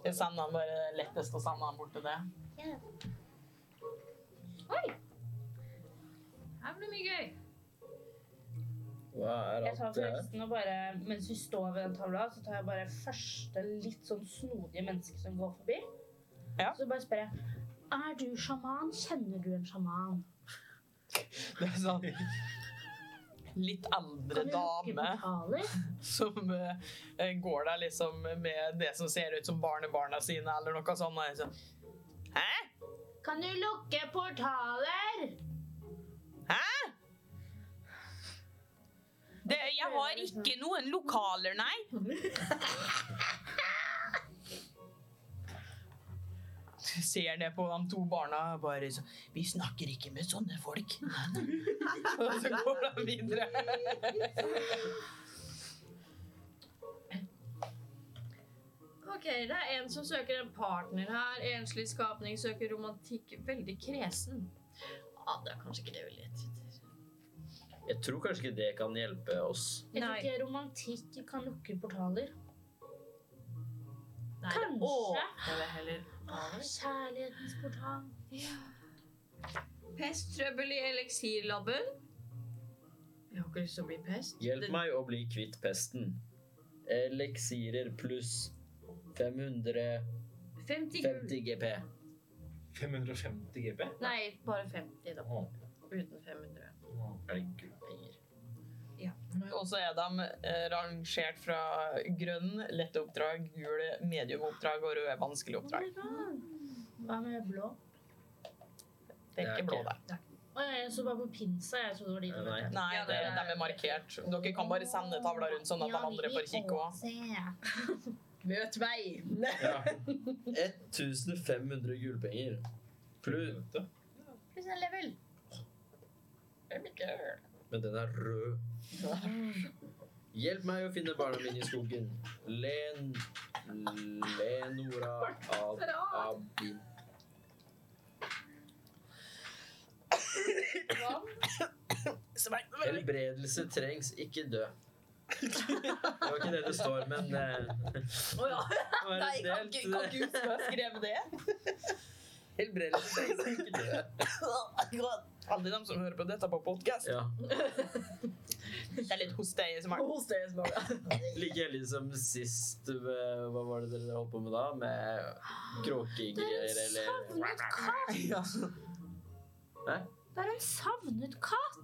S1: Jeg sender han bare lettest å sende han bort til det.
S6: Her blir det mye gøy.
S4: Hva er
S2: Jeg tar
S1: eh,
S4: alt det her?
S2: forresten og bare, mens vi står ved den tavla, så tar jeg bare første litt sånn snodige menneske som går forbi.
S1: Ja.
S2: Så bare spør jeg, er du sjaman? Kjenner du en sjaman?
S1: Det er sånn litt eldre
S2: Kan du lukke
S1: dame
S2: portaler?
S1: som eh, går der liksom med det som ser ut som barnebarna sine eller noe sånt. Og jeg sånn, Hæ?
S2: Kan du lukke portaler?
S1: Hæ? Det, jeg har ikke noen lokaler, nei. Du ser det på de to barna bare sånn Vi snakker ikke med sånne folk. Og så går de videre.
S6: Ok, det er en som søker en partner her. Enslig skapning søker romantikk. Veldig kresen. Ja, det er kanskje ikke det vi leter etter.
S4: Jeg tror kanskje ikke det kan hjelpe oss.
S2: Jeg
S6: Nei.
S2: tror ikke romantikk kan lukke portaler.
S6: Nei, det
S2: Kanskje.
S6: åpner vel heller
S2: Åh, kjærlighetens portal.
S6: Pesttrøbbel i eliksirlabben. Jeg har ikke lyst til å bli pest.
S4: Hjelp
S6: Det-
S4: meg å bli kvitt pesten. Eliksirer pluss 550
S6: 50 gull.
S4: GP.
S3: 550 GB?
S6: Nei, bare 50 da.
S4: Å.
S6: Uten 500.
S4: Er det gullpenger?
S1: Og så er de eh, rangert fra grønn, lette oppdrag, gul, medium oppdrag og rød, vanskelig oppdrag.
S2: Oh Hva med blå?
S1: Det er
S4: Det er
S1: ikke blå
S4: ikke-
S1: der.
S2: Å, ja, jeg så bare på pinsa. Jeg trodde det var de som
S4: Nei.
S2: het det.
S1: Nei,
S6: Ja,
S1: det,
S6: det er-
S1: de er markert. Dere kan bare sende tavla rundt sånn at de andre får kikke òg.
S2: òg.
S6: Møt meg!
S4: 1500 gullpenger. Pluss
S6: Pluss en level. Det blir gøy.
S4: Men den
S1: (laughs)
S4: er rød. Hjelp meg å finne barna mine i skogen. Len Lenora Ab... Abin. Helbredelse trengs, ikke dø.
S1: (laughs)
S4: Det var ikke det det står, men eh,
S6: Å ja.
S4: (laughs) det var
S1: Nei,
S4: en
S1: kan
S4: delt.
S1: ikke kan ikke huske å ha skrevet det.
S4: Helbredelse trengs, ikke dø.
S1: Alle de som hører på dette på podkast.
S4: Ja.
S1: Det er litt hosteie som er
S4: Like heldig som
S9: liksom
S4: sist eh, Hva var det dere holdt på med da? Med kråkegreier eller
S2: Savnet katt!
S1: (laughs) ja.
S2: Det er en savnet katt!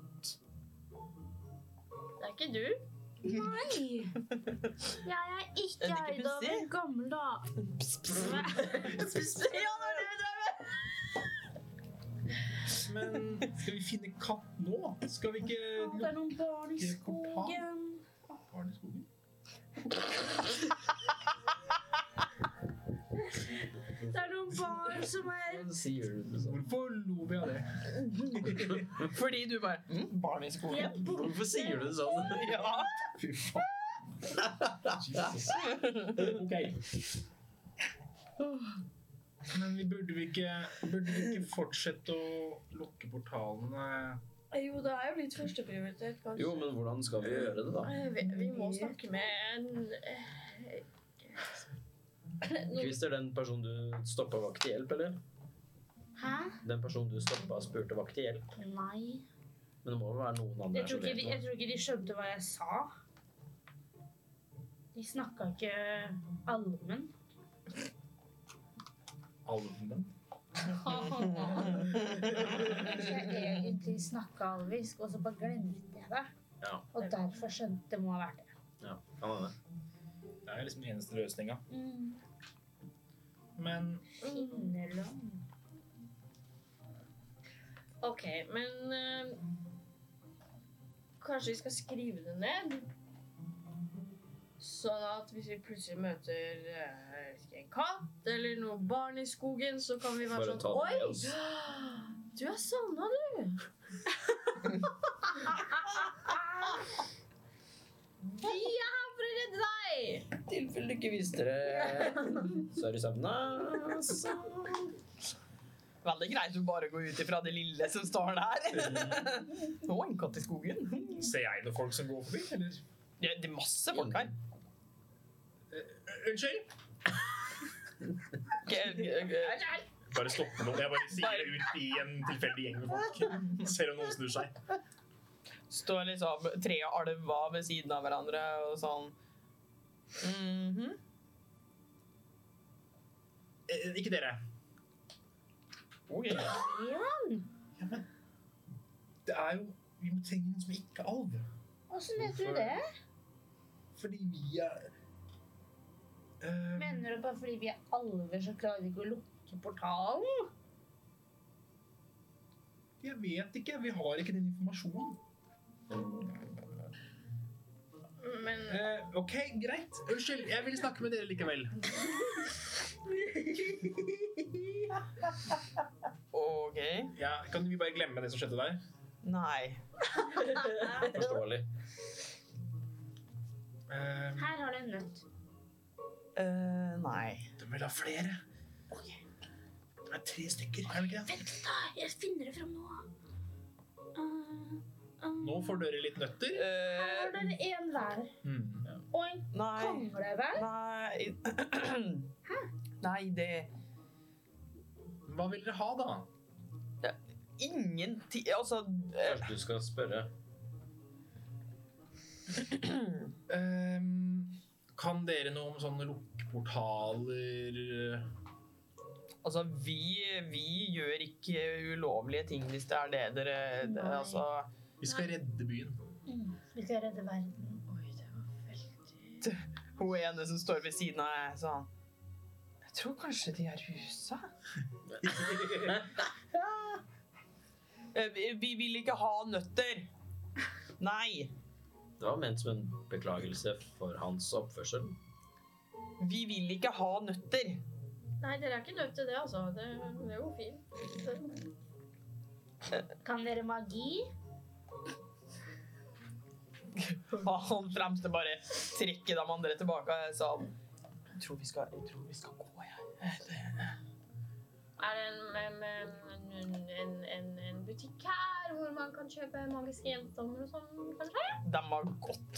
S6: Det er ikke du.
S1: (laughs)
S11: Nei! Jeg er ikke
S1: Er det ikke
S11: eid av
S1: pussig?
S11: en gammel dame.
S1: Ja, det var det vi drev med!
S3: Men skal vi finne katt nå? Skal vi ikke
S2: Det er noen barn i
S3: Ikke portal.
S2: skogen.
S3: lukke barn i skogen?
S11: Det er noen barn som er
S9: Sånn sier du det sånn.
S3: Hvorfor lo vi av det?
S1: Fordi du bare mm, Barn i
S11: De
S1: skogen?
S11: er borte.
S9: Hvorfor sier du det sånn?
S1: Ja.
S3: Fy faen. Jesus. Ok. Men vi burde vi ikke, burde vi ikke fortsette å lukke eh, portalene?
S6: Jo, det er jo litt førsteprioritet, kanskje.
S9: Jo, men hvordan skal vi gjøre det, da?
S6: Eh, Vi, vi må snakke med en eh,
S9: Christer, den personen du stoppa, var ikke til hjelp, eller?
S2: Hæ?
S9: Den personen du stoppa og spurte, var ikke til hjelp.
S2: Nei.
S9: Men det må jo være noen andre
S2: Jeg
S9: her
S2: tror,
S9: som
S2: ikke
S9: vet
S2: de, jeg
S9: noe.
S2: tror ikke de skjønte hva jeg sa. De snakka ikke (laughs) allmenn.
S3: Alven?
S2: Kanskje jeg egentlig snakka alvisk, og så bare glemte jeg det.
S9: Ja.
S2: Og derfor skjønte det må ha vært det.
S9: Ja, kan være det.
S3: Det er liksom den eneste løsninga.
S2: Mm.
S3: Men
S6: Mm.
S2: Innelån.
S6: OK, men eh, Kanskje vi skal skrive det ned? Sånn at hvis vi plutselig møter eh, jeg vet ikke, en katt eller noen barn i skogen, så kan vi være
S9: Bare ta
S6: sånn
S9: det med
S6: Oi!
S9: oss.
S6: Du er savna, du!
S2: (laughs)
S6: vi er her for å redde deg!
S9: I tilfelle du ikke visste det,
S2: (laughs)
S9: så er du savna. altså.
S1: Veldig greit å bare gå ut ifra det lille som står der. (laughs) Å, en katt i skogen.
S3: ser jeg noen folk som går forbi, eller?
S1: Det det er masse folk her.
S3: Unnskyld?
S1: Ok, ok, ok.
S3: Bare stopper noen. Jeg bare sier det ut i en tilfeldig gjeng med folk. Ser om noen snur seg.
S1: Står liksom tre alver ved siden av hverandre og sånn. Mhm.
S3: Eh, Ikke dere.
S1: Ok.
S3: Det er jo Vi må trenge noen som ikke er alv.
S2: Åssen vet du det?
S3: Fordi vi er Eh,
S2: Mener du bare fordi vi er alver, så klarer vi ikke å lukke portalen?
S3: Jeg vet ikke. Vi har ikke den informasjonen.
S6: Men
S3: Eh, ok, greit. Unnskyld, jeg vil snakke med dere likevel.
S1: Ok.
S3: Ja, kan vi bare glemme det som skjedde der?
S1: Nei.
S9: Forståelig.
S3: Eh,
S2: Her har du en nøtt.
S1: Eh, nei.
S3: de vil ha flere. Det er tre stykker, er det ikke det?
S2: Vent litt, da! Jeg finner det fram nå. Eh, eh,
S3: Nå får dere litt nøtter. Hmm.
S2: Her har
S1: Eh,
S2: dere en hver. Og en
S1: nei.
S2: kongle hver.
S1: Nei. (clears throat) Nei, det
S3: Hva vil dere ha, da?
S1: Ingenting Altså eh,
S4: Kanskje du skal spørre.
S3: Ehm, kan dere noe om sånne lukkeportaler
S1: Altså, vi, vi gjør ikke ulovlige ting hvis det er det dere det,
S2: Nei.
S1: Altså
S3: Vi skal redde byen. (laughs)
S2: Vi skal redde verden.
S6: Oi, det var veldig
S1: Hun ene som står ved siden av meg, sånn Jeg tror kanskje de er rusa. Eh, Vi, vi vil ikke ha
S2: (laughs)
S1: nøtter. Nei.
S9: Det var ment som en beklagelse for hans oppførsel.
S1: Vi vil ikke ha nøtter.
S6: Nei, dere er ikke nødt til det, altså. Det, det går fint.
S2: Kan dere magi?
S1: Og han fremste bare trekker de andre tilbake. og jeg sa, jeg tror vi skal, jeg tror vi skal gå, jeg. Eh, det-
S6: Er det en, en, en, en, en, en butikk her hvor man kan kjøpe magiske gjenstander og sånn, kanskje?
S1: De har gått.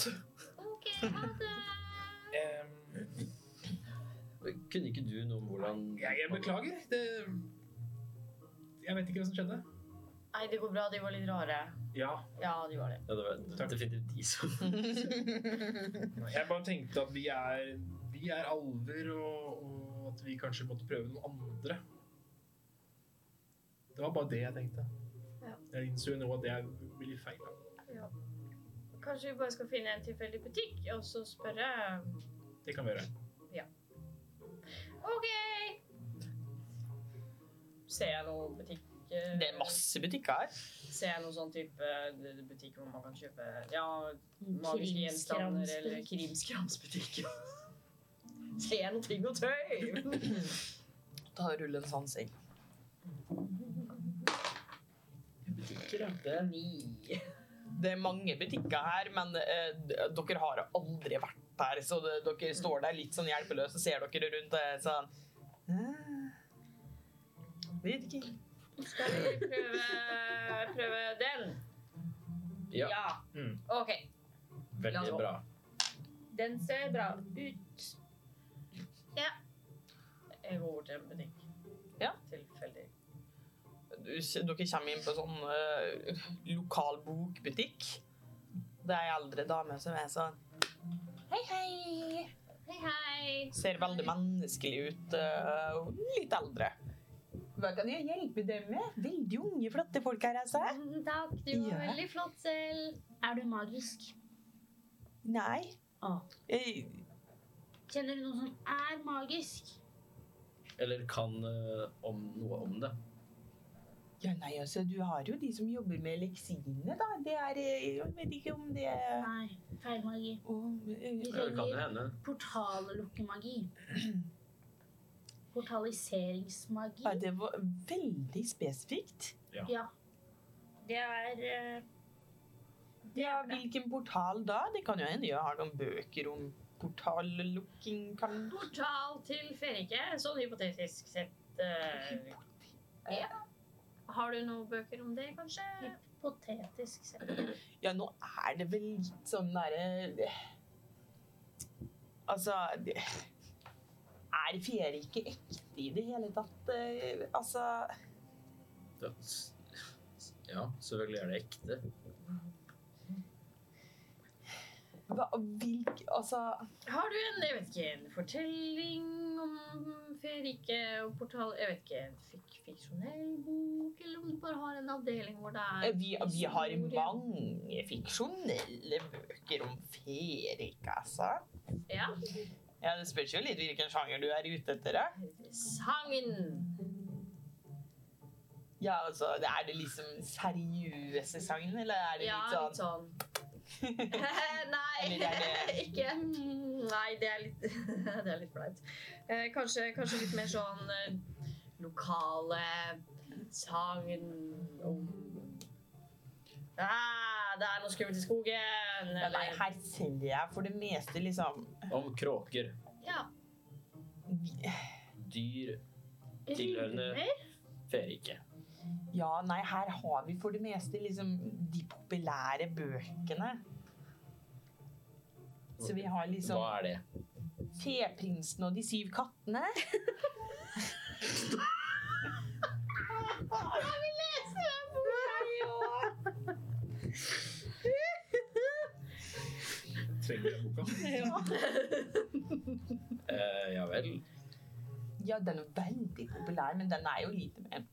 S6: Ok, ha det!
S3: Ehm,
S9: Kunne ikke du noe om hvordan
S3: jeg, jeg beklager. Det, jeg vet ikke hva som skjedde.
S6: Nei, det går bra. De var litt rare.
S3: Ja,
S6: Ja, de var det.
S9: Ja, det var
S3: Takk.
S9: definitivt de
S3: (laughs)
S9: som
S3: Jeg bare tenkte at vi er, vi er alver, og, og at vi kanskje måtte prøve noen andre. Det var bare det jeg tenkte.
S6: Ja.
S3: Jeg innså jo nå at det er veldig feil. da.
S11: Kanskje vi bare skal finne en tilfeldig butikk og så spørre
S3: Det kan vi gjøre.
S11: OK!
S6: Ser jeg noen butikk... eh,
S1: Det er masse butikker her.
S6: Ser jeg noen sånn type eh, butikk hvor man kan kjøpe ja, magiske gjenstander eller krimskramsbutikk? (laughs) Ser jeg noen ting og tøy?
S1: Ta og rulle en sansing.
S4: Butikker, ja. Det er
S6: Ni.
S1: Det er mange butikker her, men eh, d- dere har aldri vært der, så det, dere står der litt sånn hjelpeløse og ser dere rundt og er sånn «Eh, Vet ikke.
S11: Skal vi prøve, prøve den?
S4: Ja.
S3: Mm.
S11: OK.
S6: La oss
S4: veldig
S6: gå.
S4: bra.
S11: Den ser bra ut.
S6: Jeg går bort til en butikk.
S1: Ja.
S6: Tilfeldig.
S1: Du, dere kommer inn på en sånn eh, lokal bokbutikk. Det er ei eldre dame som er sånn
S11: Hei, hei. Hei, hei.
S1: Ser veldig menneskelig ut. eh, og litt eldre. Hva kan jeg hjelpe deg med? Veldig unge, flotte folk her, altså.
S2: Mm,
S11: Takk, du var
S1: Ja.
S11: veldig flott selv.
S2: Er du magisk?
S1: Nei.
S2: Ah.
S1: Eh,
S2: Kjenner du noen som er magisk?
S4: Eller kan eh, om noe om det.
S1: Ja, nei, altså, du har jo de som jobber med leksine, da. Det er eh, Jeg vet ikke om det er
S2: Nei, feil magi.
S1: Om, eh,
S2: Vi
S4: Ja, det kan jo
S2: trenger
S4: hende.
S2: portallukkemagi. Portaliseringsmagi.
S1: ja, Det var veldig spesifikt.
S2: Det er eh,
S1: Ja, hvilken portal da? Det kan jo hende jeg har noen bøker om portallukking, kan
S11: Portal til Ferike, sånn hypotetisk sett. eh, ja. Har du noen bøker om det, kanskje?
S2: potetisk sett.
S1: Ja, nå er det vel litt sånn derre Altså det- Er ferie ikke ekte i det hele tatt? eh, Altså
S4: Det- Ja, selvfølgelig er det ekte.
S1: hva, hvilk, Altså
S11: Har du en, jeg vet ikke, en fortelling om Ferike og portal Jeg vet ikke, en fik fiksjonell bok, eller om du bare har en avdeling hvor det
S1: eh,
S11: er
S1: vi, vi har
S11: historie?
S1: mange fiksjonelle bøker om ferie, ikke altså.
S11: Ja.
S1: Ja, Det spørs jo litt hvilken sjanger du er ute etter. da.
S11: Sagn!
S1: Ja, altså, Er det liksom seriøse sagn, eller er det
S11: Ja,
S1: litt sånn
S11: litt sånn. (laughs)
S1: Eller er
S11: Nei,
S1: det-
S11: ikke mm, Nei, det er litt (laughs) Det er litt flaut. Eh, kanskje, kanskje litt mer sånn eh, lokale sagn om ah, Det er noe skummelt i skogen,
S1: Ja, (laughs) Nei,
S11: eller
S1: her selger jeg for det meste liksom
S4: Om kråker,
S11: Ja.
S4: dyr tilhørende ferike.
S1: Ja, nei, her har vi for det meste liksom de populære bøkene. Så vi har liksom
S4: Hva er det?
S1: Feprinsen og de syv kattene.
S11: Jeg vil lese den boka!
S3: Trenger jeg boka?
S4: Eh, ja vel.
S1: Ja, den er veldig populær, men den er jo lite mer.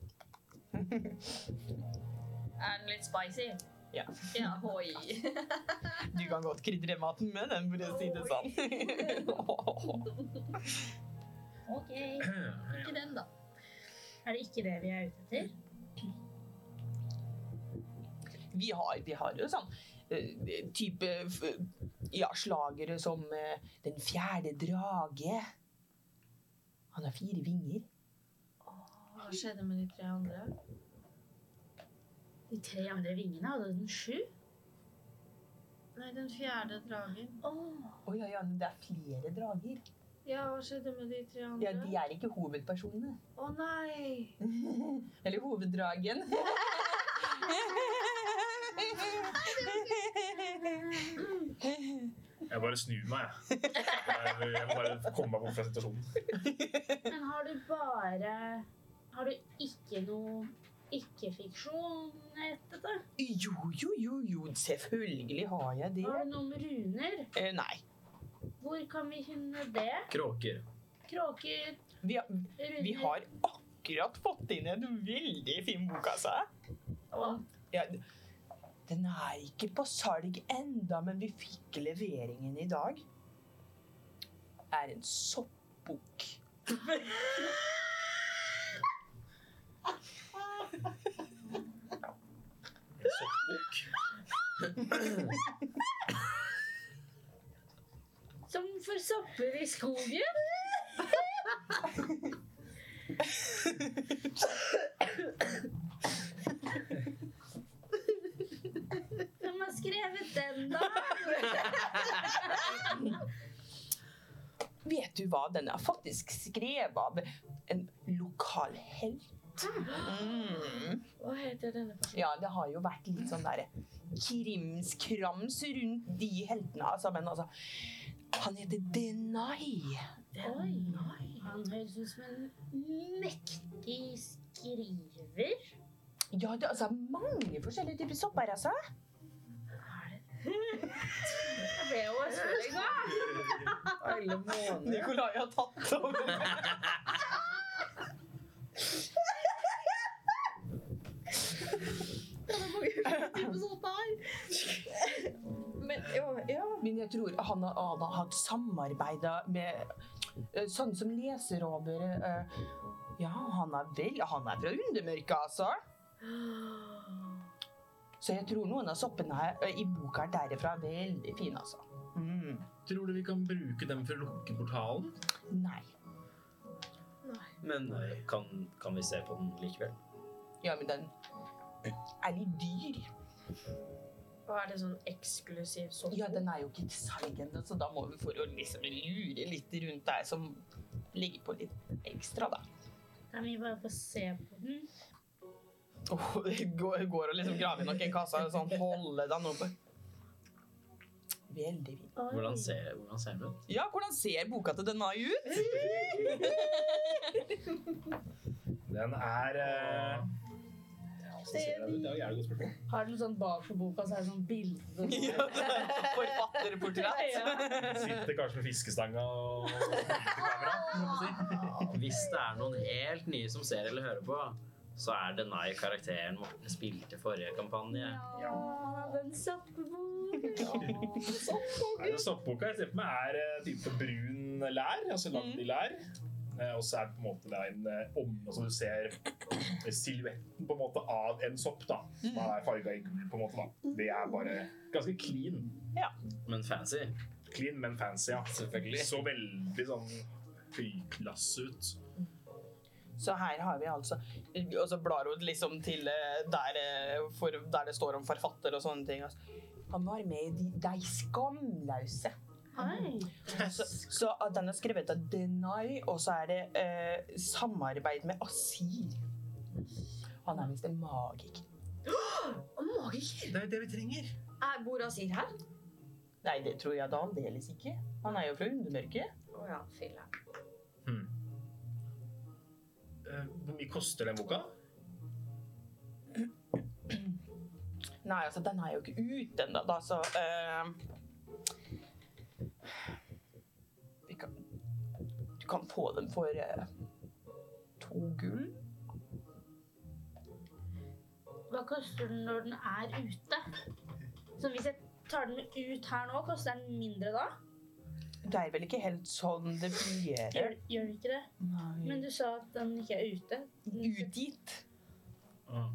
S11: Er den litt spicy?
S1: Ja.
S11: ja hoi.
S1: Du kan godt krydre maten med den, for å si det (laughs) sånn.
S2: Ok. Er
S11: Ikke den, da.
S2: det ikke det vi er ute etter?
S1: Vi har, vi har jo sånn eh, type f- ja, slagere som eh, Den fjerde drage. Han har fire vinger.
S11: Hva skjedde med de tre andre?
S2: De tre andre vingene hadde den sju.
S11: Nei, den fjerde dragen.
S1: Å ja, ja, men det er flere drager.
S11: Ja, hva skjedde med de tre andre?
S1: Ja, de er ikke hovedpersonene.
S11: Å nei!
S1: Eller hoveddragen.
S3: Jeg bare snur meg, jeg. Jeg jeg må bare komme meg bort fra situasjonen.
S2: Men har du bare Har du ikke noe ikke-fiksjon etter det?
S1: jo, jo, jo, jo, selvfølgelig har jeg det.
S2: Har du noe med runer?
S1: Eh, nei.
S2: Hvor kan vi finne det?
S4: Kråker.
S2: Kråker?
S1: Vi, har-
S2: Runer?
S1: vi har akkurat fått inn en veldig fin bok, altså.
S11: Å,
S1: Ja, d- Den er ikke på salg enda, men vi fikk leveringen i dag. Er en soppbok.
S3: En soppbok.
S2: Som for sopper i skogen? Hvem har skrevet den, da?
S1: Vet du hva? Den er faktisk skrevet av en lokal helt. Mm.
S6: Hva heter denne personen?
S1: Ja, det har jo vært litt sånn der krimskrams rundt de heltene, altså. Men altså Han heter Denai.
S2: Oi. Han høres ut som en mektig skriver.
S1: Ja, det er altså mange forskjellige typer sopper, altså.
S2: Jeg ble jo overrasket.
S9: Alle måneder.
S1: Nikolai har tatt over.
S6: Men ja, ja.
S1: Men jeg tror han og Ada har hatt samarbeid med eh, sånn som leser over eh, Ja, han er vel Han er fra Undermørket, altså. Så jeg tror noen av soppene her, eh, i boka er derifra veldig fine, altså. Mm.
S3: Tror du vi kan bruke dem for å lukke portalen?
S1: Nei.
S9: Men
S4: eh, Kan, kan vi se på den likevel?
S1: Ja, men den er litt dyr.
S6: Hva er det sånn eksklusiv sopp?
S1: Ja, den er jo ikke til salg ennå, så da må vi for å liksom lure litt rundt der som ligger på litt ekstra, da.
S2: Kan vi bare få se på den?
S1: Oh, går, går og liksom graver i noen kasser og sånn, holder den oppe. Veldig fint.
S2: Oi.
S4: Hvordan ser, hvordan ser den ut?
S1: Ja, hvordan ser boka til Denai ut? (laughs)
S3: Den er eh, Det er jo jævlig godt spørsmål.
S13: Har den sånn bak på boka, så er det sånn
S2: (laughs)
S13: bilde
S1: Ja, Forfatterportrett.
S3: Sitter kanskje med fiskestanga (laughs) og kamera.
S4: Hvis det er noen helt nye som ser eller hører på, så er Denai karakteren Morten spilte forrige kampanje.
S2: Ja, han hadde en soppebok.
S3: Nei, den Soppboka jeg ser på meg er eh, type brun lær, altså lagd i lær. Eh, Og så er det på en måte det er en eh, om, altså du ser eh, silhuetten på en måte av en sopp da. Som er farga i gul på en måte da. Det er bare ganske clean.
S4: Men fancy,
S3: Clean, men fancy, ja.
S4: selvfølgelig.
S3: Så veldig sånn høyklasse ut.
S1: Så her har vi altså Og så blar hun liksom til eh, der, eh, for, der det står om forfatter og sånne ting. Altså. Han var med i De, de skamløse.
S2: Oi.
S1: Så, så at den er skrevet av Denai, og så er det eh, samarbeid med Asir. Han er visst en magiker.
S3: Det er jo det vi trenger.
S6: Er Bora sier her?
S1: Nei, det tror jeg da aldeles ikke. Han er jo fra Undermørket.
S6: Å ja, filla.
S3: Eh, Hvor mye koster den boka?
S1: Nei, altså, den er jo ikke ute ennå, da, så eh, vi kan, Du kan få den for eh, to gull.
S2: Hva koster den når den er ute? Så hvis jeg tar den ut her nå, koster den mindre da?
S1: Det er vel ikke helt sånn det fungerer?
S2: Gjør, gjør den ikke det?
S1: Nei.
S2: Men du sa at den ikke er ute.
S1: Utgitt?
S2: Ah.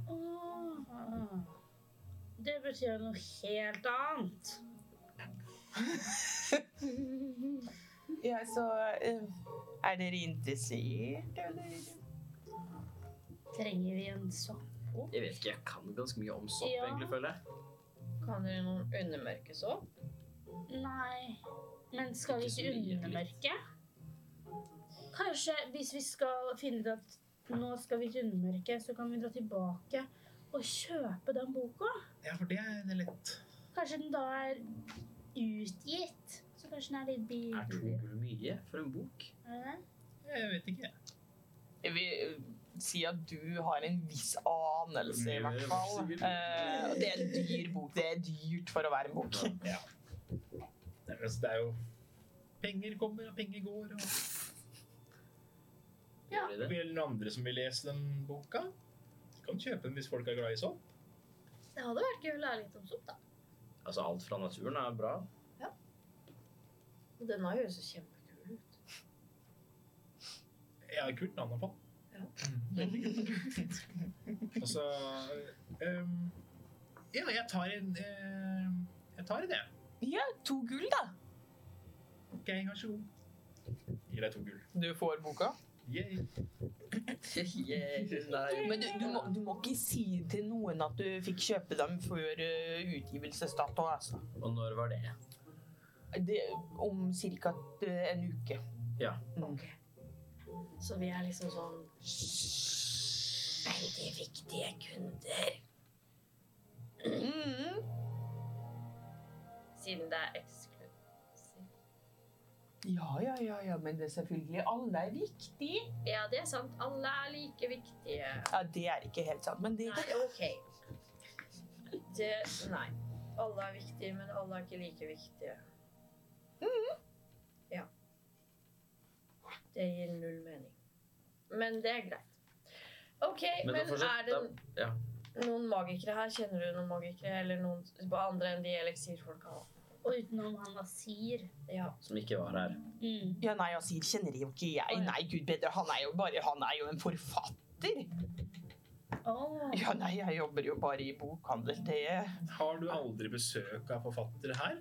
S2: Det betyr jo noe helt annet.
S4: (laughs)
S1: Ja, så eh, Er dere interessert, eller?
S2: Trenger vi en
S11: sånn?
S2: sopp?
S4: Jeg vet ikke, jeg kan ganske mye om sopp,
S2: Ja.
S4: egentlig, føler jeg.
S6: Kan dere noen undermørkesopp?
S2: Nei. Men skal vi
S4: Ikke så
S2: ikke
S4: mye,
S2: undermørke? Kanskje hvis vi skal finne ut at nå skal vi til undermørke, så kan vi dra tilbake og kjøpe den boka?
S3: Ja, for det er det er lett.
S2: Kanskje den da er utgitt? Så kanskje den er litt
S4: Er to
S2: billig?
S4: gull mye for en (laughs) bok?
S2: Er det det?
S3: Jeg vet ikke.
S1: Jeg vil eh, si at du har en viss anelse, i hvert fall. Eh, og det er en dyr bok. Det er dyrt for å være en bok.
S3: Nei, men altså, Det er jo Penger kommer og penger går. Og...
S2: Ja.
S4: Gjør de
S3: Er
S4: det?
S3: det noen andre som vil lese den boka? Du kan kjøpe den hvis folk er glad i sopp.
S2: Det
S11: Det hadde vært gøy å lære litt om sopp, da.
S4: Altså, alt fra naturen er bra.
S6: Og denne høres jo kjempekul ut.
S3: Ja, det er kult navn på
S6: Ja.
S3: Veldig kult. Altså ehm, Ja, jeg tar en ehm, Jeg tar en, jeg.
S1: Ja, to gull, da.
S3: OK, vær så god. Gir deg to gull.
S1: Du får boka.
S3: Yay.
S9: Yeah, nei.
S1: Men du, du, må, du må ikke si til noen at du fikk kjøpe dem før eh, utgivelsesdato. Altså.
S4: Og når var det?
S1: Det, om ca. en uke.
S4: Ja.
S1: Mm.
S6: Så vi er liksom sånn
S11: Veldig viktige kunder.
S1: Mm.
S11: Siden det er eksklusivt.
S1: Ja, ja, ja, ja, men det er selvfølgelig alle er viktig.
S11: Ja, det er sant. Alle er like viktige.
S1: Ja, det er ikke helt sant, men det
S11: Nei, OK. Det Nei.
S6: Alle er viktige, men alle er ikke like viktige.
S1: Mm-hmm.
S6: Ja. Det gir null mening.
S11: Men det er greit.
S6: OK,
S4: Men
S6: men,
S4: da fortsatt-
S6: er det
S4: da- ja.
S6: noen magikere her? Kjenner du noen magikere? Eller noen andre enn de eliksirfolka?
S2: Og utenom han Asir.
S6: Ja.
S4: Som ikke var her.
S2: Mm.
S1: Ja, nei, altså, jeg kjenner jo ikke jeg. Nei, gud bedre, han er jo bare Han er jo en forfatter.
S2: Åh.
S1: Ja, nei, jeg jobber jo bare i bokhandel. Det
S3: Har du aldri besøk av forfattere her?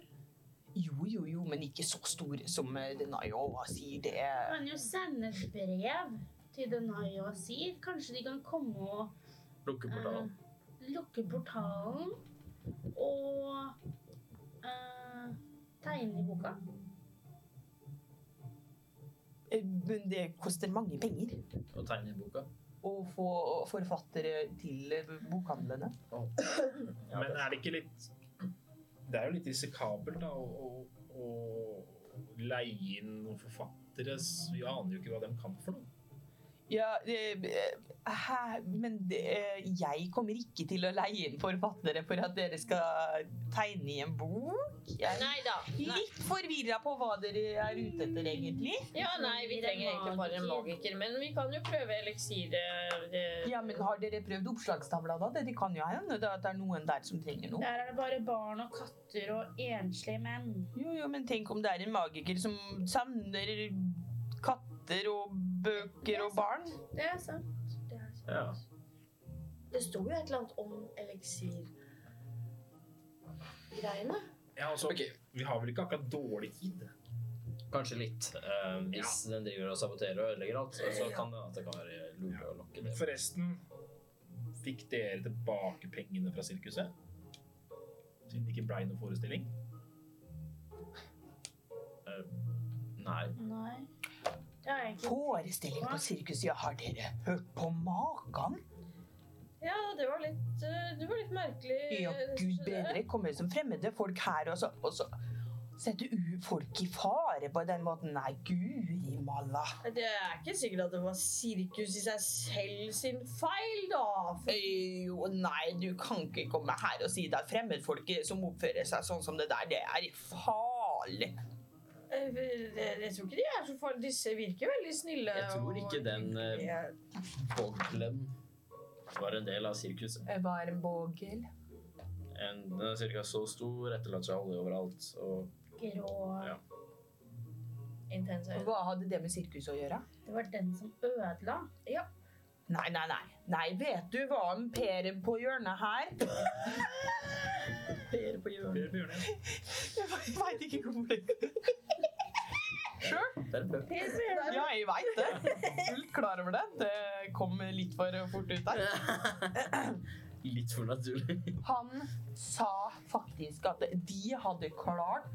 S1: Jo, jo, jo, men ikke så store som eh, Denayola sier. Det
S2: Du kan jo sende et brev til Denai og Asir. Kanskje de kan komme og
S4: Lukke portalen.
S2: eh, lukke portalen og eh, tegne i boka.
S1: Eh, Men det koster mange penger
S4: Og tegne i boka.
S1: å få forfattere til eh, bokhandlene.
S4: Ja,
S3: Men
S4: det-
S3: er det ikke litt Det er jo litt risikabelt da, å, å, å leie inn noen forfattere. s- Vi aner jo ikke hva de kan for noe.
S1: Ja, eh, eh, hæ? Men det, eh, jeg kommer ikke til å leie inn forfattere for at dere skal tegne i en bok. Jeg
S11: Nei da.
S1: er
S11: Nei.
S1: litt forvirra på hva dere er ute etter, egentlig.
S11: Ja, nei, vi trenger egentlig bare en magiker. Men vi kan jo prøve eliksir. eh, det-
S1: Ja, men Har dere prøvd oppslagstavla, da? Det det kan jo hende det at det er noen der som trenger noe.
S2: Der er det bare barn og katter og enslige menn.
S1: Jo, jo, men tenk om det er en magiker som savner katter og bøker og barn.
S6: Det er sant. Det, er sant.
S4: Ja.
S6: det sto jo et eller annet om eliksir-greiene.
S3: Ja, altså, Vi har vel ikke akkurat dårlig tid?
S4: Kanskje litt. eh, hvis den driver og saboterer og ødelegger alt, så, så kan det at det kan være lurt å lokke det.
S3: Forresten, fikk dere tilbake pengene fra sirkuset? Siden det ikke ble noen forestilling?
S4: Nei.
S2: Nei. Det er egentlig
S1: Forestilling på sirkus, ja, har dere hørt på maken?
S6: Ja, det var litt, eh, det var litt merkelig.
S1: Ja,
S6: eh,
S1: gud
S6: så det-
S1: bedre, kommer som fremmede folk her, og så, og så setter u folk i fare på den måten. Nei, guri malla.
S6: Det er ikke sikkert at det var sirkus i seg selv sin feil, da. For
S1: Eh, Jo, nei, du kan ikke komme her og si det er fremmedfolket som oppfører seg sånn som det der. Det er farlig.
S6: Eh, Jeg jeg tror ikke de er så farlige. Disse virker veldig snille.
S4: Jeg tror ikke
S6: og
S4: den, eh,
S6: hyggelige.
S4: Foglen var en del av sirkuset.
S1: Eh, Hva er en bogel?
S4: En, den er cirka så stor, etterlatt seg olje overalt. Og
S2: grå.
S4: Ja.
S6: Intense øyne.
S1: Hva hadde det med sirkus å gjøre?
S2: Det var den som ødela.
S1: Nei, nei, nei. Nei, vet du hva en Per på hjørnet her? (laughs)
S4: Per på hjørnet.
S3: Dere får gjøre det.
S1: Jeg veit ikke hvor det Sure.
S4: Det er en pøp.
S1: Ja, jeg veit det. Fullt klar over det. Det kom litt for fort ut der.
S4: Litt for naturlig. (laughs)
S1: Han sa faktisk at de hadde klart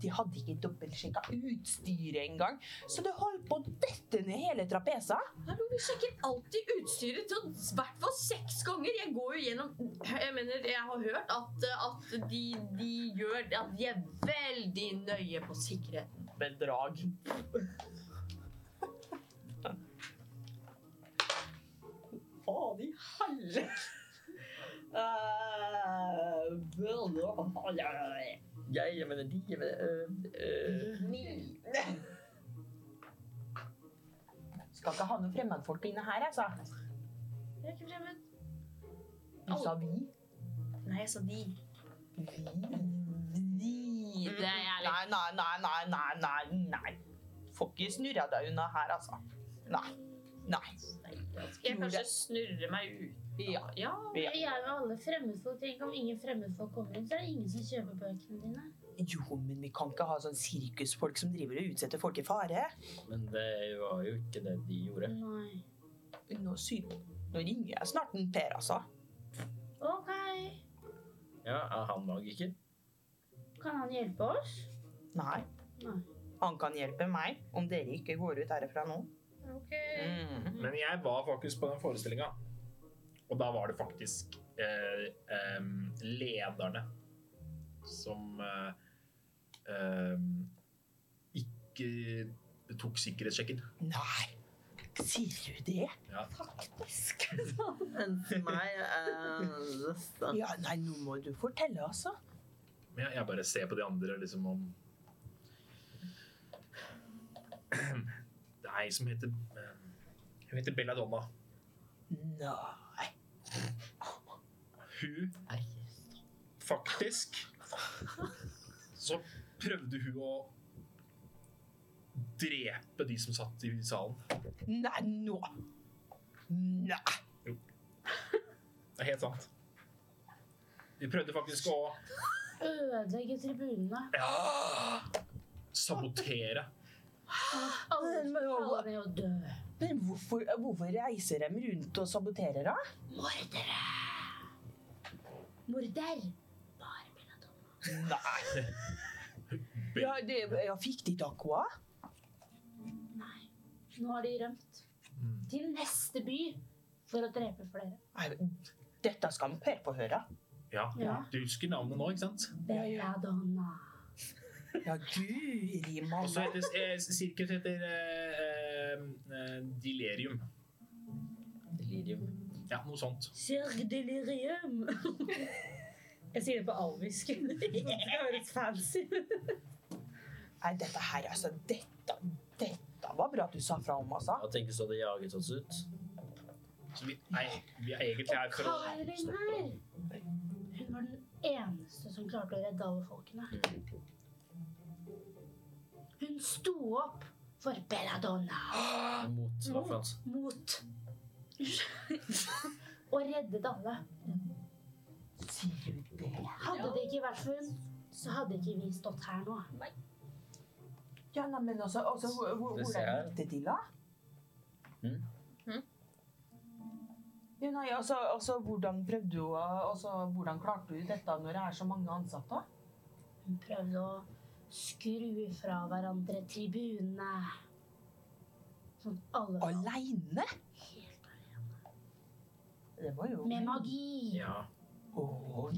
S1: de hadde ikke dobbeltsjekka utstyret engang, så det holdt på å dette ned hele trapesa.
S6: Hallo, vi sjekker alltid utstyret til i hvert fall seks ganger. Jeg går jo gjennom Jeg mener, jeg har hørt at, at de, de gjør At de er veldig nøye på sikkerheten.
S1: Bedrag. Faen i helle!
S4: Jeg, jeg mener de, jeg mener øh, øh.
S1: Skal ikke ha noen altså. fremmedfolk inne her, jeg sa.
S6: Jeg er ikke fremmed.
S1: Du sa vi.
S11: Nei, jeg sa de.
S1: Nei,
S11: Det er jeg litt
S1: nei, nei, nei, nei, nei, nei. Får ikke snurra deg unna her, altså. Nei. Nei.
S11: Skal jeg kanskje snurre meg ut?
S1: Ja.
S11: Ja.
S1: Ja.
S2: Vi er med alle fremmedfolk. Tenk om ingen fremmedfolk kommer inn, så er det ingen som kjøper bøkene dine.
S1: Jo, men vi kan ikke ha sånn sirkusfolk som driver og utsetter folk i fare.
S4: Men det var jo ikke det de gjorde.
S2: Nei.
S1: Nå, sy Nå ringer jeg snart en Per, altså.
S2: OK.
S4: Ja, Er han magiker?
S2: Kan han hjelpe oss?
S1: Nei.
S2: Nei.
S1: Han kan hjelpe meg om dere ikke går ut herfra nå.
S11: Ok.
S1: Mm.
S3: Men jeg var faktisk på den forestillinga. Og da var det faktisk eh, em, lederne som eh, em, ikke tok sikkerhetssjekken.
S1: Nei. Sier du det?
S9: Enn for meg er (laughs) det
S1: Ja, nei, nå må du fortelle, altså.
S3: Men jeg, jeg bare ser på de andre liksom om (clears throat) Det er ei som heter em, Hun heter Belladonna.
S1: Nei.
S3: Hun Faktisk så prøvde hun å drepe de som satt i salen.
S1: Nei, nå. Nei.
S3: Det er helt sant. De prøvde faktisk å
S2: Ødelegge tribunene.
S3: ja, sabotere.
S2: Alle
S1: Men- men-
S2: alle ned og dø.
S1: Men hvorfor, hvorfor reiser de rundt og saboterer, da?
S2: Mordere! Morder! Bare Belladonna.
S1: Nei. Ja, det, ja, fikk de Aqua?
S2: Nei. Nå har de rømt.
S3: Mm.
S2: Til neste by for å drepe flere.
S1: Nei, Dette skal Per få høre.
S3: Ja.
S2: Ja.
S3: Du husker navnet nå, ikke sant?
S2: Belladonna.
S1: Ja, guri
S3: Og så
S1: malla.
S4: Altså-
S3: heter eh, sirkus heter eh, eh, eh, Delirium.
S4: Delirium.
S3: Ja, noe sånt.
S2: Sirkdelirium. (laughs) Jeg sier det på alvisk. (laughs) Det høres fancy ut.
S1: Nei, dette her, altså. Dette, dette var bra at du sa fra om, altså.
S4: Jeg tenker så det jaget oss ut.
S3: Så vi er, vi er egentlig her for å
S2: Karin her, hun var den eneste som klarte å redde alle folkene.
S3: Mm.
S2: Hun sto opp for Belladonna
S4: Mot hva for noe?
S2: mot (laughs) og reddet alle.
S1: Sier du det?
S2: Hadde det ikke vært for hun, så hadde ikke vi stått her nå.
S1: Ja, nei, men altså, altså hvor- hvor-
S4: Det ser
S1: hvordan
S4: jeg.
S1: gikk det til, da? Hm?
S4: Mm.
S11: Mm.
S1: Ja, nei, altså, altså, hvordan prøvde du å altså, Hvordan klarte du dette når det er så mange ansatte?
S2: Hun prøvde å skru fra hverandre tribunene. Sånn at alle var
S1: Aleine?
S2: helt
S1: Det var jo
S2: Med magi.
S4: Ja.
S1: Å,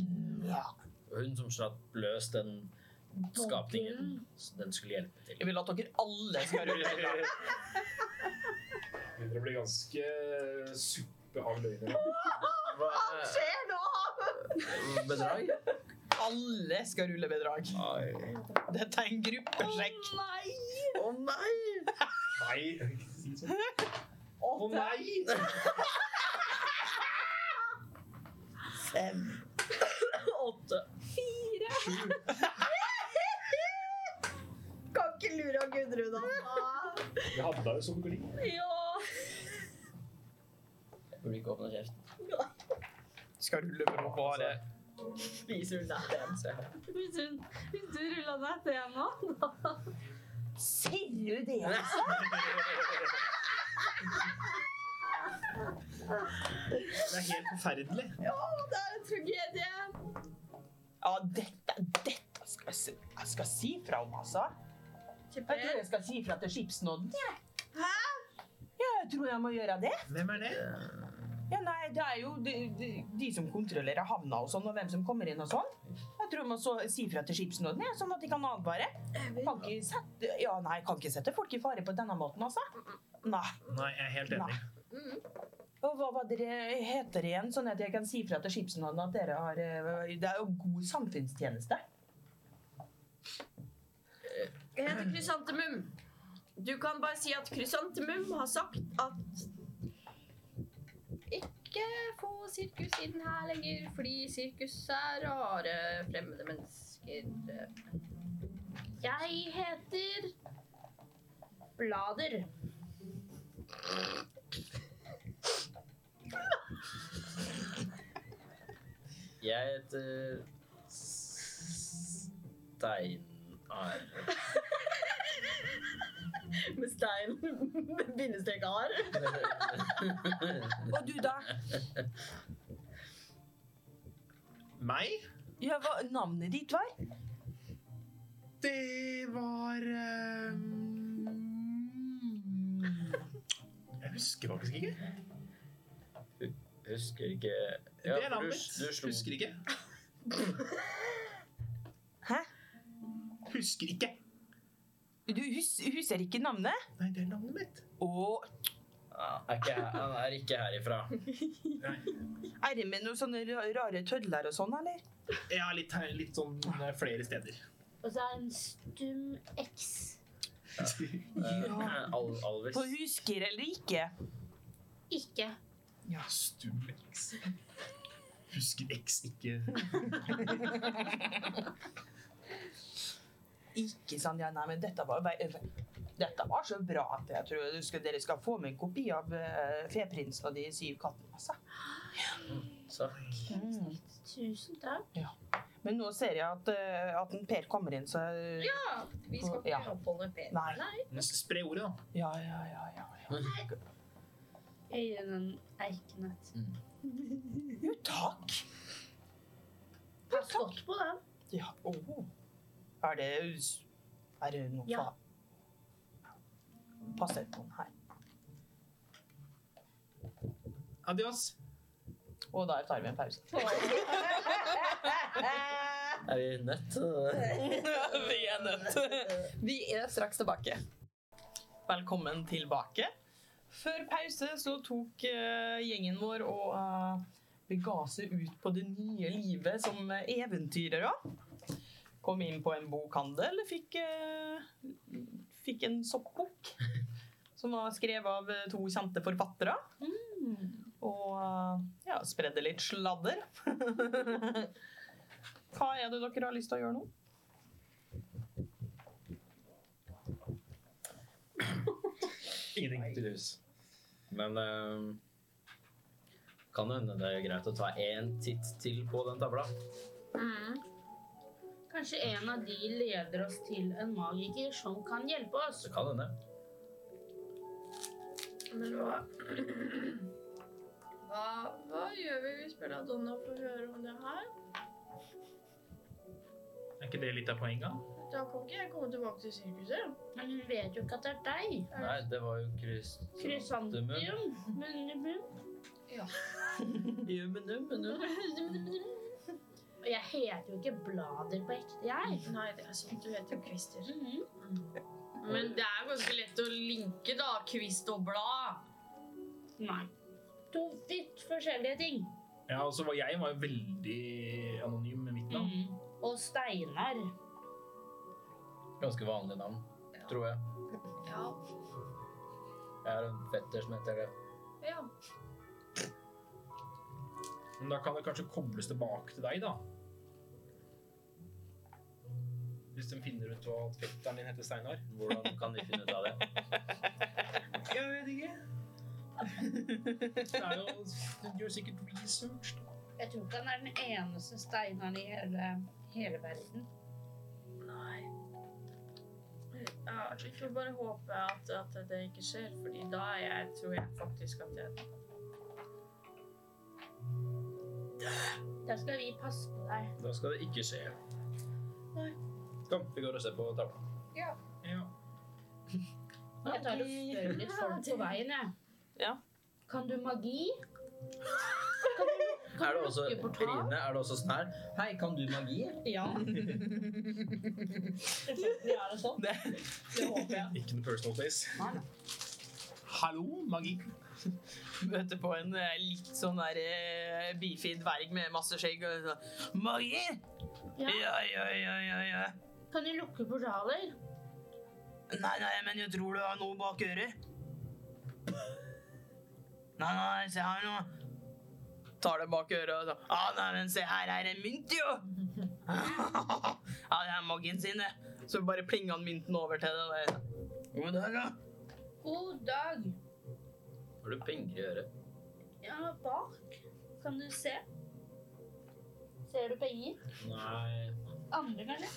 S1: ja.
S4: Hun som slapp løs den skapningen så den skulle hjelpe til.
S1: Jeg vil at dere alle skal høre det.
S3: (laughs) Begynner å bli ganske suppe av løgner.
S4: Hva skjer nå? Bedrag?
S1: Alle skal rulle bedrag. Dette er en gruppesjekk.
S9: Å nei!
S3: Nei! si sånn. Å nei!
S1: Fem.
S4: Åtte.
S13: Kan ikke lure av Gudrun, altså. da.
S3: Det havna jo som glid.
S4: Burde ikke åpne kjeften.
S1: Skal rulle for å bare
S4: Spiser hun den? Se her.
S13: Hvis hun, hvis du rulla ned det nå, da
S1: Sier du det? altså?
S3: Det er helt forferdelig.
S1: Ja, dette, dette skal jeg, si- jeg skal si fra om, altså. Jeg tror jeg skal si fra til skipsnodden. jeg. Ja, jeg tror jeg må gjøre det.
S3: Hvem er det?
S1: Ja, nei, Det er jo de, de, de som kontrollerer havna og sånn, og hvem som kommer inn og sånn. Jeg tror jeg må så, si fra til skipsnodden, jeg, sånn at de kan advare. Kan ikke sette, ja, nei, kan ikke sette folk i fare på denne måten, altså. Nei.
S3: Nei, jeg er helt enig.
S1: Og hva var dere heter igjen, sånn at jeg kan si fra til skipsnodden at dere har eh, Det er jo god samfunnstjeneste.
S11: Jeg heter Krysantemum. Du kan bare si at Krysantemum har sagt at Ik- ikke få sirkus inn her lenger, fordi sirkus er rare, fremmede mennesker. Jeg heter Blader.
S4: Jeg heter Steinar.
S6: Med stein. Med bindestrek ar.
S1: Og du, da?
S3: Meg?
S1: Ja, hva navnet ditt var?
S3: Det var eh, Jeg husker faktisk ikke.
S4: (laughs) Husker ikke
S3: Det er
S4: for du-
S3: navnet mitt.
S4: Du slo
S3: Husker ikke.
S1: Hæ?
S3: Husker ikke.
S1: Du hus husker ikke navnet?
S3: Nei, det er navnet mitt.
S1: Og
S4: Ja, er ikke, han er ikke
S3: (laughs)
S4: herifra.
S1: er det med noen sånne ra- rare tødler og sånn, eller?
S3: Ja, litt, her- litt sånn eh, flere steder.
S2: Og så er det en stum X.
S4: Eh, Al Alvis.
S1: På husker eller ikke?
S2: Ikke.
S3: Stum X. Husker X ikke
S1: Ikke sånn, ja, nei, men dette var, bare- dette var så bra at jeg tror du skal, dere skal få med en kopi av eh, Feprinsen og de syv kattene. Altså.
S4: Så.
S1: Mm.
S2: Tusen takk.
S1: Men nå ser jeg at, eh, at en Per kommer inn, så
S11: Ja, vi skal ikke
S1: Ja.
S11: oppholde Per.
S1: Nei.
S3: Spre ordet, da.
S1: Ja, ja, ja. ja, ja.
S2: Jeg gir den en eikenett.
S1: Jo, takk!
S11: Pass godt på den.
S1: Ja, åh. Er det Er det noe
S11: Ja.
S1: fa- Passer på den her.
S3: Adios.
S1: Og der tar vi en pause.
S4: Er vi nødt til det?
S1: (laughs) vi er nødt. Vi er straks tilbake. Velkommen tilbake. Før pause så tok eh, gjengen vår og eh, bega seg ut på det nye livet som eh, eventyrere. Kom inn på en bokhandel, fikk, eh, fikk en soppbok som var skrevet av eh, to kjente forfattere.
S11: Mm.
S1: Og eh, ja, spredde litt sladder. (laughs) Hva er det dere har lyst til å gjøre nå?
S3: Ingenting.
S4: Tydeligvis. Men eh, kan det hende det er greit å ta en titt til på den tavla.
S2: Kanskje en av de leder oss til en magiker som kan hjelpe oss.
S4: Så kan det hende.
S6: Men hva,
S11: Hva, hva gjør vi hvis Per Donna får høre om det her?
S3: Er ikke det litt av poenget?
S11: Da kan ikke jeg komme tilbake til sirkuset.
S2: Men hun vet jo ikke at det er deg.
S4: Nei, det var jo kryst...
S2: Krysantium. Munnebunn. Og jeg heter jo ikke Blader på ekte, jeg.
S11: Nei, det er
S6: sånn,
S11: sant. Du heter jo Kvister.
S2: Mhm.
S6: men det er ganske lett å linke, da. Kvist og blad.
S2: Nei. To vidt forskjellige ting.
S3: Ja, og så var jeg var jo veldig anonym med mitt navn.
S6: Mhm.
S2: Og Steinar.
S4: Ganske vanlig navn, tror jeg.
S11: Ja.
S4: Jeg har en fetter som heter det.
S11: ja.
S3: Men da kan det kanskje kobles tilbake til deg, da. Hvis de finner ut hva at fetteren din heter (laughs) Steinar.
S4: Hvordan kan de finne ut av det?
S3: Jeg vet ikke. Det er jo Du gjør sikkert research. da.
S2: Jeg tror ikke han er den eneste Steinaren i hele, hele verden.
S11: Nei. Ja,
S6: altså,
S11: vi får bare håpe at, at det ikke skjer, fordi da er jeg, tror jeg faktisk at jeg
S2: Da skal vi passe på deg.
S4: Da skal det ikke skje.
S11: Nei.
S4: Kom, vi går og ser på tavla.
S3: Ja.
S2: Jeg tar og spør litt folk på veien, jeg.
S1: Ja.
S2: Kan du (laughs) magi?
S4: Er det også,
S2: lukke portalen?
S4: Trine, er det også sånn her? Hei, kan du magi?
S1: Ja.
S2: Selvfølgelig er det sånn.
S1: Det,
S2: Det håper jeg.
S3: Ikke noe personal space. Hallo, magi.
S1: (laughs) møter på en eh, litt sånn der eh, beefy dverg med masse skjegg og sånn Magi!
S2: Ja.
S1: Ja, ja, ja, ja, ja.
S2: Kan du lukke portaler?
S1: Nei, nei, men jeg tror du har noe bak øret. Nei, nei, se her nå. tar det bak øret og sånn ah, nei, men se her er en mynt, jo! (laughs) Ja, det er magien sin, det. Så bare plinga han mynten over til det. og jeg sånn, God dag, da.
S2: God dag.
S4: Har du penger i øret?
S2: Ja, bak. Kan du se? Ser du penger?
S4: Nei.
S2: Andre, kanskje?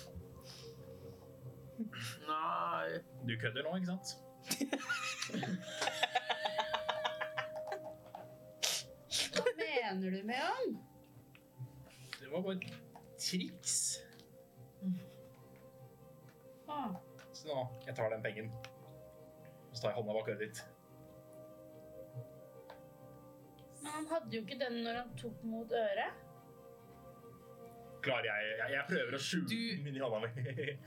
S4: Nei.
S3: Du kødder nå, ikke sant?
S14: Hva mener du med han?
S4: Det var bare et triks.
S14: Ah,
S3: Så nå, jeg tar den pengen. Så tar jeg hånda bak øret ditt.
S2: Men han hadde jo ikke den når han tok mot øret.
S3: Klarer jeg Jeg, jeg prøver å skjule
S1: Du-
S3: min i hånda mi. (laughs)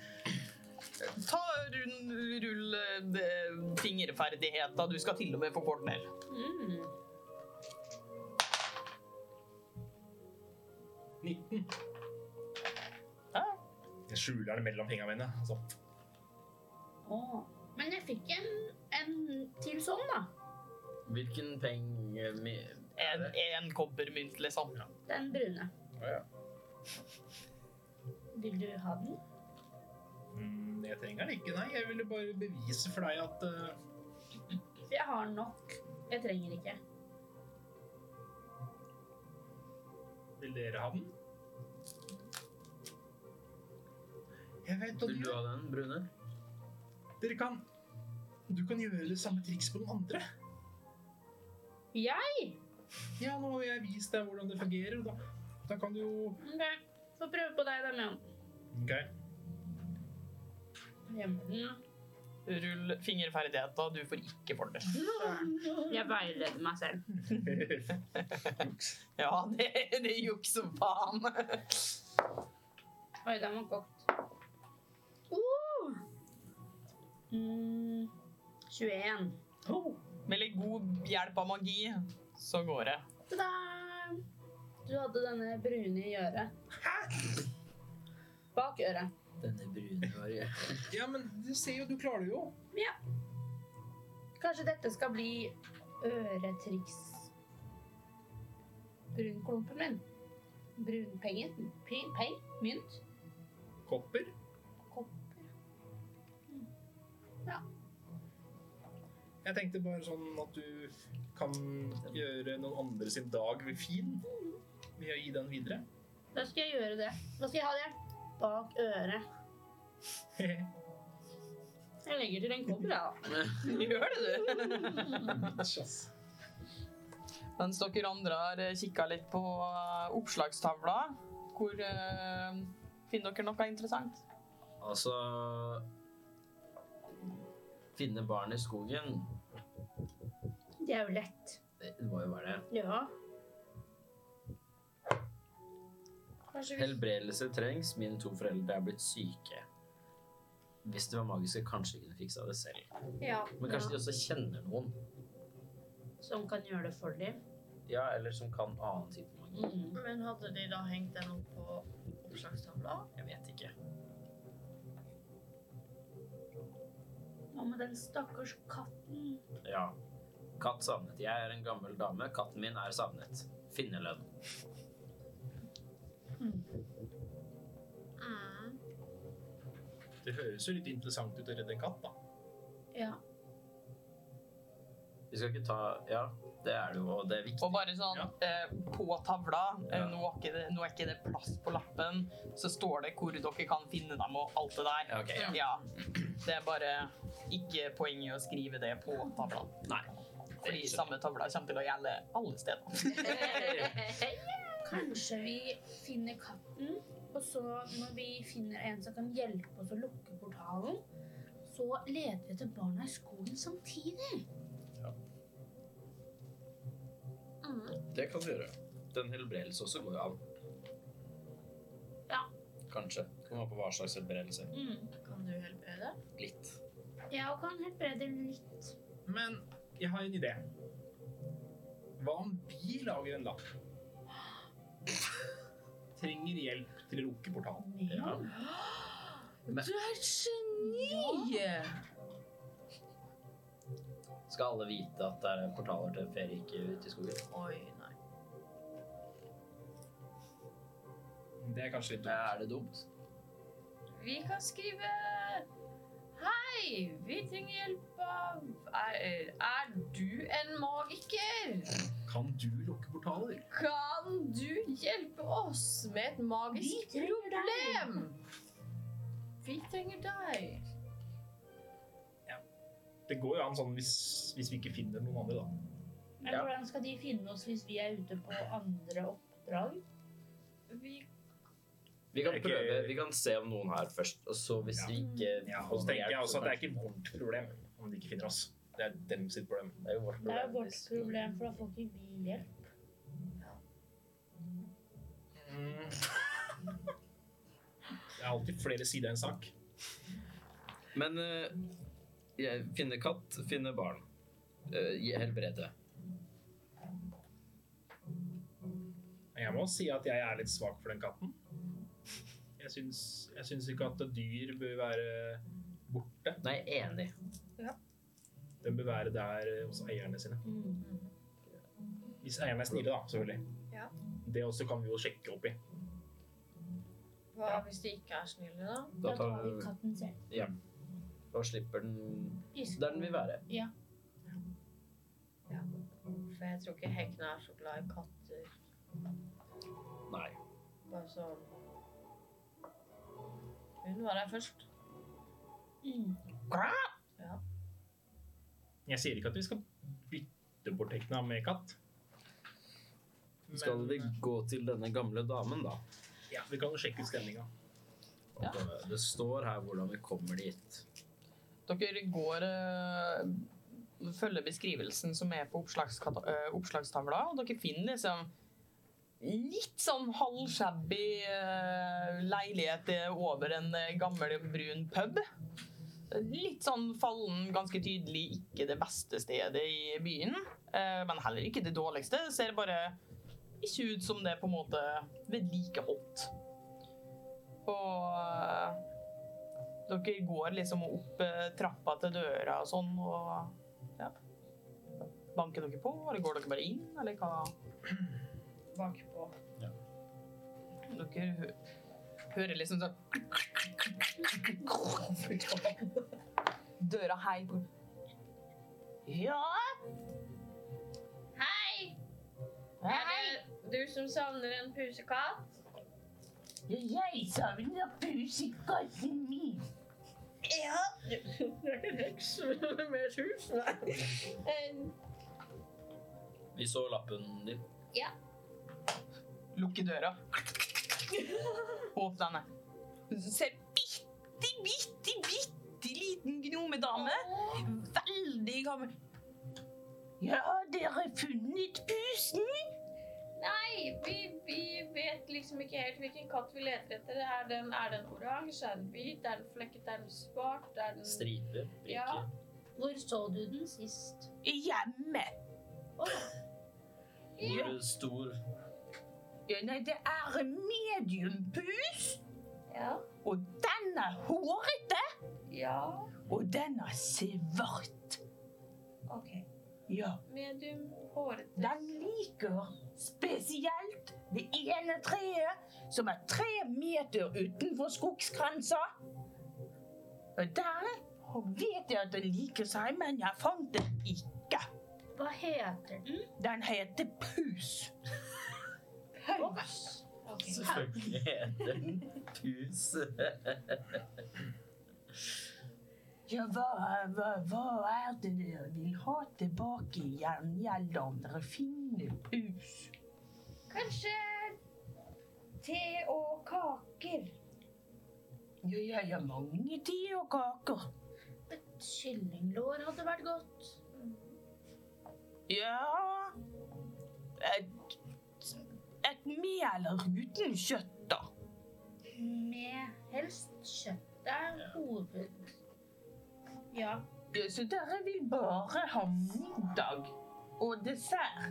S1: Ta rund, rull eh, de- fingerferdigheter. Du skal til og med få kort ned.
S14: mm.
S3: 19.
S1: Ja.
S3: Jeg skjuler den mellom fingrene mine. Altså.
S2: Åh. Men jeg fikk en, en til sånn, da.
S4: Hvilken penge mi-
S1: En, en kobbermynt, liksom.
S2: Den brune.
S4: Å ja.
S2: Vil du ha den?
S3: Mm, jeg trenger den ikke, nei. Jeg ville bare bevise for deg at eh,
S2: For jeg har nok. Jeg trenger ikke.
S3: Vil dere ha den? Jeg vet at
S4: Vil du
S3: du,
S4: ha den, Brune?
S3: dere kan Du kan gjøre det samme triks på den andre.
S2: Jeg?
S3: Ja, nå har jeg vist deg hvordan det fungerer, og da, da kan du jo
S2: Ok. Få prøve på deg, da, Leon.
S3: OK. (laughs)
S2: Hjemten.
S1: Rull fingerferdigheter. Du får ikke fordel.
S2: Jeg veileder meg selv.
S1: Ja, det, det er juks som faen.
S2: Oi, den var kokt. Uh! Mm, 21.
S1: Med litt god hjelp av magi, så går det.
S2: Ta-da! Du hadde denne brune i øret. Bak øret.
S9: Denne brune var jeg.
S3: Ja, men du ser jo, du klarer det jo.
S2: Kanskje dette skal bli øretriks. Brunklumpen min. Brunpenger. Pi- Peng. Mynt.
S3: Kopper.
S2: Kopper.
S3: Jeg tenkte bare sånn at du kan gjøre noen andre sin dag fin ved å gi den videre. (laughs)
S2: Da skal jeg gjøre det. Da skal jeg ha det bak øret. Jeg legger til en kobber, jeg, da.
S1: Gjør det, du.
S3: Bitch, ass.
S1: Mens dere andre har kikka litt på eh, oppslagstavla, hvor eh, finner dere noe interessant?
S4: (laughs) Altså Finne barn i skogen.
S2: Det er jo lett.
S4: Det må jo være det.
S2: Ja.
S6: Kanskje vi
S4: Helbredelse trengs. Mine to foreldre er blitt syke. Hvis de var magiske, kanskje de kunne fiksa det selv.
S6: Ja.
S4: Men kanskje de også kjenner noen.
S2: Som kan gjøre det for dem. Mm.
S4: Ja, eller som kan annen type magi.
S6: Men hadde de da hengt den opp på
S11: (laughs)
S6: oppslagstavla?
S4: Jeg vet ikke.
S2: Hva med den stakkars katten?
S4: Ja. Katt savnet. Jeg er en gammel dame. Katten min er savnet. Finnelønn.
S6: Mm.
S3: Det høres jo litt interessant ut å redde en katt, da.
S2: Ja.
S4: Vi skal ikke ta Ja, det er det jo, og det er viktig.
S1: Og bare sånn, eh, på tavla, eh, nå, er ikke det, nå er ikke det plass på lappen, så står det hvor dere kan finne dem og alt det der.
S4: Ja, ok, ja.
S1: Det er bare ikke poeng i å skrive det på tavla.
S4: Nei.
S1: Fordi samme tavla kommer til å gjelde alle steder.
S6: Mm.
S2: Kanskje vi finner katten, og så når vi finner en som kan hjelpe oss å lukke portalen, så leder vi etter barna i skogen samtidig.
S4: Det kan vi gjøre. Den helbredelse også går jo an.
S2: Ja.
S4: Kanskje. Kommer an på hva slags helbredelse.
S2: Mm.
S6: Kan du helbrede?
S4: Litt.
S2: Jeg òg kan helbrede litt.
S3: Men jeg har en idé. Hva om vi lager en lapp? Trenger hjelp til å lukke portalen.
S4: Ja.
S6: Du er et geni!
S4: Skal alle vite at det er portaler til ferieriket ute i skogen?
S6: Oi, nei.
S3: Det er kanskje litt dumt.
S4: Er det dumt?
S6: Vi kan skrive Hei, vi trenger hjelp av Er, er du en magiker?
S3: Kan du lukke portaler?
S6: Kan du hjelpe oss med et
S2: Vi
S6: magisk
S2: trenger deg.
S6: problem? Vi trenger deg.
S3: Det går jo an sånn hvis, hvis vi ikke finner noen andre, da.
S14: Men
S4: Ja.
S14: hvordan skal de finne oss hvis vi er ute på andre oppdrag?
S6: Vi
S4: Vi
S3: Det
S4: kan
S3: er ikke-
S4: prøve, vi kan se om noen her først, og så hvis
S3: Ja.
S4: vi ikke
S3: Ja, og så tenker jeg også at det er ikke vårt problem om de ikke finner oss. Det er dem sitt problem.
S4: Det er jo vårt
S14: Det er
S4: problem.
S14: jo vårt
S4: hvis-
S14: problem, for da får ikke vi hjelp.
S3: Mm. Det er alltid flere sider av en sak.
S9: Men eh, jeg finner katt, finner barn. Eh, gi- helbrede.
S3: Jeg må si at jeg er litt svak for den katten. Jeg syns, jeg syns ikke at dyr bør være borte.
S9: Nei, enig.
S3: Den bør være der hos eierne sine.
S2: Mm.
S3: Hvis eierne er snille, da, selvfølgelig.
S6: Ja.
S3: Det også kan vi jo sjekke opp i.
S6: Hva hvis de ikke er snille, da?
S9: Da
S14: Da
S9: tar
S14: tar vi
S9: vi-
S14: katten selv.
S9: Da slipper den
S14: Pisk.
S9: der den vil være.
S6: For jeg tror ikke hekkene er så glad i katter.
S9: Nei.
S6: Bare sånn Hun var her først.
S14: Mm.
S3: Jeg sier ikke at vi skal bytte bort hekna med katt.
S9: Skal
S3: Men,
S9: vi gå til denne gamle damen, da?
S3: Ja, vi kan jo sjekke ut stemninga.
S9: Og det- Det står her hvordan vi kommer dit.
S1: Dere går eh, Følger beskrivelsen som er på oppslagskata- eh, oppslagstavla, og dere finner liksom litt sånn halvshabby eh, leilighet eh, over en eh, gammel, brun pub. Litt sånn fallen, ganske tydelig ikke det beste stedet i byen, eh, men heller ikke det dårligste. Det ser bare ikke ut som det er på en måte vedlikeholdt. Og eh, dere går liksom opp eh, trappa til døra og sånn, og ja. Banker dere på, eller går dere bare inn, eller hva?
S6: Bakpå.
S1: Dere hø hører liksom sånn Døra hei på Ja?
S6: Hei!
S1: Hei,
S6: Er det du som savner en pusekatt?
S1: Jeg savner pusekatten min.
S6: (laughs) Ja. Du er ikke en heks, men mer hus. Nei.
S4: Vi så lappen din.
S1: Lukker døra. Åpner henne. Ser bitte, bitte, bitte liten gnomedame. Veldig gammel. Ja, dere har funnet pusen?
S6: Nei, vi, vi vet liksom ikke helt hvilken katt vi leter etter. Er den, er den oransje? Er den hvit? Er den flekket? Er den svart? Er den
S4: Striper, brikker.
S6: Ja.
S14: Hvor så du den sist?
S1: Hjemme.
S4: Hvor stor
S1: Ja, nei, det er en mediumpus.
S6: Ja.
S1: Og den er hårete.
S6: Ja.
S1: Og den er svart.
S6: OK.
S1: Ja,
S6: Medium hårete.
S1: den liker spesielt det ene treet som er tre meter utenfor skogsgrensa. Og der vet jeg at den liker seg, men jeg fant den ikke.
S2: Hva heter den?
S1: Den heter Pus.
S4: Selvfølgelig heter den pus.
S1: Ja, hva, hva, hva er det dere vil ha tilbake i jerngjelda om dere finner pus?
S2: Kanskje te og kaker?
S1: Ja, jeg har mange te og kaker.
S2: Et Kyllinglår hadde vært godt.
S1: Ja Et, et mel uten kjøtt, da.
S2: Med helst kjøtt. Det er hoved... Ja.
S1: Ja, Så dere vil bare ha middag og dessert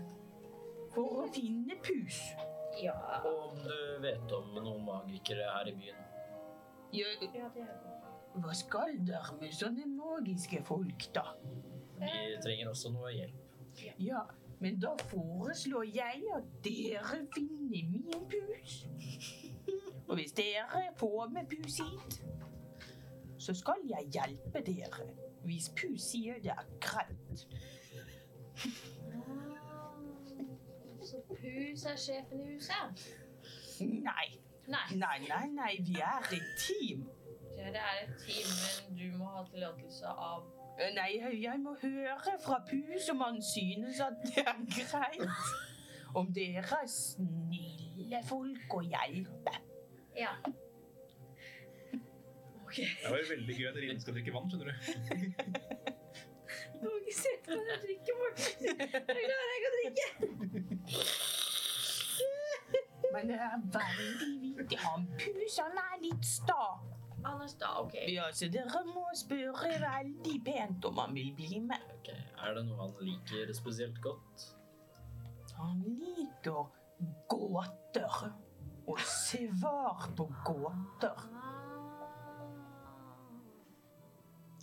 S1: for å finne pus?
S2: Ja.
S4: Og om du vet om noen magikere her i byen.
S1: Ja,
S2: ja det er godt.
S1: hva skal dere med sånne magiske folk, da?
S6: Ah.
S4: Vi trenger også noe hjelp.
S1: Ja, men da foreslår jeg at dere finner min pus. Og hvis dere får med pus hit, så skal jeg hjelpe dere. Hvis pus sier det er greit.
S11: Så Pus er sjefen i huset?
S1: Nei,
S11: Nei.
S1: nei, nei, nei, vi er et team.
S6: Dere er et team, men du må ha tillatelse av
S1: Nei, jeg må høre fra pus om han synes at det er greit. Om dere er snille folk og hjelper.
S11: Ja.
S3: Det var veldig gøy at Rine skal drikke vann, skjønner du.
S11: Ikke se på meg, jeg drikker, Morten. Jeg er glad jeg kan drikke.
S1: Men det er veldig viktig. Han pus, han er litt sta.
S11: Han er sta, OK.
S1: Ja, så dere må spørre veldig pent om han vil bli med.
S4: Ok, Er det noe han liker spesielt godt?
S1: Han liker gåter. Og svar på gåter.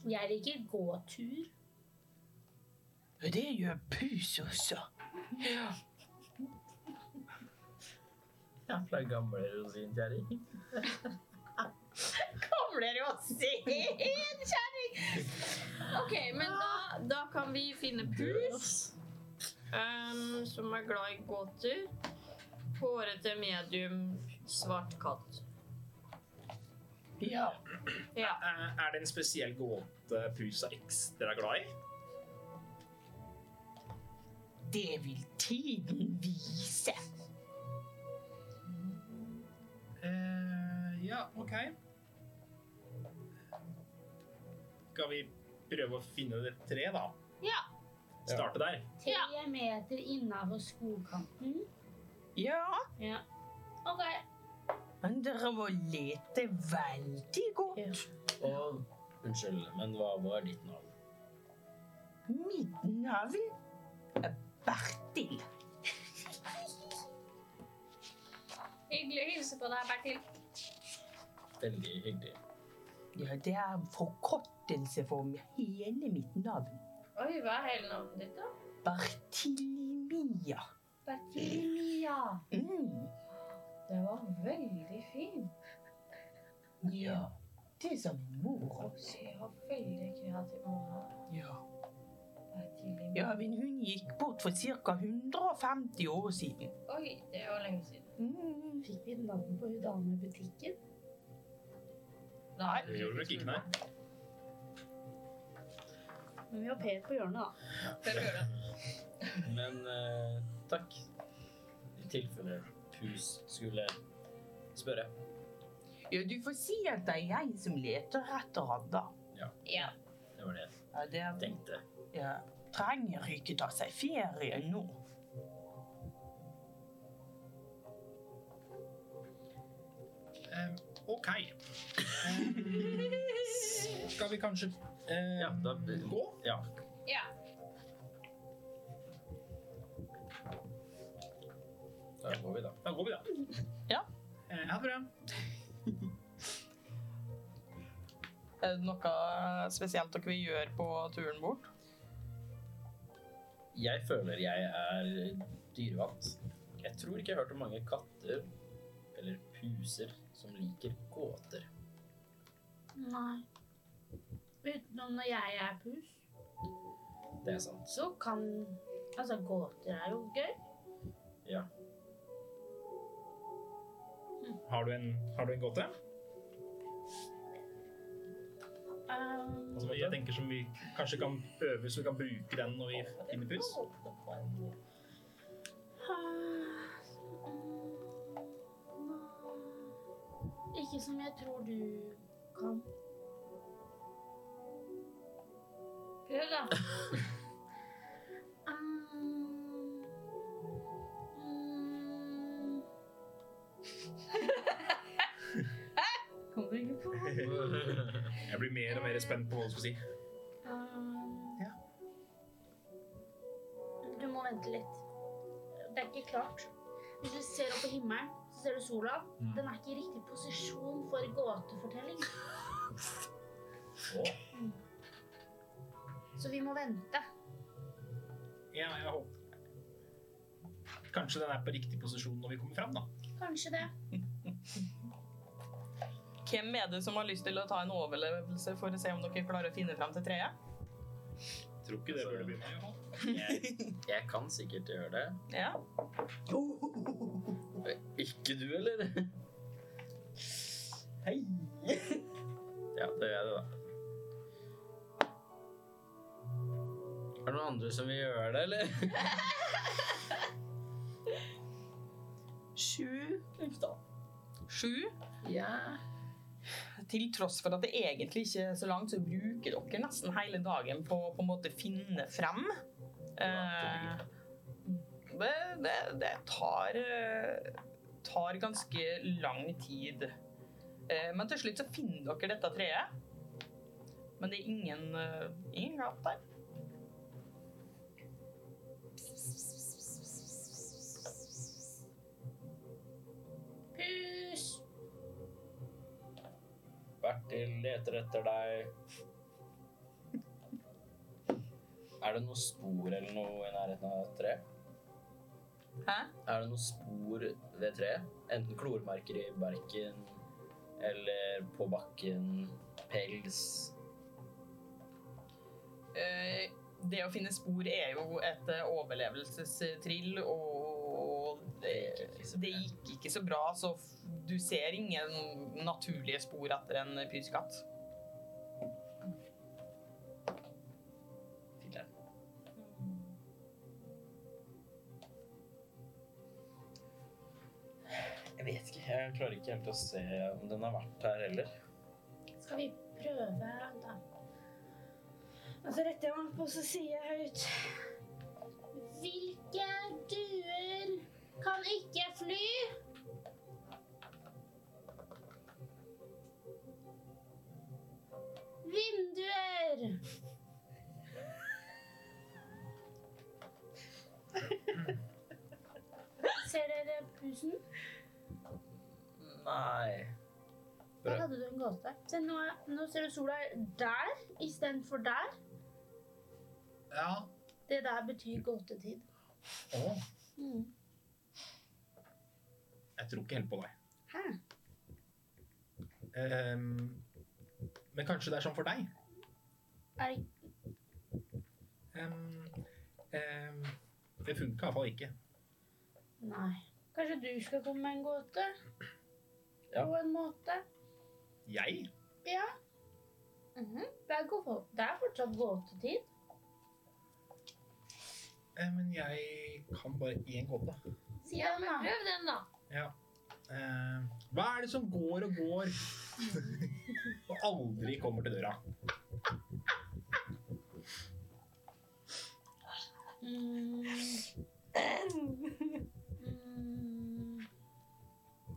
S14: Jeg liker gåtur.
S1: Det gjør pus også.
S4: Ja, fra gamle rosintjerring.
S14: Kommer dere og ser?
S11: Ok, men da, da kan vi finne pus, ehm, som er glad i gåter. Hårete medium, svart katt.
S1: Ja.
S11: Ja.
S3: Er er det en spesiell gåte pus er ekstra glad i?
S1: Det vil tiden vise.
S3: Eh, ja, OK. Skal vi prøve å finne det treet, da?
S11: Ja.
S3: Starte der.
S14: Tre meter innafor skogkanten.
S1: Ja,
S14: Ja. OK.
S1: men dere må lete veldig godt.
S4: Og unnskyld, men hva var ditt navn?
S1: Mitt navn er Bertil.
S11: Hyggelig å hilse på deg, Bertil.
S4: Veldig hyggelig.
S1: Ja, det er en forkortelse for hele mitt navn.
S6: Oi, hva er hele navnet ditt, da?
S1: Bartilimia.
S6: Bertilia.
S1: Mm.
S6: Det var veldig fint.
S1: Ja, det sa min mor også.
S6: Du har veldig kreativ måte.
S1: Ja.
S6: Bertilia.
S1: ja, men hun gikk bort for ca. 150 år siden.
S6: Oi, det var lenge siden.
S1: Mm.
S14: Fikk vi navn på hun dame i butikken?
S6: Nei,
S3: Det gjorde nok ikke, nei.
S14: Men vi har Per på hjørnet, da.
S6: Dere gjør det.
S4: Men eh, takk. I tilfelle Pus skulle spørre.
S1: Ja, du får si at det er jeg som leter etter han, da.
S6: Ja.
S4: Det var det jeg
S1: Ja, det er
S4: tenkte.
S1: Ja, trenger ikke ta seg ferie nå.
S3: Eh, OK. Eh, skal vi kanskje eh,
S4: Ja, da
S3: gå?
S4: Ja.
S6: Ja.
S4: Da går vi, da.
S3: Da går vi, da.
S1: Ja.
S3: Eh, ha det bra.
S1: Er det noe spesielt dere vil gjøre på turen bort?
S4: Jeg føler jeg er dyrevant. Jeg tror ikke jeg har hørt om mange katter eller puser som liker gåter.
S14: Nei. Utenom når jeg er pus,
S4: Det er sant.
S14: så kan Altså, gåter er jo gøy.
S3: Har du en, har du en gåte?
S14: Um,
S3: Altså, jeg tenker som vi kanskje kan øve, så vi kan bruke den når vi finner pus.
S14: ikke som jeg tror du kan.
S11: Prøv, da.
S14: Um, um,
S6: Kom du ikke på?
S3: (laughs) Jeg blir mer og mer spent på hva du skal si.
S14: um,
S3: Ja.
S14: Du må vente litt. Det er ikke klart. Hvis du ser opp på himmelen, så ser du sola.
S4: Mm.
S14: Den er ikke i riktig posisjon for gåtefortelling. Mm.
S4: Å.
S14: Så vi må vente.
S3: Ja, jeg håper Kanskje den er på riktig posisjon når vi kommer fram, da.
S14: Kanskje det.
S1: Hvem er det som har lyst til å ta en overlevelse for å se om dere klarer å finne fram til treet?
S3: Tror ikke det burde begynne.
S4: Jeg, jeg kan sikkert gjøre det.
S1: Ja.
S4: Ikke du, eller? Hei! Ja, det gjør jeg det, da.
S9: Er det noen andre som vil gjøre det, eller?
S6: Sju.
S1: Sju.
S4: Ja.
S1: Til tross for at det egentlig ikke er så langt, så bruker dere nesten hele dagen på å på en måte finne frem. Eh, det, det, det tar, eh, tar ganske lang tid. Eh, men til slutt så finner dere dette treet. Men det er ingen, eh, ingen gap der.
S14: Pus!
S4: Bertil leter etter deg. Er det noe spor eller noe i nærheten av treet?
S1: Hæ?
S4: Er det noe spor ved treet? Enten klormerker i barken eller på bakken, pels
S1: Eh, det å finne spor er jo et eh, overlevelsestrill, og det, det gikk ikke så bra, så f- du ser ingen naturlige spor etter en pyskatt.
S4: Filler'n. Jeg vet ikke. Jeg klarer ikke helt å se om den har vært her heller.
S14: Skal vi prøve, da? Altså,
S2: Og så retter jeg meg opp, og så sier jeg høyt
S14: Hvilke duer kan ikke fly? Vinduer! Ser dere pusen?
S4: Nei.
S14: Der hadde du en gåte. Se, nå, er, nå ser du sola der istedenfor der.
S3: Ja.
S14: Det der betyr gåtetid.
S3: Åh,
S14: Mm.
S3: jeg tror ikke helt på deg.
S14: Hæ?
S3: Ehm, men kanskje det er sånn for deg?
S14: Er det
S3: Ehm, ehm, det funka iallfall ikke.
S14: Nei. Kanskje du skal komme med en gåte?
S4: Ja.
S14: På en måte?
S3: Jeg?
S14: Ja. Mhm. det, er gå- det er fortsatt gåtetid.
S3: Eh, men jeg kan bare én gåte.
S14: Si ja, men prøv det.
S3: Eh, hva er det som går og går (laughs) og aldri kommer til døra?
S14: Mm.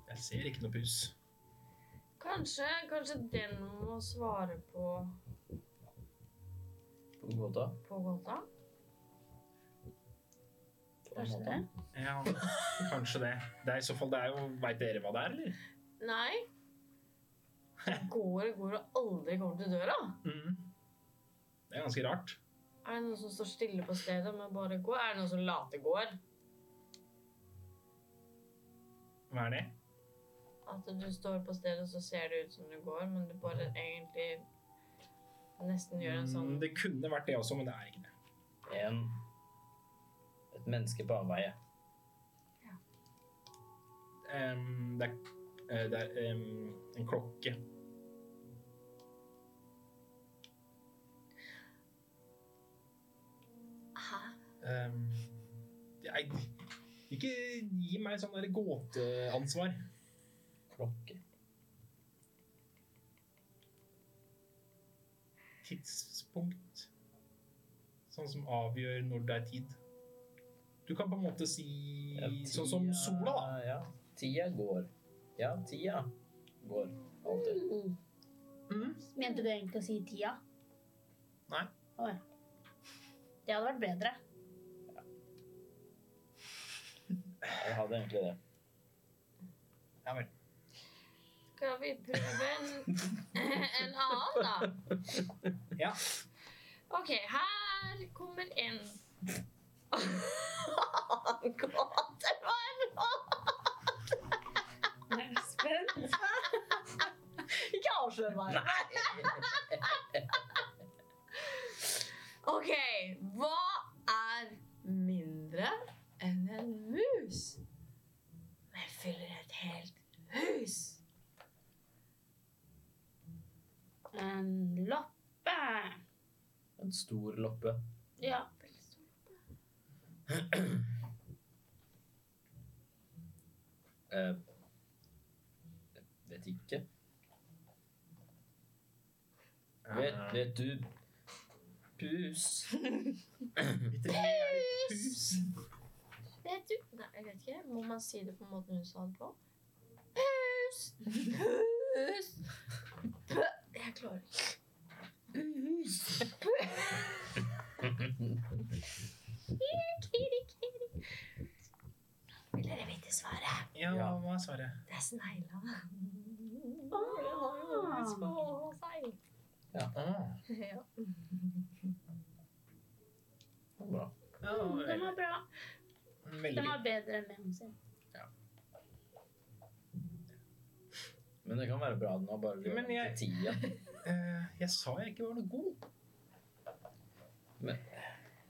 S3: Jeg ser ikke noe pus.
S6: Kanskje, kanskje den må svare på,
S4: På gåta?
S6: på gåta?
S14: Kanskje det.
S3: Ja, kanskje det. Det er i så fall det er jo Veit dere hva det er, eller?
S6: Nei. Går og går og aldri kommer til døra.
S3: Mm. Det er ganske rart.
S6: Er det noen som står stille på stedet, men bare går? Er det noen som later går?
S3: Hva er det?
S6: At du står på stedet, så ser det ut som du går, men du bare egentlig nesten gjør en sånn
S3: Mm, Det kunne vært det også, men det er ikke det.
S4: En Et menneske på avveie.
S3: Ehm, det er, eh, det er ehm, en klokke. Ehm, jeg, ikke gi meg sånn der gåteansvar.
S4: Klokke.
S3: Tidspunkt. Sånn som avgjør når det er tid. Du kan på en måte si
S4: Ja,
S3: sånn som
S4: tida-
S3: sola, da.
S4: Ja. Tida går. Ja, tida går. Alltid.
S6: Mm.
S14: Mente du egentlig å si tida?
S3: Nei.
S14: Å, ja. Det hadde vært bedre.
S4: Jeg hadde egentlig det.
S3: Ja vel.
S6: Skal vi prøve en, (laughs) en annen, da?
S3: Ja.
S6: OK, her kommer en annen gåte. Hva er det nå?
S2: Jeg er spent.
S15: opp den veien.
S6: OK, hva er mindre enn en mus? Men fyller et helt hus.
S2: En loppe.
S4: En stor loppe.
S2: Ja.
S4: Eh, vet ikke. Vet, vet du Pus.
S3: Pus.
S16: Vet du? Nei, jeg vet ikke. Må man si det på måten hun sa det på?
S6: Hus.
S16: Jeg klarer ikke.
S2: Vil dere vite svaret?
S3: Ja, hva er svaret?
S2: Det er snegla.
S3: Ah.
S16: Ja.
S4: Bra.
S2: Den var bra.
S3: Veldig
S2: Den var bedre enn memen sin.
S4: Men det kan være bra den har bare
S3: Men
S4: løpt
S3: jeg-
S4: til tida.
S3: Eh, Jeg sa jeg ikke var noe god.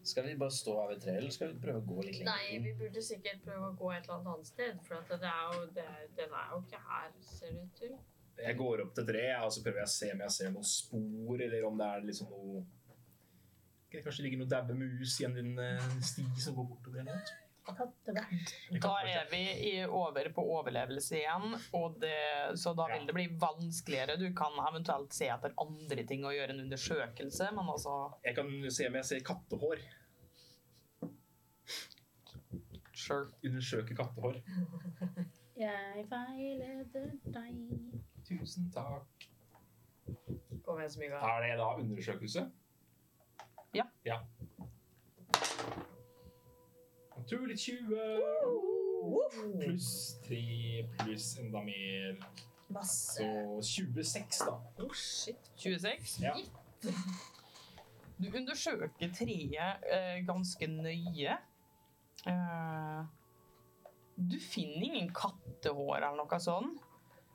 S4: Skal vi bare stå her ved treet, eller skal vi prøve å gå litt lenger?
S6: Nei, vi burde sikkert prøve å gå et eller annet annet sted, for at det er jo, det, er- den er jo ikke her, ser det ut til.
S3: Jeg går opp til treet og så prøver jeg å se om jeg ser noen spor, eller om det er liksom noe Kanskje det ligger noe daue mus igjen i en eh, sti som går bortover eller noe.
S1: Da
S3: Det kan være.
S1: er vi i, over på overlevelse igjen, og det, så da vil det bli vanskeligere. Du kan eventuelt se etter andre ting og gjøre en undersøkelse, men altså
S3: Jeg kan se om jeg ser kattehår.
S1: Sure.
S3: Undersøke kattehår.
S2: Jeg veileder deg.
S3: Tusen takk.
S6: Kom igjen, Smyga.
S3: Er det da undersøkelse?
S1: Ja.
S3: ja. Naturlig 20 pluss 3 pluss enda mer.
S6: Masse.
S3: Så 26, da.
S6: Oh, shit.
S1: 26.
S3: Ja.
S1: Du undersøker treet eh, ganske nøye. Eh, du finner ingen kattehår eller noe sånn,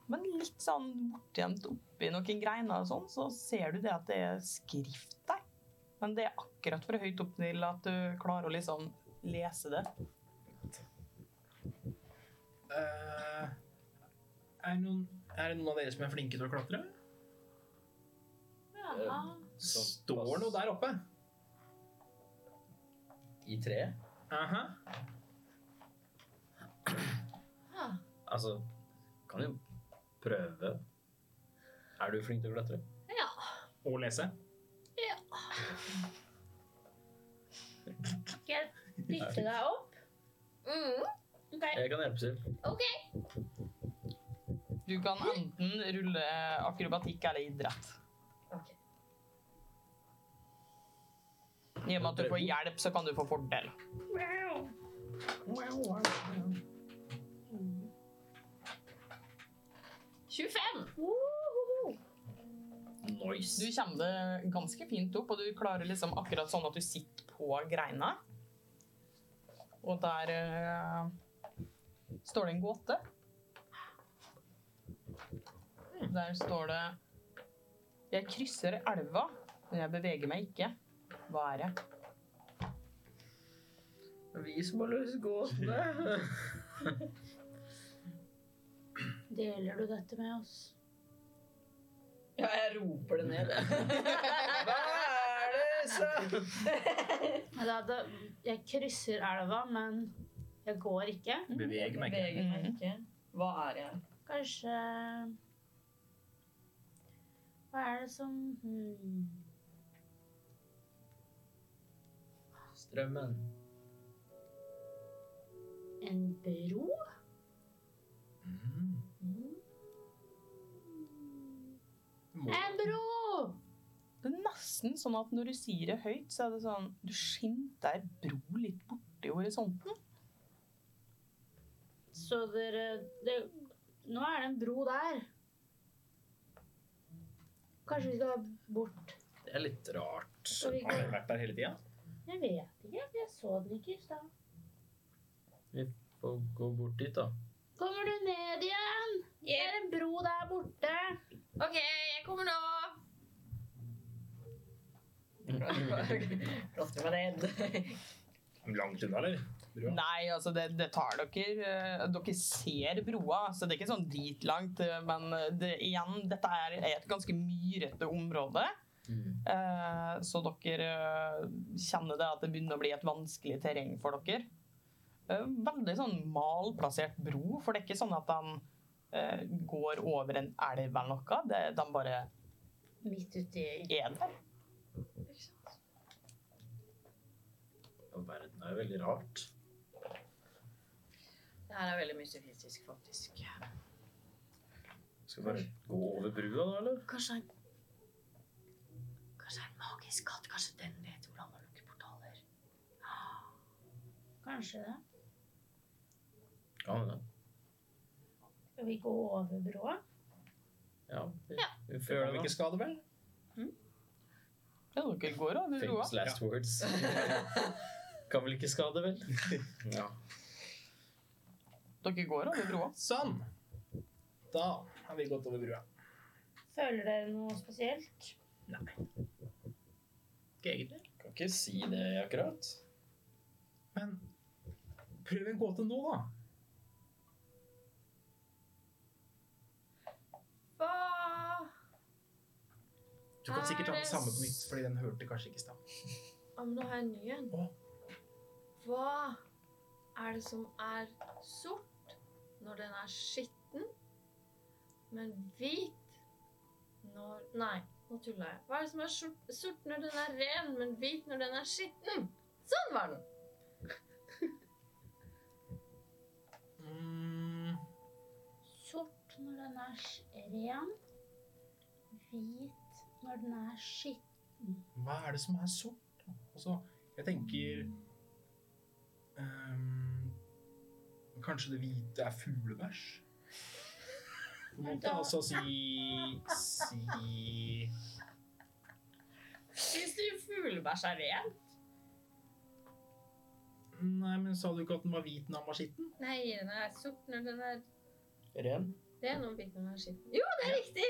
S1: men litt sånn bortgjemt oppi noen greiner og sånn, så ser du det at det er skrift der. Men det er akkurat for høyt opp til at du klarer å liksom lese det.
S3: Eh, er, noen, er det noen av dere som er flinke til å klatre?
S4: Ja.
S3: Står noe der oppe?
S4: I treet?
S3: Aha.
S4: Altså, kan jo prøve. Er du flink til å klatre?
S3: Og lese?
S2: Skal jeg dytte deg opp?
S16: Mm.
S2: Ok.
S4: Jeg kan hjelpe til.
S1: Du kan enten rulle akrobatikk eller idrett.
S6: Ok.
S1: I og med at du får hjelp, så kan du få fordel.
S2: Wow.
S1: Du
S4: Nice.
S1: kommer det ganske fint opp, og du klarer liksom akkurat sånn at du sitter på greina. Og der eh, står det en gåte. Der står det Jeg krysser elva, men jeg beveger meg ikke. Hva er det?
S17: Vi som har løst gåtene.
S2: Deler du dette med oss?
S6: Ja, jeg roper det ned.
S17: Hva er det så?
S2: Ja, da- da- Jeg krysser elva, men jeg går ikke.
S3: Beveg meg ikke.
S6: Beveger meg ikke. Hva er jeg?
S2: Kanskje Hva er det som hmm.
S4: Strømmen.
S2: En bro? Hmm.
S3: Mm. Må-
S2: En bro!
S1: Det er nesten sånn at når du sier det høyt, så er det sånn Du skimter bro litt borti horisonten.
S2: Så dere det, Nå er det en bro der. Kanskje vi skal bort
S4: Det er litt rart.
S2: Skal vi gå?
S3: Har dere vært der hele tida?
S2: Jeg vet ikke. Jeg så den ikke i stad.
S4: Få gå bort dit, da.
S2: Kommer du ned igjen? Det er en bro der borte.
S6: OK, jeg kommer nå.
S18: Klatre meg ned.
S3: Langt unna, eller? Brua.
S1: Nei, altså det, det tar dere eh, Dere ser broa, så det er ikke sånn dritlangt. eh, Men det, igjen, dette er et ganske myrete område.
S4: Mm.
S1: Eh, så dere eh, kjenner det at det begynner å bli et vanskelig terreng for dere. Eh, veldig sånn malplassert bro, for det er ikke sånn at de eh, går over en elv eller noe. Det, de bare
S2: Midt uti
S1: er der.
S4: Og verden er jo veldig rart.
S18: Det her er veldig mystifistisk, faktisk.
S4: Skal vi bare gå over brua da, eller?
S18: Kanskje en Kanskje en magisk katt. Kanskje den vet hvordan man lukker portaler.
S2: Kanskje det.
S4: Ja, men da.
S2: Skal vi gå over broa?
S4: Ja, vi, vi
S3: Gjør
S4: får
S3: dem
S4: gjøre det
S3: ikke
S4: da.
S3: skade, vel?
S1: Ja, dere går over broa.
S4: Famous last words. (laughs) kan vel ikke skade, vel? Ja.
S1: Dere går over broa.
S3: Sånn. Da har vi gått over brua.
S2: Føler dere noe spesielt?
S3: Ikke egentlig.
S4: Kan ikke si det akkurat.
S3: Men prøv en gåte nå, da.
S6: Hva
S3: Du kan sikkert ta
S6: Er
S3: den
S6: det
S3: samme på nytt, fordi den hørte kanskje ikke i stad.
S6: Ja, men da har jeg en ny en.
S3: Å.
S6: Hva er det som er sort når den er skitten, men hvit når Nei, nå tulla jeg. Hva er det som er sort, sort når den er ren, men hvit når den er skitten? Sånn var den!
S3: Mm,
S2: Sort når den er s- ren. Hvit når den er skitt.
S3: hva er det som er sort? da? Altså, jeg tenker ehm, Kanskje det hvite er fuglebæsj? Du måtte altså si Si
S18: Syns du fuglebæsj er ren?
S3: Nei, men sa du ikke at den var hvit når den var skitten?
S6: Nei, den er sort når den er
S19: Ren.
S6: ren og hvit når den er skitten. Jo, det er riktig!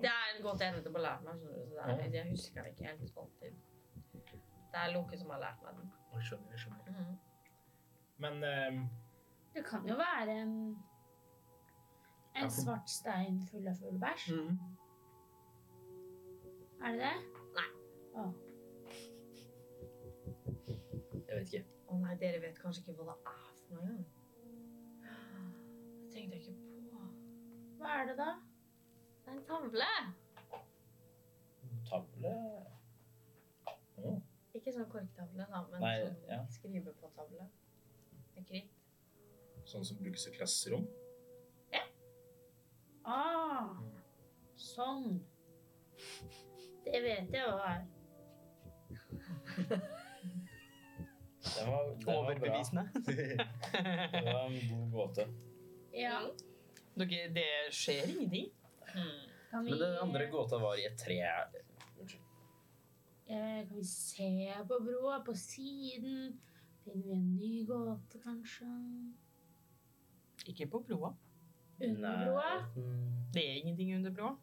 S18: Det er en godt jeg nettopp har lært meg. skjønner du, Så det er, jeg husker det ikke helt alltid. Det er Loke som har lært meg den.
S3: Jeg skjønner, jeg skjønner. Men ehm,
S2: Det kan jo være en,
S3: Ja,
S2: en
S3: for-
S2: svart stein full av fuglebæsj.
S4: Mhm.
S3: mm,
S2: Er det det?
S4: Jeg vet ikke.
S18: Å nei, dere vet kanskje ikke hva det er for noe engang. Det tenkte jeg ikke på.
S2: Hva er det da?
S6: Det er en tavle.
S4: Tavle? Å,
S6: Ikke sånn korktavle, da, men
S4: Nei,
S6: sånn
S4: ja.
S6: skrive på tavle. Med kritt.
S3: Sånn som brukes i klasserom?
S2: Ah,
S4: Mm.
S2: sånn. Det vet jeg hva er.
S4: Den var, den var bra.
S1: Overbevisende.
S4: (laughs) Det var en god gåte.
S2: Ja.
S1: Dere, det skjer ingenting.
S2: Kan vi,
S4: Men den andre gåta var i et tre. Unnskyld.
S2: eh, kan vi se på broa på siden? Finner vi en ny gåte, kanskje?
S1: Ikke på broa.
S2: Under broa?
S1: Det er ingenting under broa.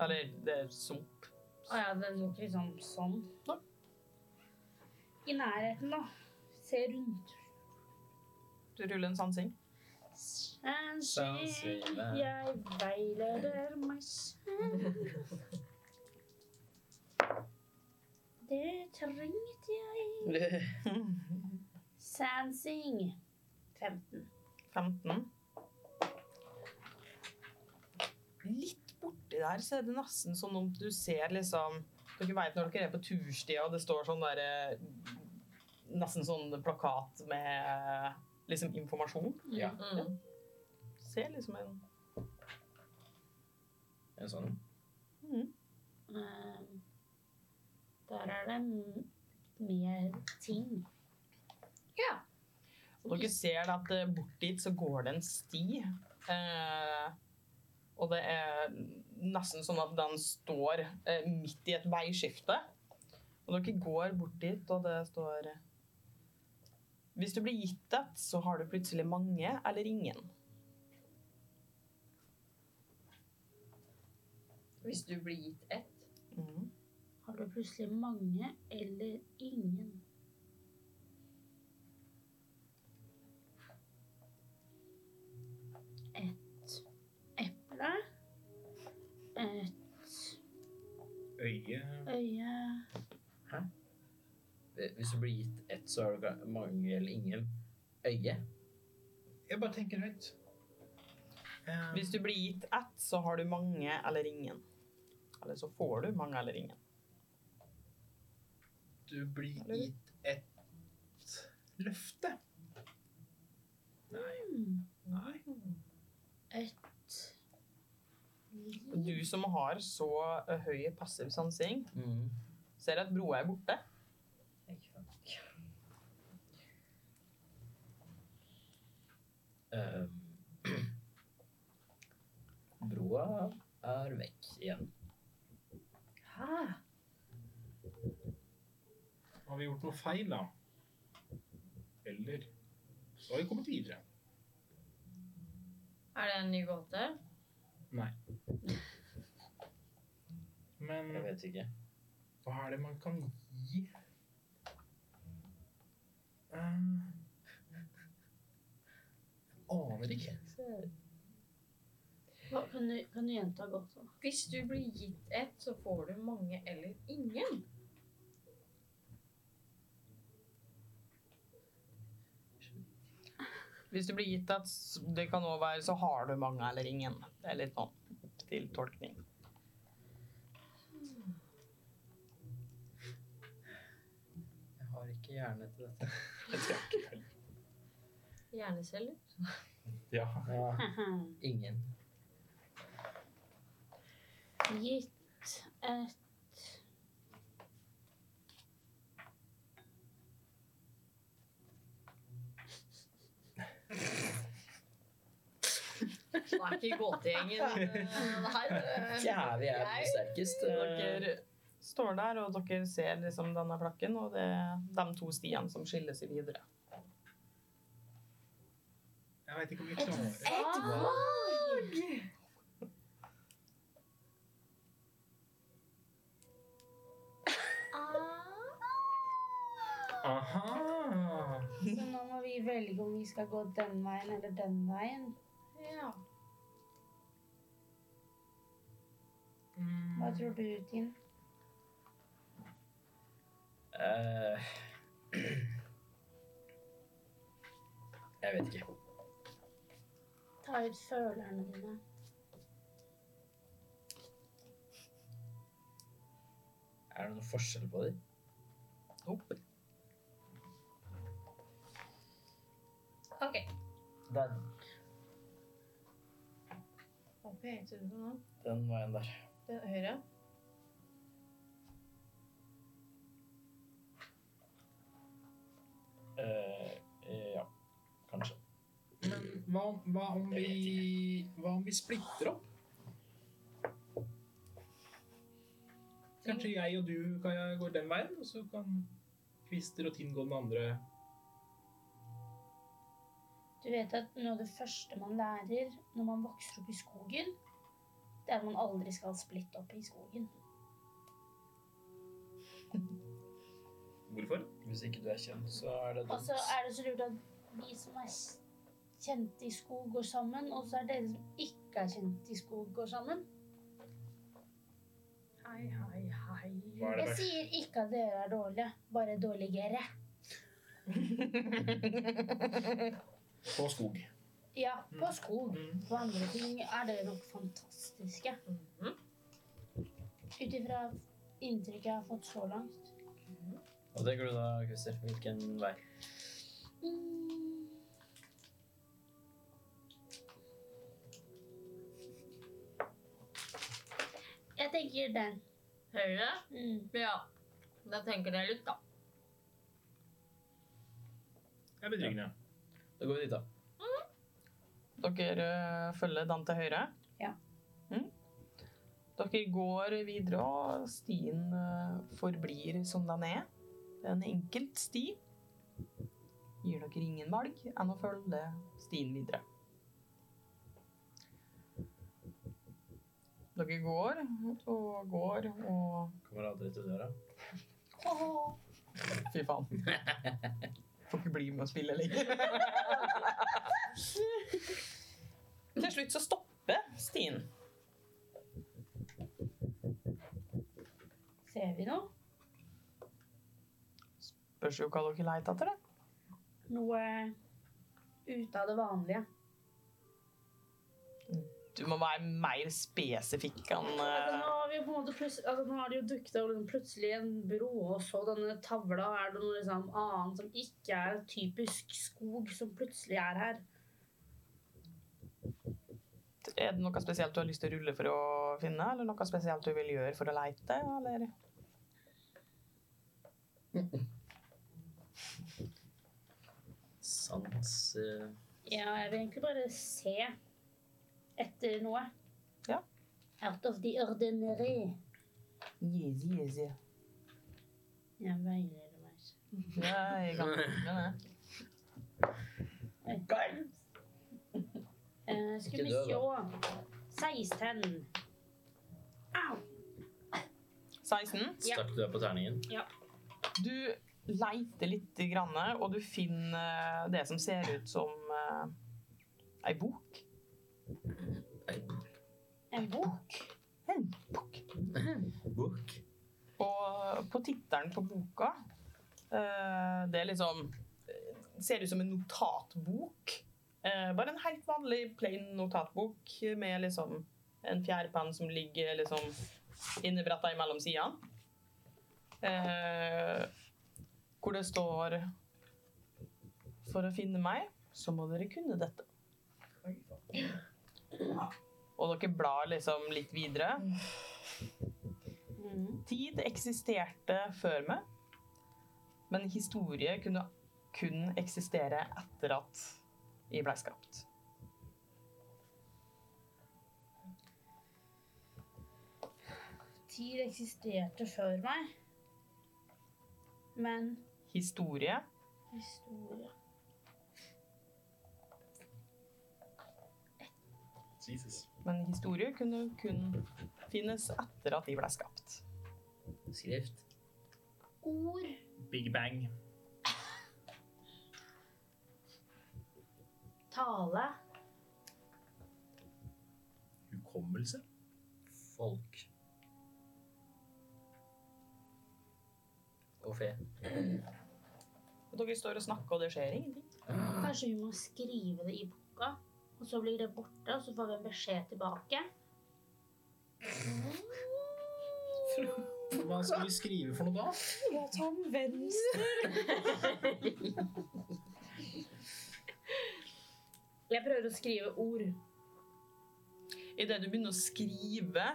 S1: Eller det er sump.
S2: Å ja, det lå ikke liksom sånn.
S1: Nei.
S2: I nærheten, da. Se rundt.
S1: Du ruller en sansing.
S2: Kanskje
S4: Sannsynlig.
S2: jeg veileder meg selv.
S4: (laughs)
S2: Det trengte jeg. Sansing. 15.
S1: 15. Litt borti der så er det nesten som om du ser liksom Dere vet når dere er på turstia, og det står sånn der eh, Nesten sånn plakat med eh, liksom informasjon.
S4: Ja.
S18: Mm.
S1: Ser liksom en
S4: En sånn.
S1: Mhm.
S2: Eh, Der er det m- mer ting.
S1: Og dere ser da at eh, bort dit så går det en sti. Eh, og det er nesten sånn at den står eh, midt i et veiskifte. Og dere går bort dit, og det står eh, Hvis du blir gitt et, så har du plutselig mange eller ingen.
S6: Hvis du blir gitt ett.
S1: Mhm.
S2: Har du plutselig mange eller ingen? Et eple. Et
S4: Øye
S2: øye.
S4: Hvis du blir gitt ett, så har du ga- mange eller ingen. Øye?
S3: Jeg bare tenker høyt. Eh,
S1: Hvis du blir gitt ett, så har du mange eller ingen. Eller så får du mange eller ingen.
S3: du blir
S1: Eller-
S3: gitt et løfte. Nei. Nei.
S1: Du som har så eh, høy passiv sansing,
S20: Mm.
S1: ser at broa er borte.
S4: Eh, broa er vekk igjen.
S3: Har vi gjort noe feil, da? Eller så har vi kommet videre.
S6: Er det en ny gåte?
S3: Men
S4: Jeg vet ikke.
S3: hva er det man kan gi? Eh, jeg aner ikke.
S2: Hva, kan, du, kan du gjenta godt? da?
S6: Hvis du blir gitt ett, så får du mange eller (laughs) ingen.
S1: Hvis du blir gitt et, s- det kan også være, så har du mange eller ingen. Det er litt sånn til tolkning.
S4: Jeg har ikke hjerne til dette.
S3: Jeg tror ikke feil.
S6: Hjerneceller.
S3: Ja.
S4: Ingen.
S2: Gitt et
S6: Det er ikke
S1: (laughs)
S6: gåtegjengen. eh, Her. eh.
S4: Ja, vi er
S6: Jeg-
S4: sterkest. eh,
S1: Dere står der, og dere ser liksom denne plakken, og det er de to stiene som skiller seg videre.
S3: Jeg veit ikke om vi klarer
S2: Et valg!
S3: Aha!
S2: Så nå må vi velge om vi skal gå den veien eller den veien.
S6: Ja.
S2: Hva tror du, Tin?
S4: eh, (clears throat) jeg vet ikke.
S2: Ta ut følerne dine.
S4: Er det noen forskjell på dem?
S1: (laughs) Opp.
S6: OK.
S4: Den,
S6: Hva pekte du på nå?
S4: den veien der.
S6: Den høyre?
S4: Eh, ja, kanskje.
S3: Men hva, om- hva, om
S4: Jeg vet
S3: vi, hva om vi splitter opp? Kanskje jeg og du Kaja, går den veien, og så kan Kvister og Tinn gå den andre.
S2: Du vet at noe av det første man lærer når man vokser opp i skogen, det er at man aldri skal splitte opp i skogen.
S3: Hvorfor?
S4: Hvis ikke du er kjent, så er det
S2: Og
S4: dumt.
S2: så er det så lurt at vi som er s- kjente i skog, går sammen, og så er dere som ikke er kjent i skog, går sammen.
S6: Hei, hei, hei.
S3: Hva er det
S2: Jeg
S3: verste?
S2: sier ikke at dere er dårlige, bare dårligere.
S3: På skog.
S2: Ja, på skog. På andre ting er dere nok fantastiske. Ut ifra inntrykket jeg har fått så langt.
S4: Hva tenker du da, Christer? Hvilken vei?
S2: Jeg tenker den.
S6: Høyre?
S2: Mm.
S6: Ja. Da tenker jeg litt, da.
S3: Det er betryggende.
S4: Da går vi dit, da.
S1: Dere eh, følger den til høyre?
S2: Ja.
S1: Mm. Dere går videre, og stien eh, forblir som den er. Det er en enkelt sti. gir dere ingen valg enn å følge stien videre. Dere går og går og
S4: Kommer aldri til døra.
S1: Fy faen. Får ikke bli med og spille lenger. Til slutt så stopper stien.
S2: Ser vi noe?
S1: Spørs jo hva dere leter etter, da.
S2: Noe ute av det vanlige.
S1: Du må være mer spesifikk enn
S2: Altså,
S1: eh,
S2: nå, har vi jo på en måte plutselig- altså, nå har det jo dukket opp liksom, plutselig en bro, og så denne tavla. Er det noe liksom, annet som ikke er typisk skog, som plutselig er her?
S1: eh, Er det noe spesielt du har lyst til å rulle for å finne, eller noe spesielt du vil gjøre for å leite, eller?
S4: Sans eh,
S2: Ja, jeg vil egentlig bare se etter noe.
S1: Ja.
S2: Out of the ordinary.
S1: Yes, yes, yes.
S2: Jeg veileder meg.
S1: Nei, jeg kan ikke gjøre det.
S2: (laughs) Eh, skal
S21: Ikke
S2: vi
S21: dø,
S2: sjå. 16. Au!
S1: 16.
S2: Ja.
S4: Stakk du deg på terningen?
S1: Du leiter litt, grann, og du finner det som ser ut som eh, ei bok.
S2: En bok.
S1: En bok.
S4: Bok.
S1: Og på tittelen på boka eh, Det er liksom eh, Ser ut som en notatbok. Eh, bare en helt vanlig plain notatbok med liksom en fjærpenn som ligger liksom innebretta imellom sidene. Eh, hvor det står For å finne meg, så må dere kunne dette. Og dere blar liksom litt videre.
S2: Mm.
S1: Tid eksisterte før meg, men historie kunne kun eksistere etter at jeg ble skapt.
S2: Tid eksisterte før meg. Men
S1: Historie
S2: historie
S4: Jesus.
S1: men historie kunne kun finnes etter at de ble skapt.
S21: Skrift.
S2: Ord
S3: Big bang.
S2: Tale.
S3: Hukommelse?
S4: Folk.
S21: Og fe.
S1: Og dere står og snakker, og det skjer ingenting.
S2: Kanskje vi må skrive det i boka, og så blir det borte, og så får vi en beskjed tilbake.
S3: Hva skal vi skrive for noe da?
S22: Jeg tar den venstre.
S2: Jeg prøver å skrive ord.
S1: Idet du begynner å skrive,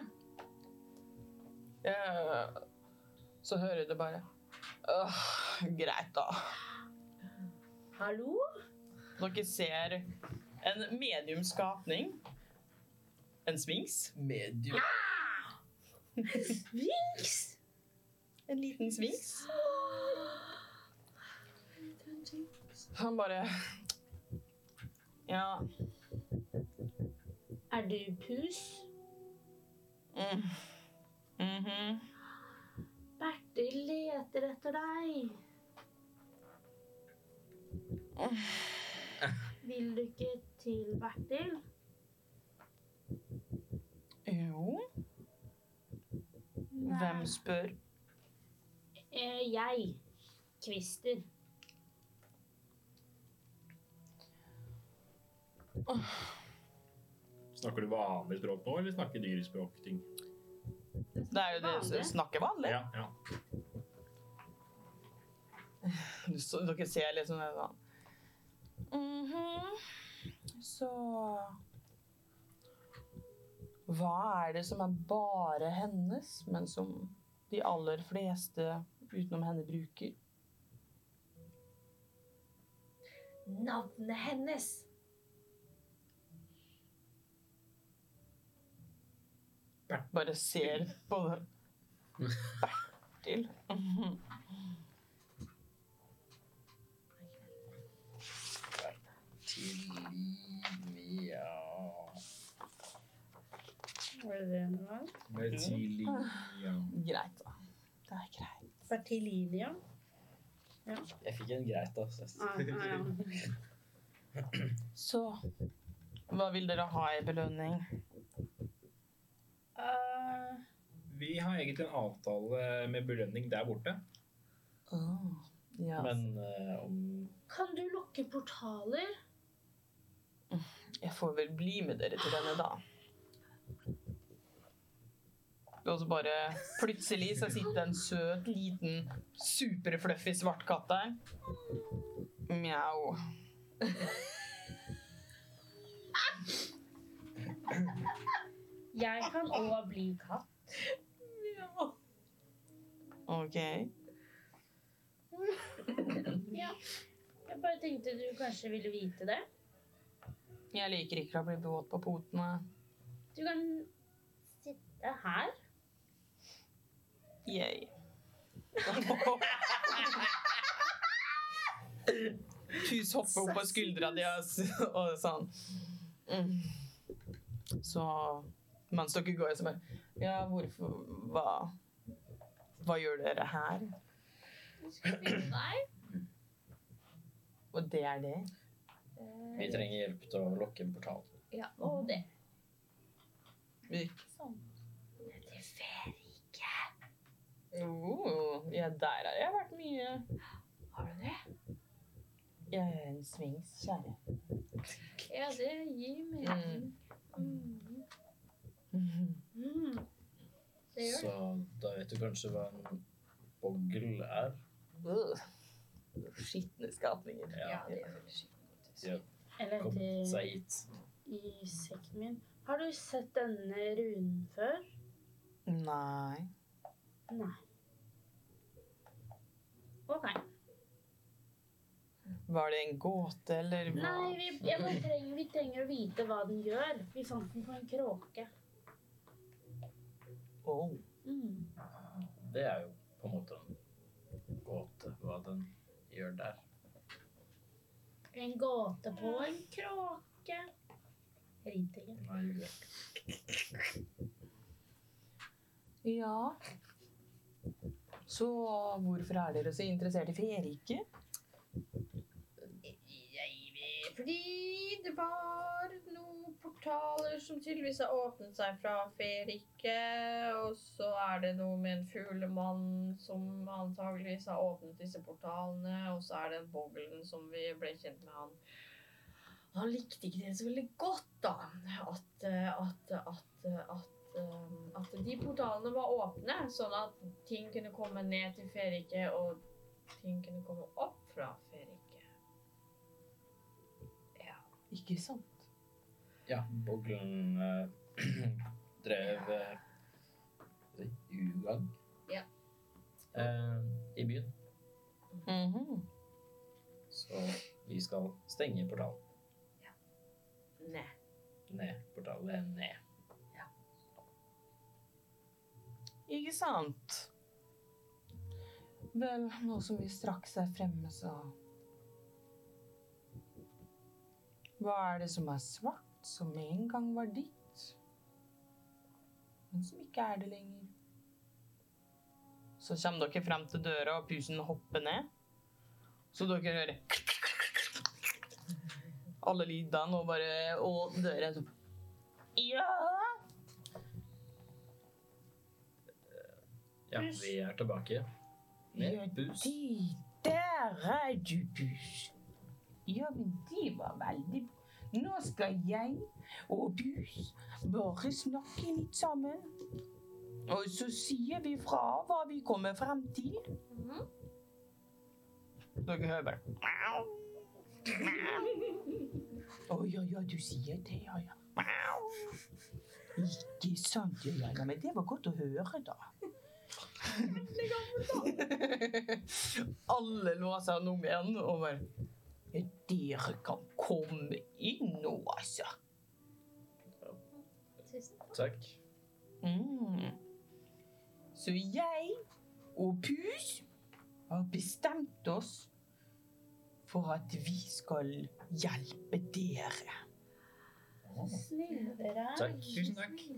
S1: eh, så hører du bare Åh, greit, da.
S2: Hallo?
S1: Dere ser en medium skapning. En sfinks.
S21: Medium.
S2: Vinks!
S1: En liten svinks. Han bare Ja.
S2: Er du pus?
S1: Mm. Mhm.
S2: Bertil leter etter deg. Vil du ikke til Bertil?
S1: Jo, hvem spør?
S2: Eh, jeg. Kvister.
S3: Snakker du vanlig språk nå, eller snakker dyrespråk? ting?
S1: Det er jo det som
S2: Vanlig.
S1: snakker vanlig.
S3: Ja, ja.
S1: Du så- Dere ser litt sånn sånn Mhm. Så Hva er det som er bare hennes, men som de aller fleste utenom henne bruker?
S23: Navnet hennes.
S1: Bare ser på
S23: (laughs)
S1: det. Bertil. Mhm.
S4: Fertilian.
S1: Greit, da. Det er greit.
S14: Fertilinia?
S4: Jeg fikk en greit, da. så jeg-
S14: Ah, ah, ja.
S1: Så hva vil dere ha i belønning?
S3: (laughs)
S2: Eh,
S3: Vi har egentlig en avtale med belønning der borte.
S1: ja.
S4: Men eh, om
S2: Kan du lukke portaler?
S1: Jeg får vel bli med dere til denne, da. Og så bare plutselig så sitter en søt, liten, superfluffy svart katt der. Mjau.
S14: Jeg kan òg bli katt.
S1: OK.
S14: Jeg bare tenkte du kanskje ville vite det.
S1: Jeg liker ikke å bli våt på potene.
S14: Du kan sitte her.
S1: (laughs) Yay. Pus hopper opp på skuldra deres (laughs) og sånn. Mm. Så mens dere går, så bare Ja, hvorfor Hva, hva gjør dere her? Og det er det?
S4: vi trenger hjelp til å lokke en portal.
S2: Ja, og det.
S1: Vi-
S2: Sånn.
S1: Oh, ja, der har jeg vært mye.
S2: Har du det?
S1: Jeg er en svings, kjære.
S2: Ja, det gir mening. Mm.
S1: Mm.
S2: Det gjør det.
S4: Så da vet du kanskje hva en bogl er.
S1: Øh. Skitne skapninger.
S4: Ja,
S2: Ja, det gjør det.
S14: Eller
S4: Kommet
S14: til
S4: seg hit.
S14: i sekken min. Har du sett denne runen før?
S1: Nei.
S14: Nei. OK.
S1: Var det en gåte, eller hva?
S14: Nei, vi, jeg bare trenger, vi trenger å vite hva den gjør. Vi fant den på en kråke.
S1: Oh.
S14: Mm.
S4: Det er jo på en måte en gåte hva den gjør der.
S14: En gåte på en kråke. Ritingen.
S4: Nei, jeg gjør det.
S1: Ja. Så hvorfor er dere så interessert i Ferike?
S6: Jeg vet Fordi det var noen portaler som tydeligvis har åpnet seg fra Ferike. Og så er det noe med en fuglemann som antageligvis har åpnet disse portalene. Og så er det en boglen som vi ble kjent med han. Han likte ikke det så veldig godt, da. At, eh, at, at, at, eh, at de portalene var åpne, sånn at ting kunne komme ned til Ferike, og ting kunne komme opp fra Ferike.
S1: Ikke sant?
S4: Ja, boglen eh, (clears throat) drev eh, ugagn
S6: Ja.
S4: eh, i byen.
S1: Mhm.
S4: Så vi skal stenge portalen.
S6: Nei.
S4: Ned. Portalen er ned.
S1: Ikke sant? Vel, nå som vi straks er fremme, så Hva er det som er svart, som en gang var ditt, men som ikke er det lenger? Så kommer dere frem til døra, og pusen hopper ned. Så dere hører alle lydene, og bare Og døra er sånn Ja!
S4: Ja, vi er tilbake.
S1: Ja,
S4: Med bus.
S1: De der er du, Bus. Ja, men de var veldig Nå skal jeg og Bus bare snakke litt sammen. Og så sier vi fra hva vi kommer frem til. Mhm. Dere hører bare «Miau, miau». (laughs) Å ja, ja, du sier det, ja, ja. «Miau». Ikke sant, ja, ja, ja. Men det var godt å høre, da. Alle låser han om igjen og bare Dere kan komme inn nå, altså.
S4: Takk.
S1: Mm. Så jeg og Pus har bestemt oss for at vi skal hjelpe dere.
S14: Snille dere.
S4: Takk.
S3: Tusen takk.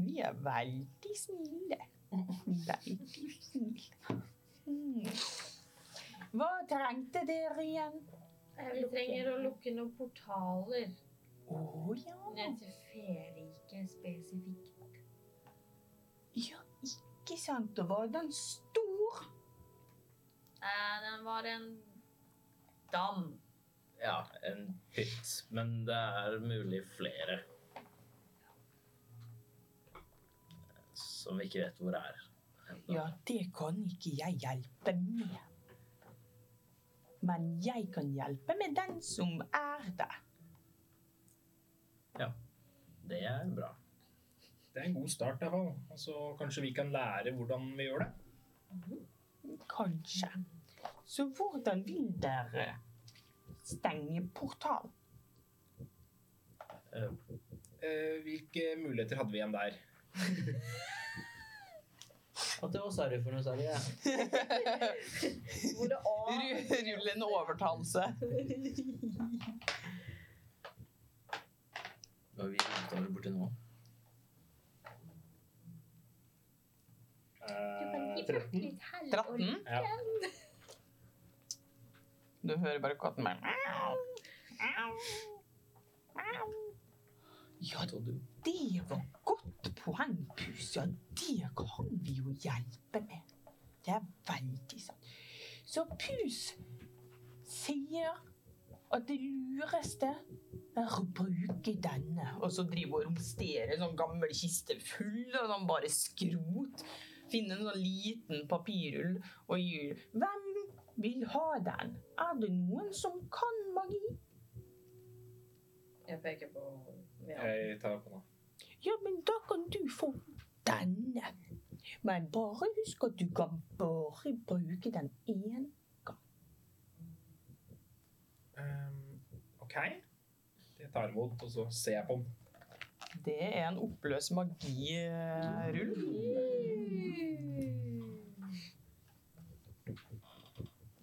S1: Vi er veldig snille. Veldig snille. Mm. Hva trengte dere igjen?
S11: Vi trenger å lukke noen portaler
S1: Å ja.
S11: ned til feriket spesifikt.
S1: ja. Ikke sant. Og var den stor?
S11: Eh, Den var en dam.
S4: Ja, en pytt. Men det er mulig flere. Som vi ikke vet hvor er. enda.
S1: Ja, det kan ikke jeg hjelpe med. Men jeg kan hjelpe med den som er der.
S4: Det er bra.
S3: Det er en god start, i hvert fall. Altså, kanskje vi kan lære hvordan vi gjør det.
S1: Kanskje. Så hvordan vil dere stenge (laughs) portalen?
S4: Eh,
S3: Eh, hvilke muligheter hadde vi igjen der?
S9: At det var sorry for noe sorry. Ja.
S6: (laughs) Hvor det A
S1: Rull en overtalelse.
S4: Hva er vi utover borti nå?
S3: Eh, 13?
S1: 13?
S3: Ja.
S1: Du hører bare katten bare Ja,
S4: Tog du?
S1: det var godt poeng, Pus. Ja, det kan vi jo hjelpe med. Det er veldig sant. Så Pus sier at det lureste er å bruke denne. Og så driver hun og romsterer en sånn gammel kiste full av sånn bare skrot. Finne en sånn liten papirrull og gir Hvem vil ha den? Er det noen som kan magi?
S6: Jeg peker på
S4: Eh.
S6: ja.
S3: Jeg tar på nå.
S1: Ja, men da kan du få denne. Men bare husk at du kan bare bruke den én.
S3: Eh, OK. Jeg tar imot, og så ser jeg på den.
S1: Det er en oppløs magirull.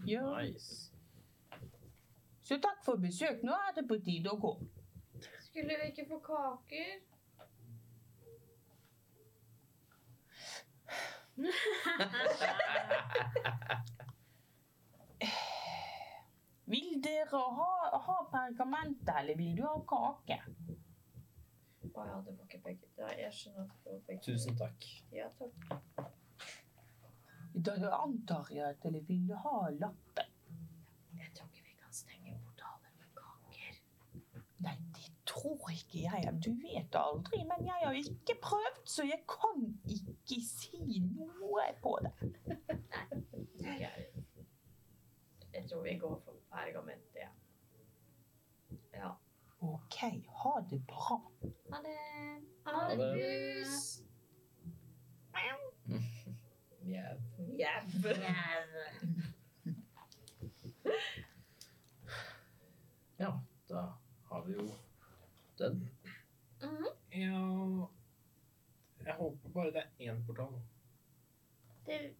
S1: Ja,
S4: Nice.
S1: så takk for besøk. Nå er det på tide å gå.
S11: Skulle vi ikke få kaker?
S1: Vil dere ha, ha pergament, eller vil du ha kake?
S6: Å ja, det var ikke begge. Ja, jeg skjønner at det var begge.
S4: Tusen takk.
S6: Ja, takk.
S1: Da antar jeg at dere vil ha lappen.
S6: Jeg tror ikke vi kan stenge portaler med kaker.
S1: Nei, det tror ikke jeg. Du vet aldri, men jeg har ikke prøvd, så jeg kan ikke si noe på det.
S6: Jeg, jeg tror vi går for pergament, ja. Ja.
S1: OK, ha det bra.
S11: Ha det.
S4: Ha det.
S11: Pus.
S4: Mjau. Ja, da har vi jo den.
S3: Ja Jeg håper bare det er én portal.
S14: (laughs) Det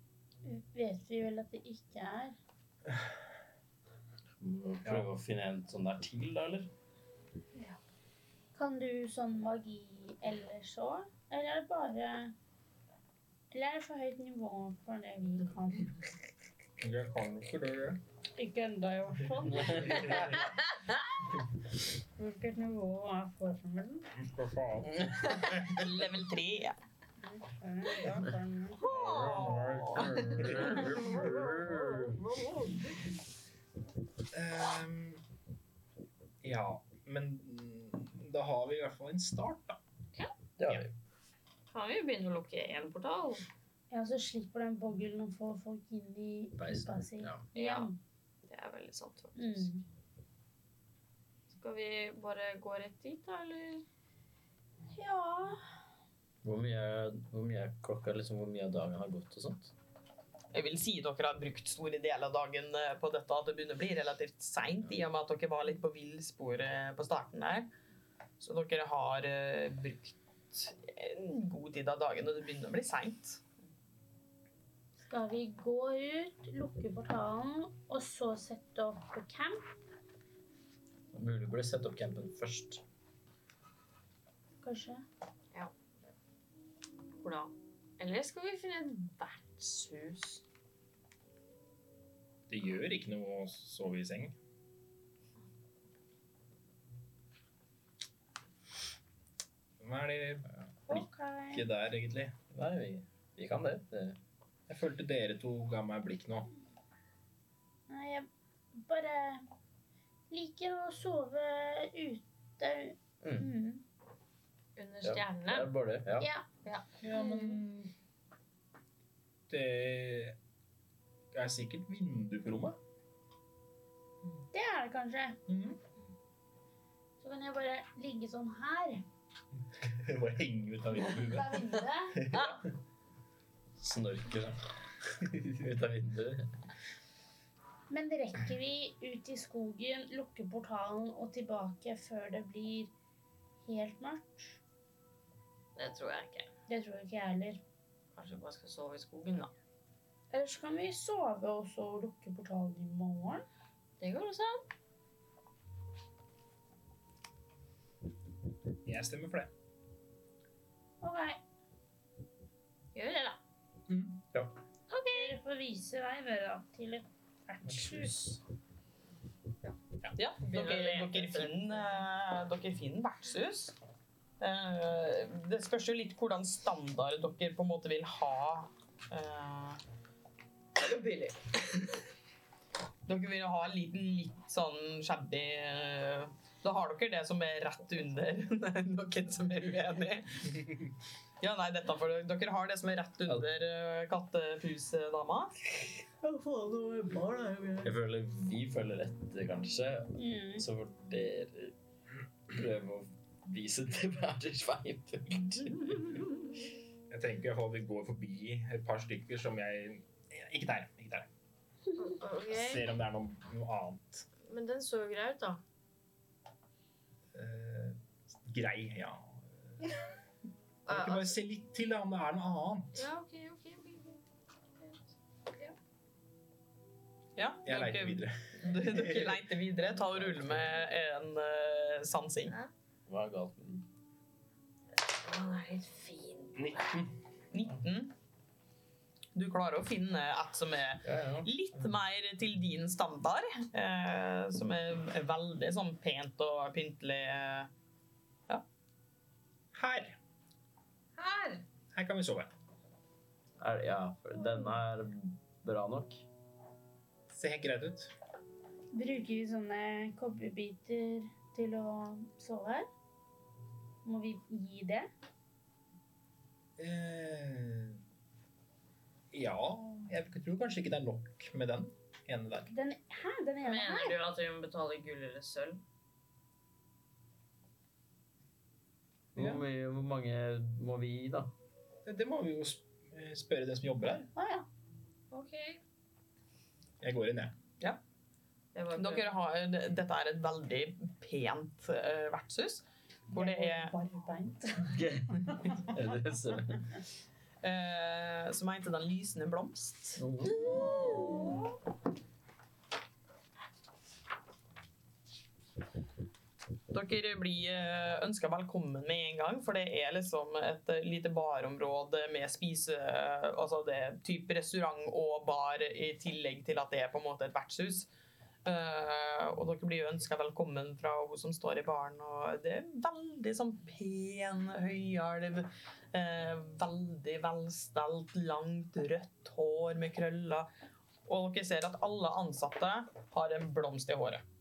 S14: vet vi vel at det ikke er.
S4: Må vi Prøve å finne en sånn der til, da, eller?
S14: Kan du sånn magi ellers òg? Eller er det bare Eller er det for høyt nivå for det vi kan?
S3: Jeg kan ikke det.
S14: Ikke ennå, i hvert fall. Hvilket nivå er formelen?
S3: Hva faen?
S1: Level 3.
S3: Ehm, ja, men mm, da har vi i hvert fall en start, da.
S4: Det har vi.
S6: Kan vi begynne å lukke én portal?
S14: Ja, så slipper den boglen å få folk inn i pipa si.
S4: Beisen. Ja.
S6: Ja. Det er veldig sant, faktisk.
S14: Mm.
S6: Skal vi bare gå rett dit, da, eller?
S14: Ja
S4: Hvor mye, hvor mye er klokka, liksom, hvor mye av dagen har gått og sånt?
S1: Jeg vil si dere har brukt store deler av dagen eh, på dette, at det begynner å bli relativt seint, i og med at dere var litt på villsporet på starten der. Så dere har eh, brukt en god tid av dagen, og det begynner å bli seint.
S14: Skal vi gå ut, lukke portalen, og så sette opp på camp?
S4: Mulig burde sette opp campen først.
S14: Kanskje?
S6: Ja. hvordan. Eller skal vi finne et vertshus?
S3: Det gjør ikke noe å sove i seng. Hva er det
S6: Ok.
S3: blikket der, egentlig?
S4: Nei, vi, vi kan det. det.
S3: Jeg følte dere to ga meg blikk nå.
S2: Nei, jeg bare liker å sove ute. Mm.
S6: Under
S4: Ja. Det
S6: stjernene.
S4: er bare det. Ja.
S2: Ja.
S3: Ja, men Det er sikkert vindu på rommet.
S2: Det er det kanskje. Så kan jeg bare ligge sånn her.
S3: (laughs) Jeg bare henger ut av vinduet.
S2: Fra (laughs) vinduet.
S4: (laughs) Snorker ut av vinduet.
S2: Men rekker vi ut i skogen, lukke portalen og tilbake før det blir helt mørkt?
S6: Det tror jeg ikke.
S2: Det tror jeg ikke jeg heller.
S6: Kanskje vi bare skal sove i skogen, da.
S2: Ellers kan vi sove og så lukke portalen i morgen.
S6: Det går også.
S3: Jeg stemmer for det.
S2: Ok,
S6: Gjør det, da.
S14: Mm,
S2: dere får vise vei dere da, til et vertshus.
S1: Ja, dere, dere, finner, eh, dere finner vertshus. Eh, Det spørs jo litt hvordan standard dere på en måte vil ha. eh,
S24: Billig.
S1: Dere vil ha litt, litt sånn shabby eh, Da har dere det som er rett under (laughs) noen som er uenig. Ja, nei, dette får dere. Dere har det som er rett under eh, kattepusdama.
S4: Jeg føler vi følger etter, kanskje.
S2: Mm.
S4: Så får dere prøve å vise til hver deres veipunkt.
S3: Jeg tenker i hvert fall vi går forbi et par stykker som jeg Ikke der. ikke der.
S6: Ok.
S3: Ser om det er noe, noe annet
S6: Men den så jo grei ut, da.
S3: eh, grei. Ja. Kan vi ikke
S6: Ja,
S3: bare se litt til da, om det er noe annet?
S6: ja, ok, ok.
S1: Ja,
S3: Jeg
S1: dere-
S3: leiter videre.
S1: Dere leiter videre. Ta og rull med en eh, sansing.
S4: Hva er galt med den?
S6: Den er litt fin.
S3: 19.
S1: 19. Du klarer å finne et som er
S4: Ja, ja.
S1: litt mer til din standard. Eh, som er er veldig sånn pent og pyntelig. eh.
S3: Her.
S6: Her!
S3: Her kan vi sove.
S4: Er, ja, for denne er bra nok.
S3: Ser helt greit ut.
S2: Bruker vi sånne kobberbiter til å sove her? Må vi gi det?
S3: Eh, ja Jeg tror kanskje ikke det er nok med den ene der.
S2: Den, hæ, den ene her?
S6: Mener du at vi må betale gull eller sølv?
S3: Ja.
S4: Hvor, mye, hvor mange må vi gi, da?
S3: Det, det må vi jo sp- eh, spørre den som jobber her.
S2: Å ja.
S6: Ok.
S3: Jeg går inn, jeg.
S6: Det var
S1: Dere har, d- dette er et veldig pent eh, vertshus. Hvor det er
S2: barbeint.
S4: Eller det ser vi.
S1: eh, Som heter Den lysende blomst. Dere blir ønska velkommen med en gang, for det er liksom et eh, lite barområde med spise... eh, Altså det er typ restaurant og bar i tillegg til at det er på en måte et vertshus. Eh, og dere blir ønska velkommen fra hun som står i baren, og det er veldig sånn pen høyalv. eh, veldig velstelt, langt rødt hår med krøller. Og dere ser at alle ansatte har en blomst i håret.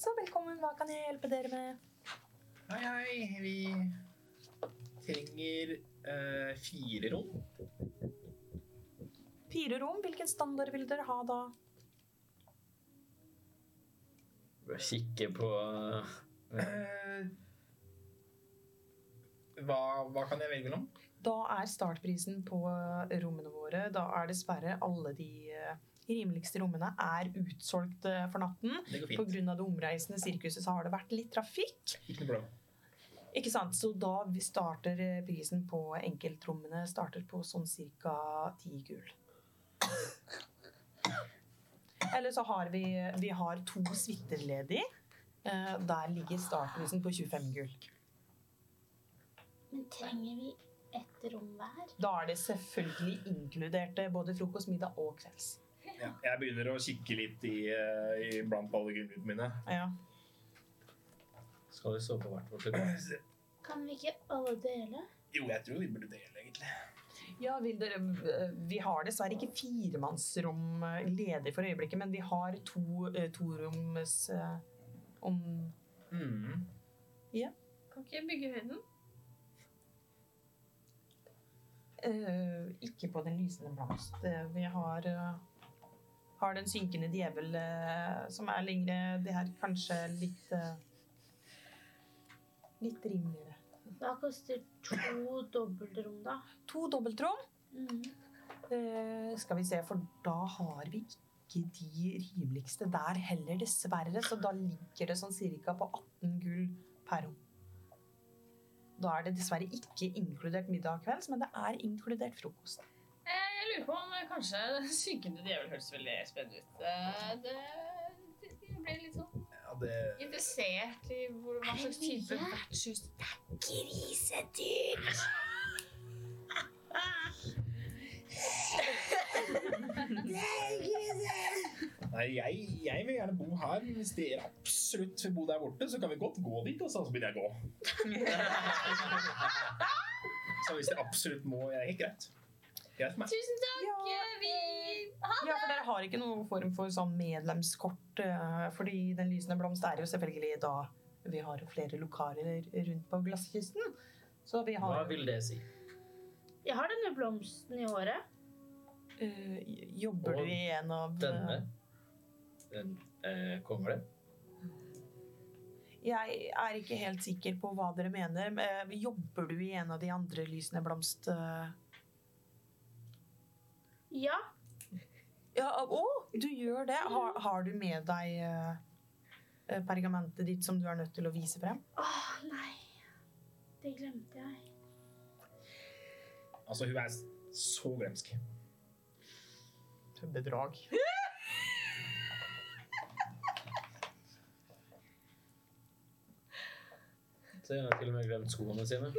S1: Så velkommen, hva kan jeg hjelpe dere med?
S3: Hei, hei. Vi trenger eh, fire rom.
S1: Fire rom, hvilken standard vil dere ha da?
S4: Bare kikke på
S3: Eh, hva, hva kan jeg velge mellom?
S1: Da er startprisen på eh, rommene våre, da er dessverre alle de eh, rimeligste rommene er utsolgt eh, for natten.
S3: Det går
S1: På
S3: fint.
S1: grunn av det omreisende sirkuset så har det vært litt trafikk.
S3: Ikke noe problem.
S1: Ikke sant? Så da vi starter eh, prisen på enkeltrommene starter på sånn cirka ti gull. Eller så har vi, vi har to suiter ledig. Eh, Der ligger startprisen på 25 gull.
S2: Men trenger vi ett rom hver.
S1: Da er det selvfølgelig inkluderte både frokost, middag og kvelds.
S3: Ja. Jeg begynner å kikke litt i, eh, i blant alle gullene mine.
S1: Ja.
S4: Skal vi sove på hvert vårt rom?
S2: Kan vi ikke alle dele?
S3: Jo, jeg tror vi burde dele, egentlig.
S1: Ja, vil dere, eh, Vi har dessverre ikke firemannsrom eh, ledig for øyeblikket, men vi har to eh, toroms eh, om
S3: Mm.
S11: Kan ikke bygge høyden?
S1: eh, Ikke på den lysende blomst. Eh, Vi har, eh, har den synkende djevel eh, som er lengre. Det er kanskje litt eh, Litt rimeligere.
S2: Hva koster to dobbeltrom, da?
S1: To dobbeltrom.
S2: Mm.
S1: Eh, skal vi se, for da har vi ikke de rimeligste der heller, dessverre. Så da ligger det sånn cirka på 18 gull per rom. Da er det dessverre ikke inkludert middag og kvelds, men det er inkludert frokost.
S6: Eh, Jeg lurer på om eh, kanskje (laughs) Den synkende djevel høres veldig spennende ut. Eh, Det, det, jeg ble litt sånn
S3: Ja, det
S6: interessert i hvor, hva slags type
S2: Herre.
S6: vertshus
S2: Grisedyr!
S3: Nei, jeg, jeg vil gjerne bo her, men hvis dere absolutt vil bo der borte, så kan vi godt gå dit, altså. Så begynner jeg å gå. så hvis dere absolutt må, jeg er helt greit. Greit for meg.
S11: Tusen takk!
S1: Ja,
S6: eh,
S11: Vi
S1: ja, for dere har ikke noen form for sånn medlemskort, eh, fordi den lysende blomst er jo selvfølgelig da vi har jo flere lokaler rundt på glasskysten. Så vi
S9: Hva
S1: har
S9: vil det si?
S14: Jeg har denne blomsten i håret.
S1: eh, Jobber du
S4: Og
S1: i en av eh,
S4: Denne. Den, eh, kommer det?
S1: Jeg er ikke helt sikker på hva dere mener. men eh, Jobber du i en av de andre lysende blomst... eh?
S14: Ja,
S1: Ja, å, du gjør det. Har, har du med deg eh, eh, pergamentet ditt som du er nødt til å vise frem?
S2: Åh, nei. Det glemte jeg.
S3: Altså, hun er så gremsk.
S1: Bedrag.
S4: Så jeg har til og med glemt skoene sine.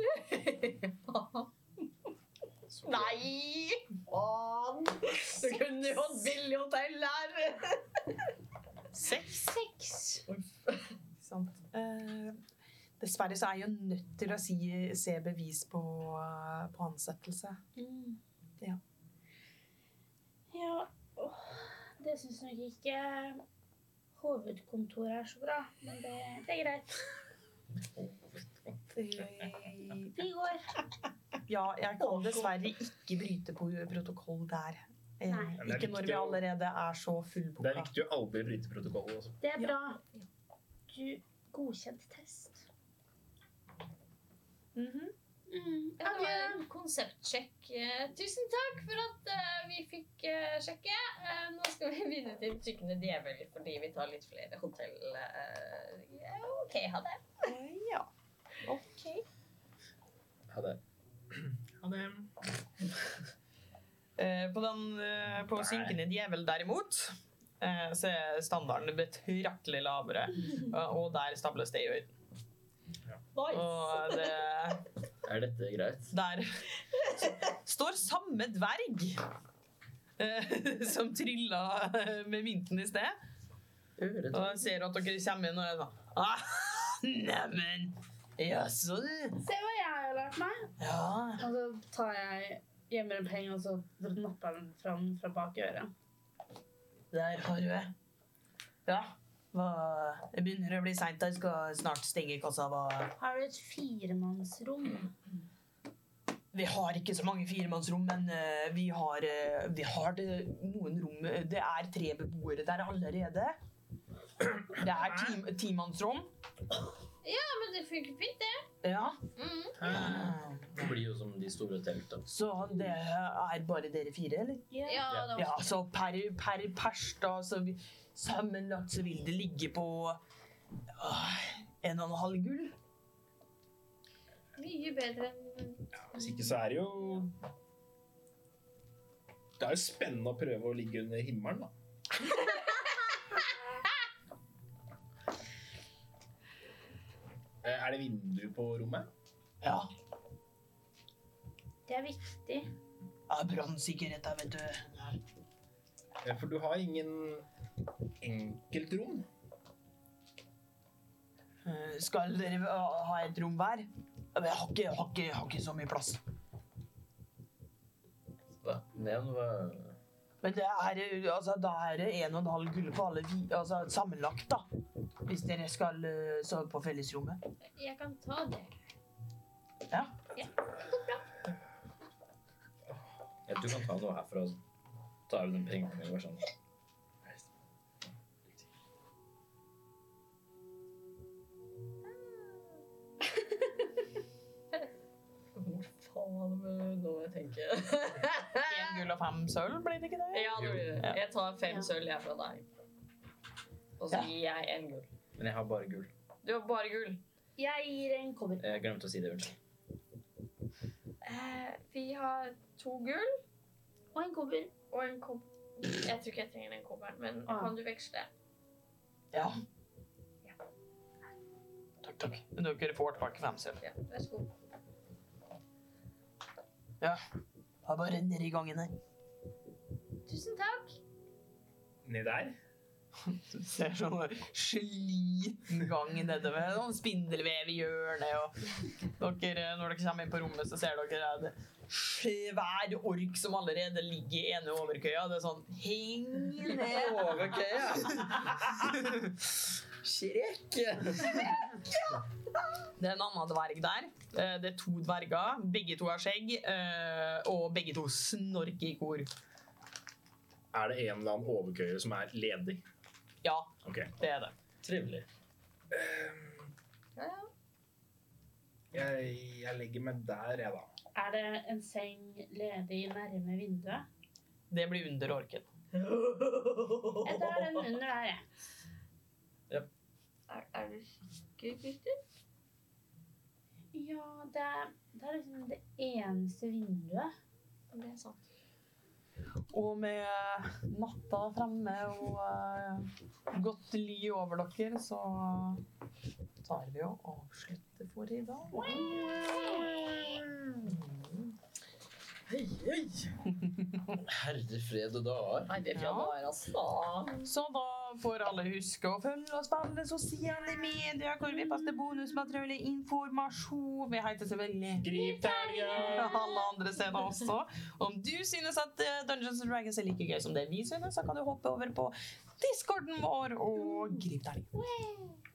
S6: Nei! Faen! Du kunne jo hatt billig hotell der!
S1: Seks.
S6: Seks.
S1: Sant. Eh, dessverre så er jeg jo nødt til å si, se bevis på, eh, på ansettelse. Ja.
S2: Ja, åh, det syns nok ikke hovedkontoret er så bra, men det, det er greit.
S1: Eh,
S2: Vi går.
S1: Ja, jeg kan dessverre ikke bryte på protokoll der. Eh,
S2: Nei.
S3: Men det er
S1: Ikke når
S3: viktig
S1: vi
S3: å-
S1: allerede er så
S3: Det er
S1: fullboka.
S3: viktig å aldri bryte protokollen. Altså.
S2: Det er
S1: Ja.
S2: bra. Du godkjent test. Mm,
S11: Det var en konseptsjekk. Eh, Tusen takk for at eh, vi fikk eh, sjekke. Eh, Nå skal vi (laughs) videre til Tykkende djevel, fordi vi tar litt flere hotell. eh, ja, OK, ha det.
S1: Eh, Ja. OK.
S4: Ha det.
S1: Eh, På, den, eh, på synkende djevel derimot, eh, så er standarden betraktelig lavere. Og- Og der stables det i høyden. Og det,
S4: Er dette greit?
S1: der står samme dverg eh, (laughs) som trylla eh, med mynten i sted.
S9: Øret.
S1: Og jeg ser at dere kommer inn og er sånn ah, Neimen, jaså du.
S14: se hva jeg har lært meg.
S1: Ja.
S14: Og så tar jeg gjemmer en penge, og så napper jeg den fram fra bak øret.
S1: Der har du det. Ja. Hva, det begynner å bli seint. Jeg skal snart stenge kassa. Hva?
S14: Har du et firemannsrom?
S1: Vi har ikke så mange firemannsrom, men eh, vi har, eh, vi har det, noen rom eh, Det er tre beboere der allerede. Det er ti, timannsrom.
S11: Ja, men det funker fint, det.
S1: Ja.
S11: Mm.
S4: Det blir jo som de store telta.
S1: Så det er bare dere fire, eller?
S11: Ja, det var
S1: Ja, så per, per pers, da, så vi, sammenlagt så vil det ligge på åh, en og en halv gull.
S11: mye bedre enn
S3: Hvis ikke så er det jo Det er jo spennende å prøve å ligge under
S25: (laughs)
S3: himmelen, da. Eh, Er det vindu på rommet?
S1: Ja.
S2: Det er viktig.
S1: Ja, Brannsikkerhet der, vet du.
S3: Eh,
S25: Ja, For du har ingen enkeltrom?
S1: Eh, Skal dere ha- ha et rom hver? Ja, men Jeg har ikke, jeg har ikke, jeg har ikke så mye plass.
S4: Hva? Nevn hva
S1: Men det er, eh, altså, da er det en og en halv gull på alle vi, altså, sammenlagt, da. Hvis dere skal eh, sove på fellesrommet.
S2: Jeg kan ta
S11: (laughs)
S2: det.
S1: Ja.
S4: ja, Du kan ta noe herfra. så tar vi den pengene. Vær sånn.
S6: Hvor faen nå må jeg tenke?
S1: Én gull og fem sølv, blir det ikke det?
S6: ja, nå blir det. Jeg tar fem sølv jeg fra deg. Og så
S1: Ja.
S6: gir jeg en gull.
S4: Men jeg har bare gull.
S6: Du har bare gull.
S2: Jeg gir en cover.
S4: Jeg glemte å si det. Unnskyld.
S11: Eh, vi har to gull
S2: Og en cover.
S11: og en kobb. Jeg tror ikke jeg trenger den kobberen, men
S1: Ah.
S11: kan du veksle?
S1: Ja. Takk, takk. Dere får tilbake fem sølv.
S11: Ja, vær så god.
S1: Ja. Da bare renner i gangen her.
S11: Tusen takk.
S3: Ned der.
S1: Du (laughs) ser sånn sliten gang nedover. Sånn spindelvev i hjørnet. Og dere, når dere kommer inn på rommet, så ser dere en svær ork som allerede ligger i ene overkøya. Det er sånn Heng ned!
S9: Overkøya! Shrek!
S1: Det er en annen dverg der. Eh, Det er to dverger. Begge to har skjegg. eh, Og begge to snorker i kor.
S3: Er det en eller annen overkøyer som er ledig?
S1: Ja,
S3: Ok.
S1: det er det.
S4: Trivelig.
S25: Jeg, jeg legger meg der, jeg, da.
S14: Er det en seng ledig nærme vinduet?
S1: Det blir under orken.
S14: Jeg tar den under der, jeg.
S11: Er, er du sikker, Kristin?
S14: Ja, det er, det er liksom det eneste vinduet.
S11: Det er sant.
S1: Og med eh, natta fremme og eh, godt ly over dere, så tar vi og avslutter for i dag.
S6: Hei, hei!
S4: Herre fred og dager.
S6: Nei, det
S1: Ja.
S6: var altså.
S1: Så da får alle huske å følge oss på alle sosiale medier, hvor vi poster bonusmateriale, informasjon. Vi heter selvfølgelig
S3: Grip
S1: fra
S3: telgen!
S1: alle andre steder også. Om du synes at eh, Dungeons and Dragons er like gøy som det vi synes, så kan du hoppe over på discorden vår og gripe deg.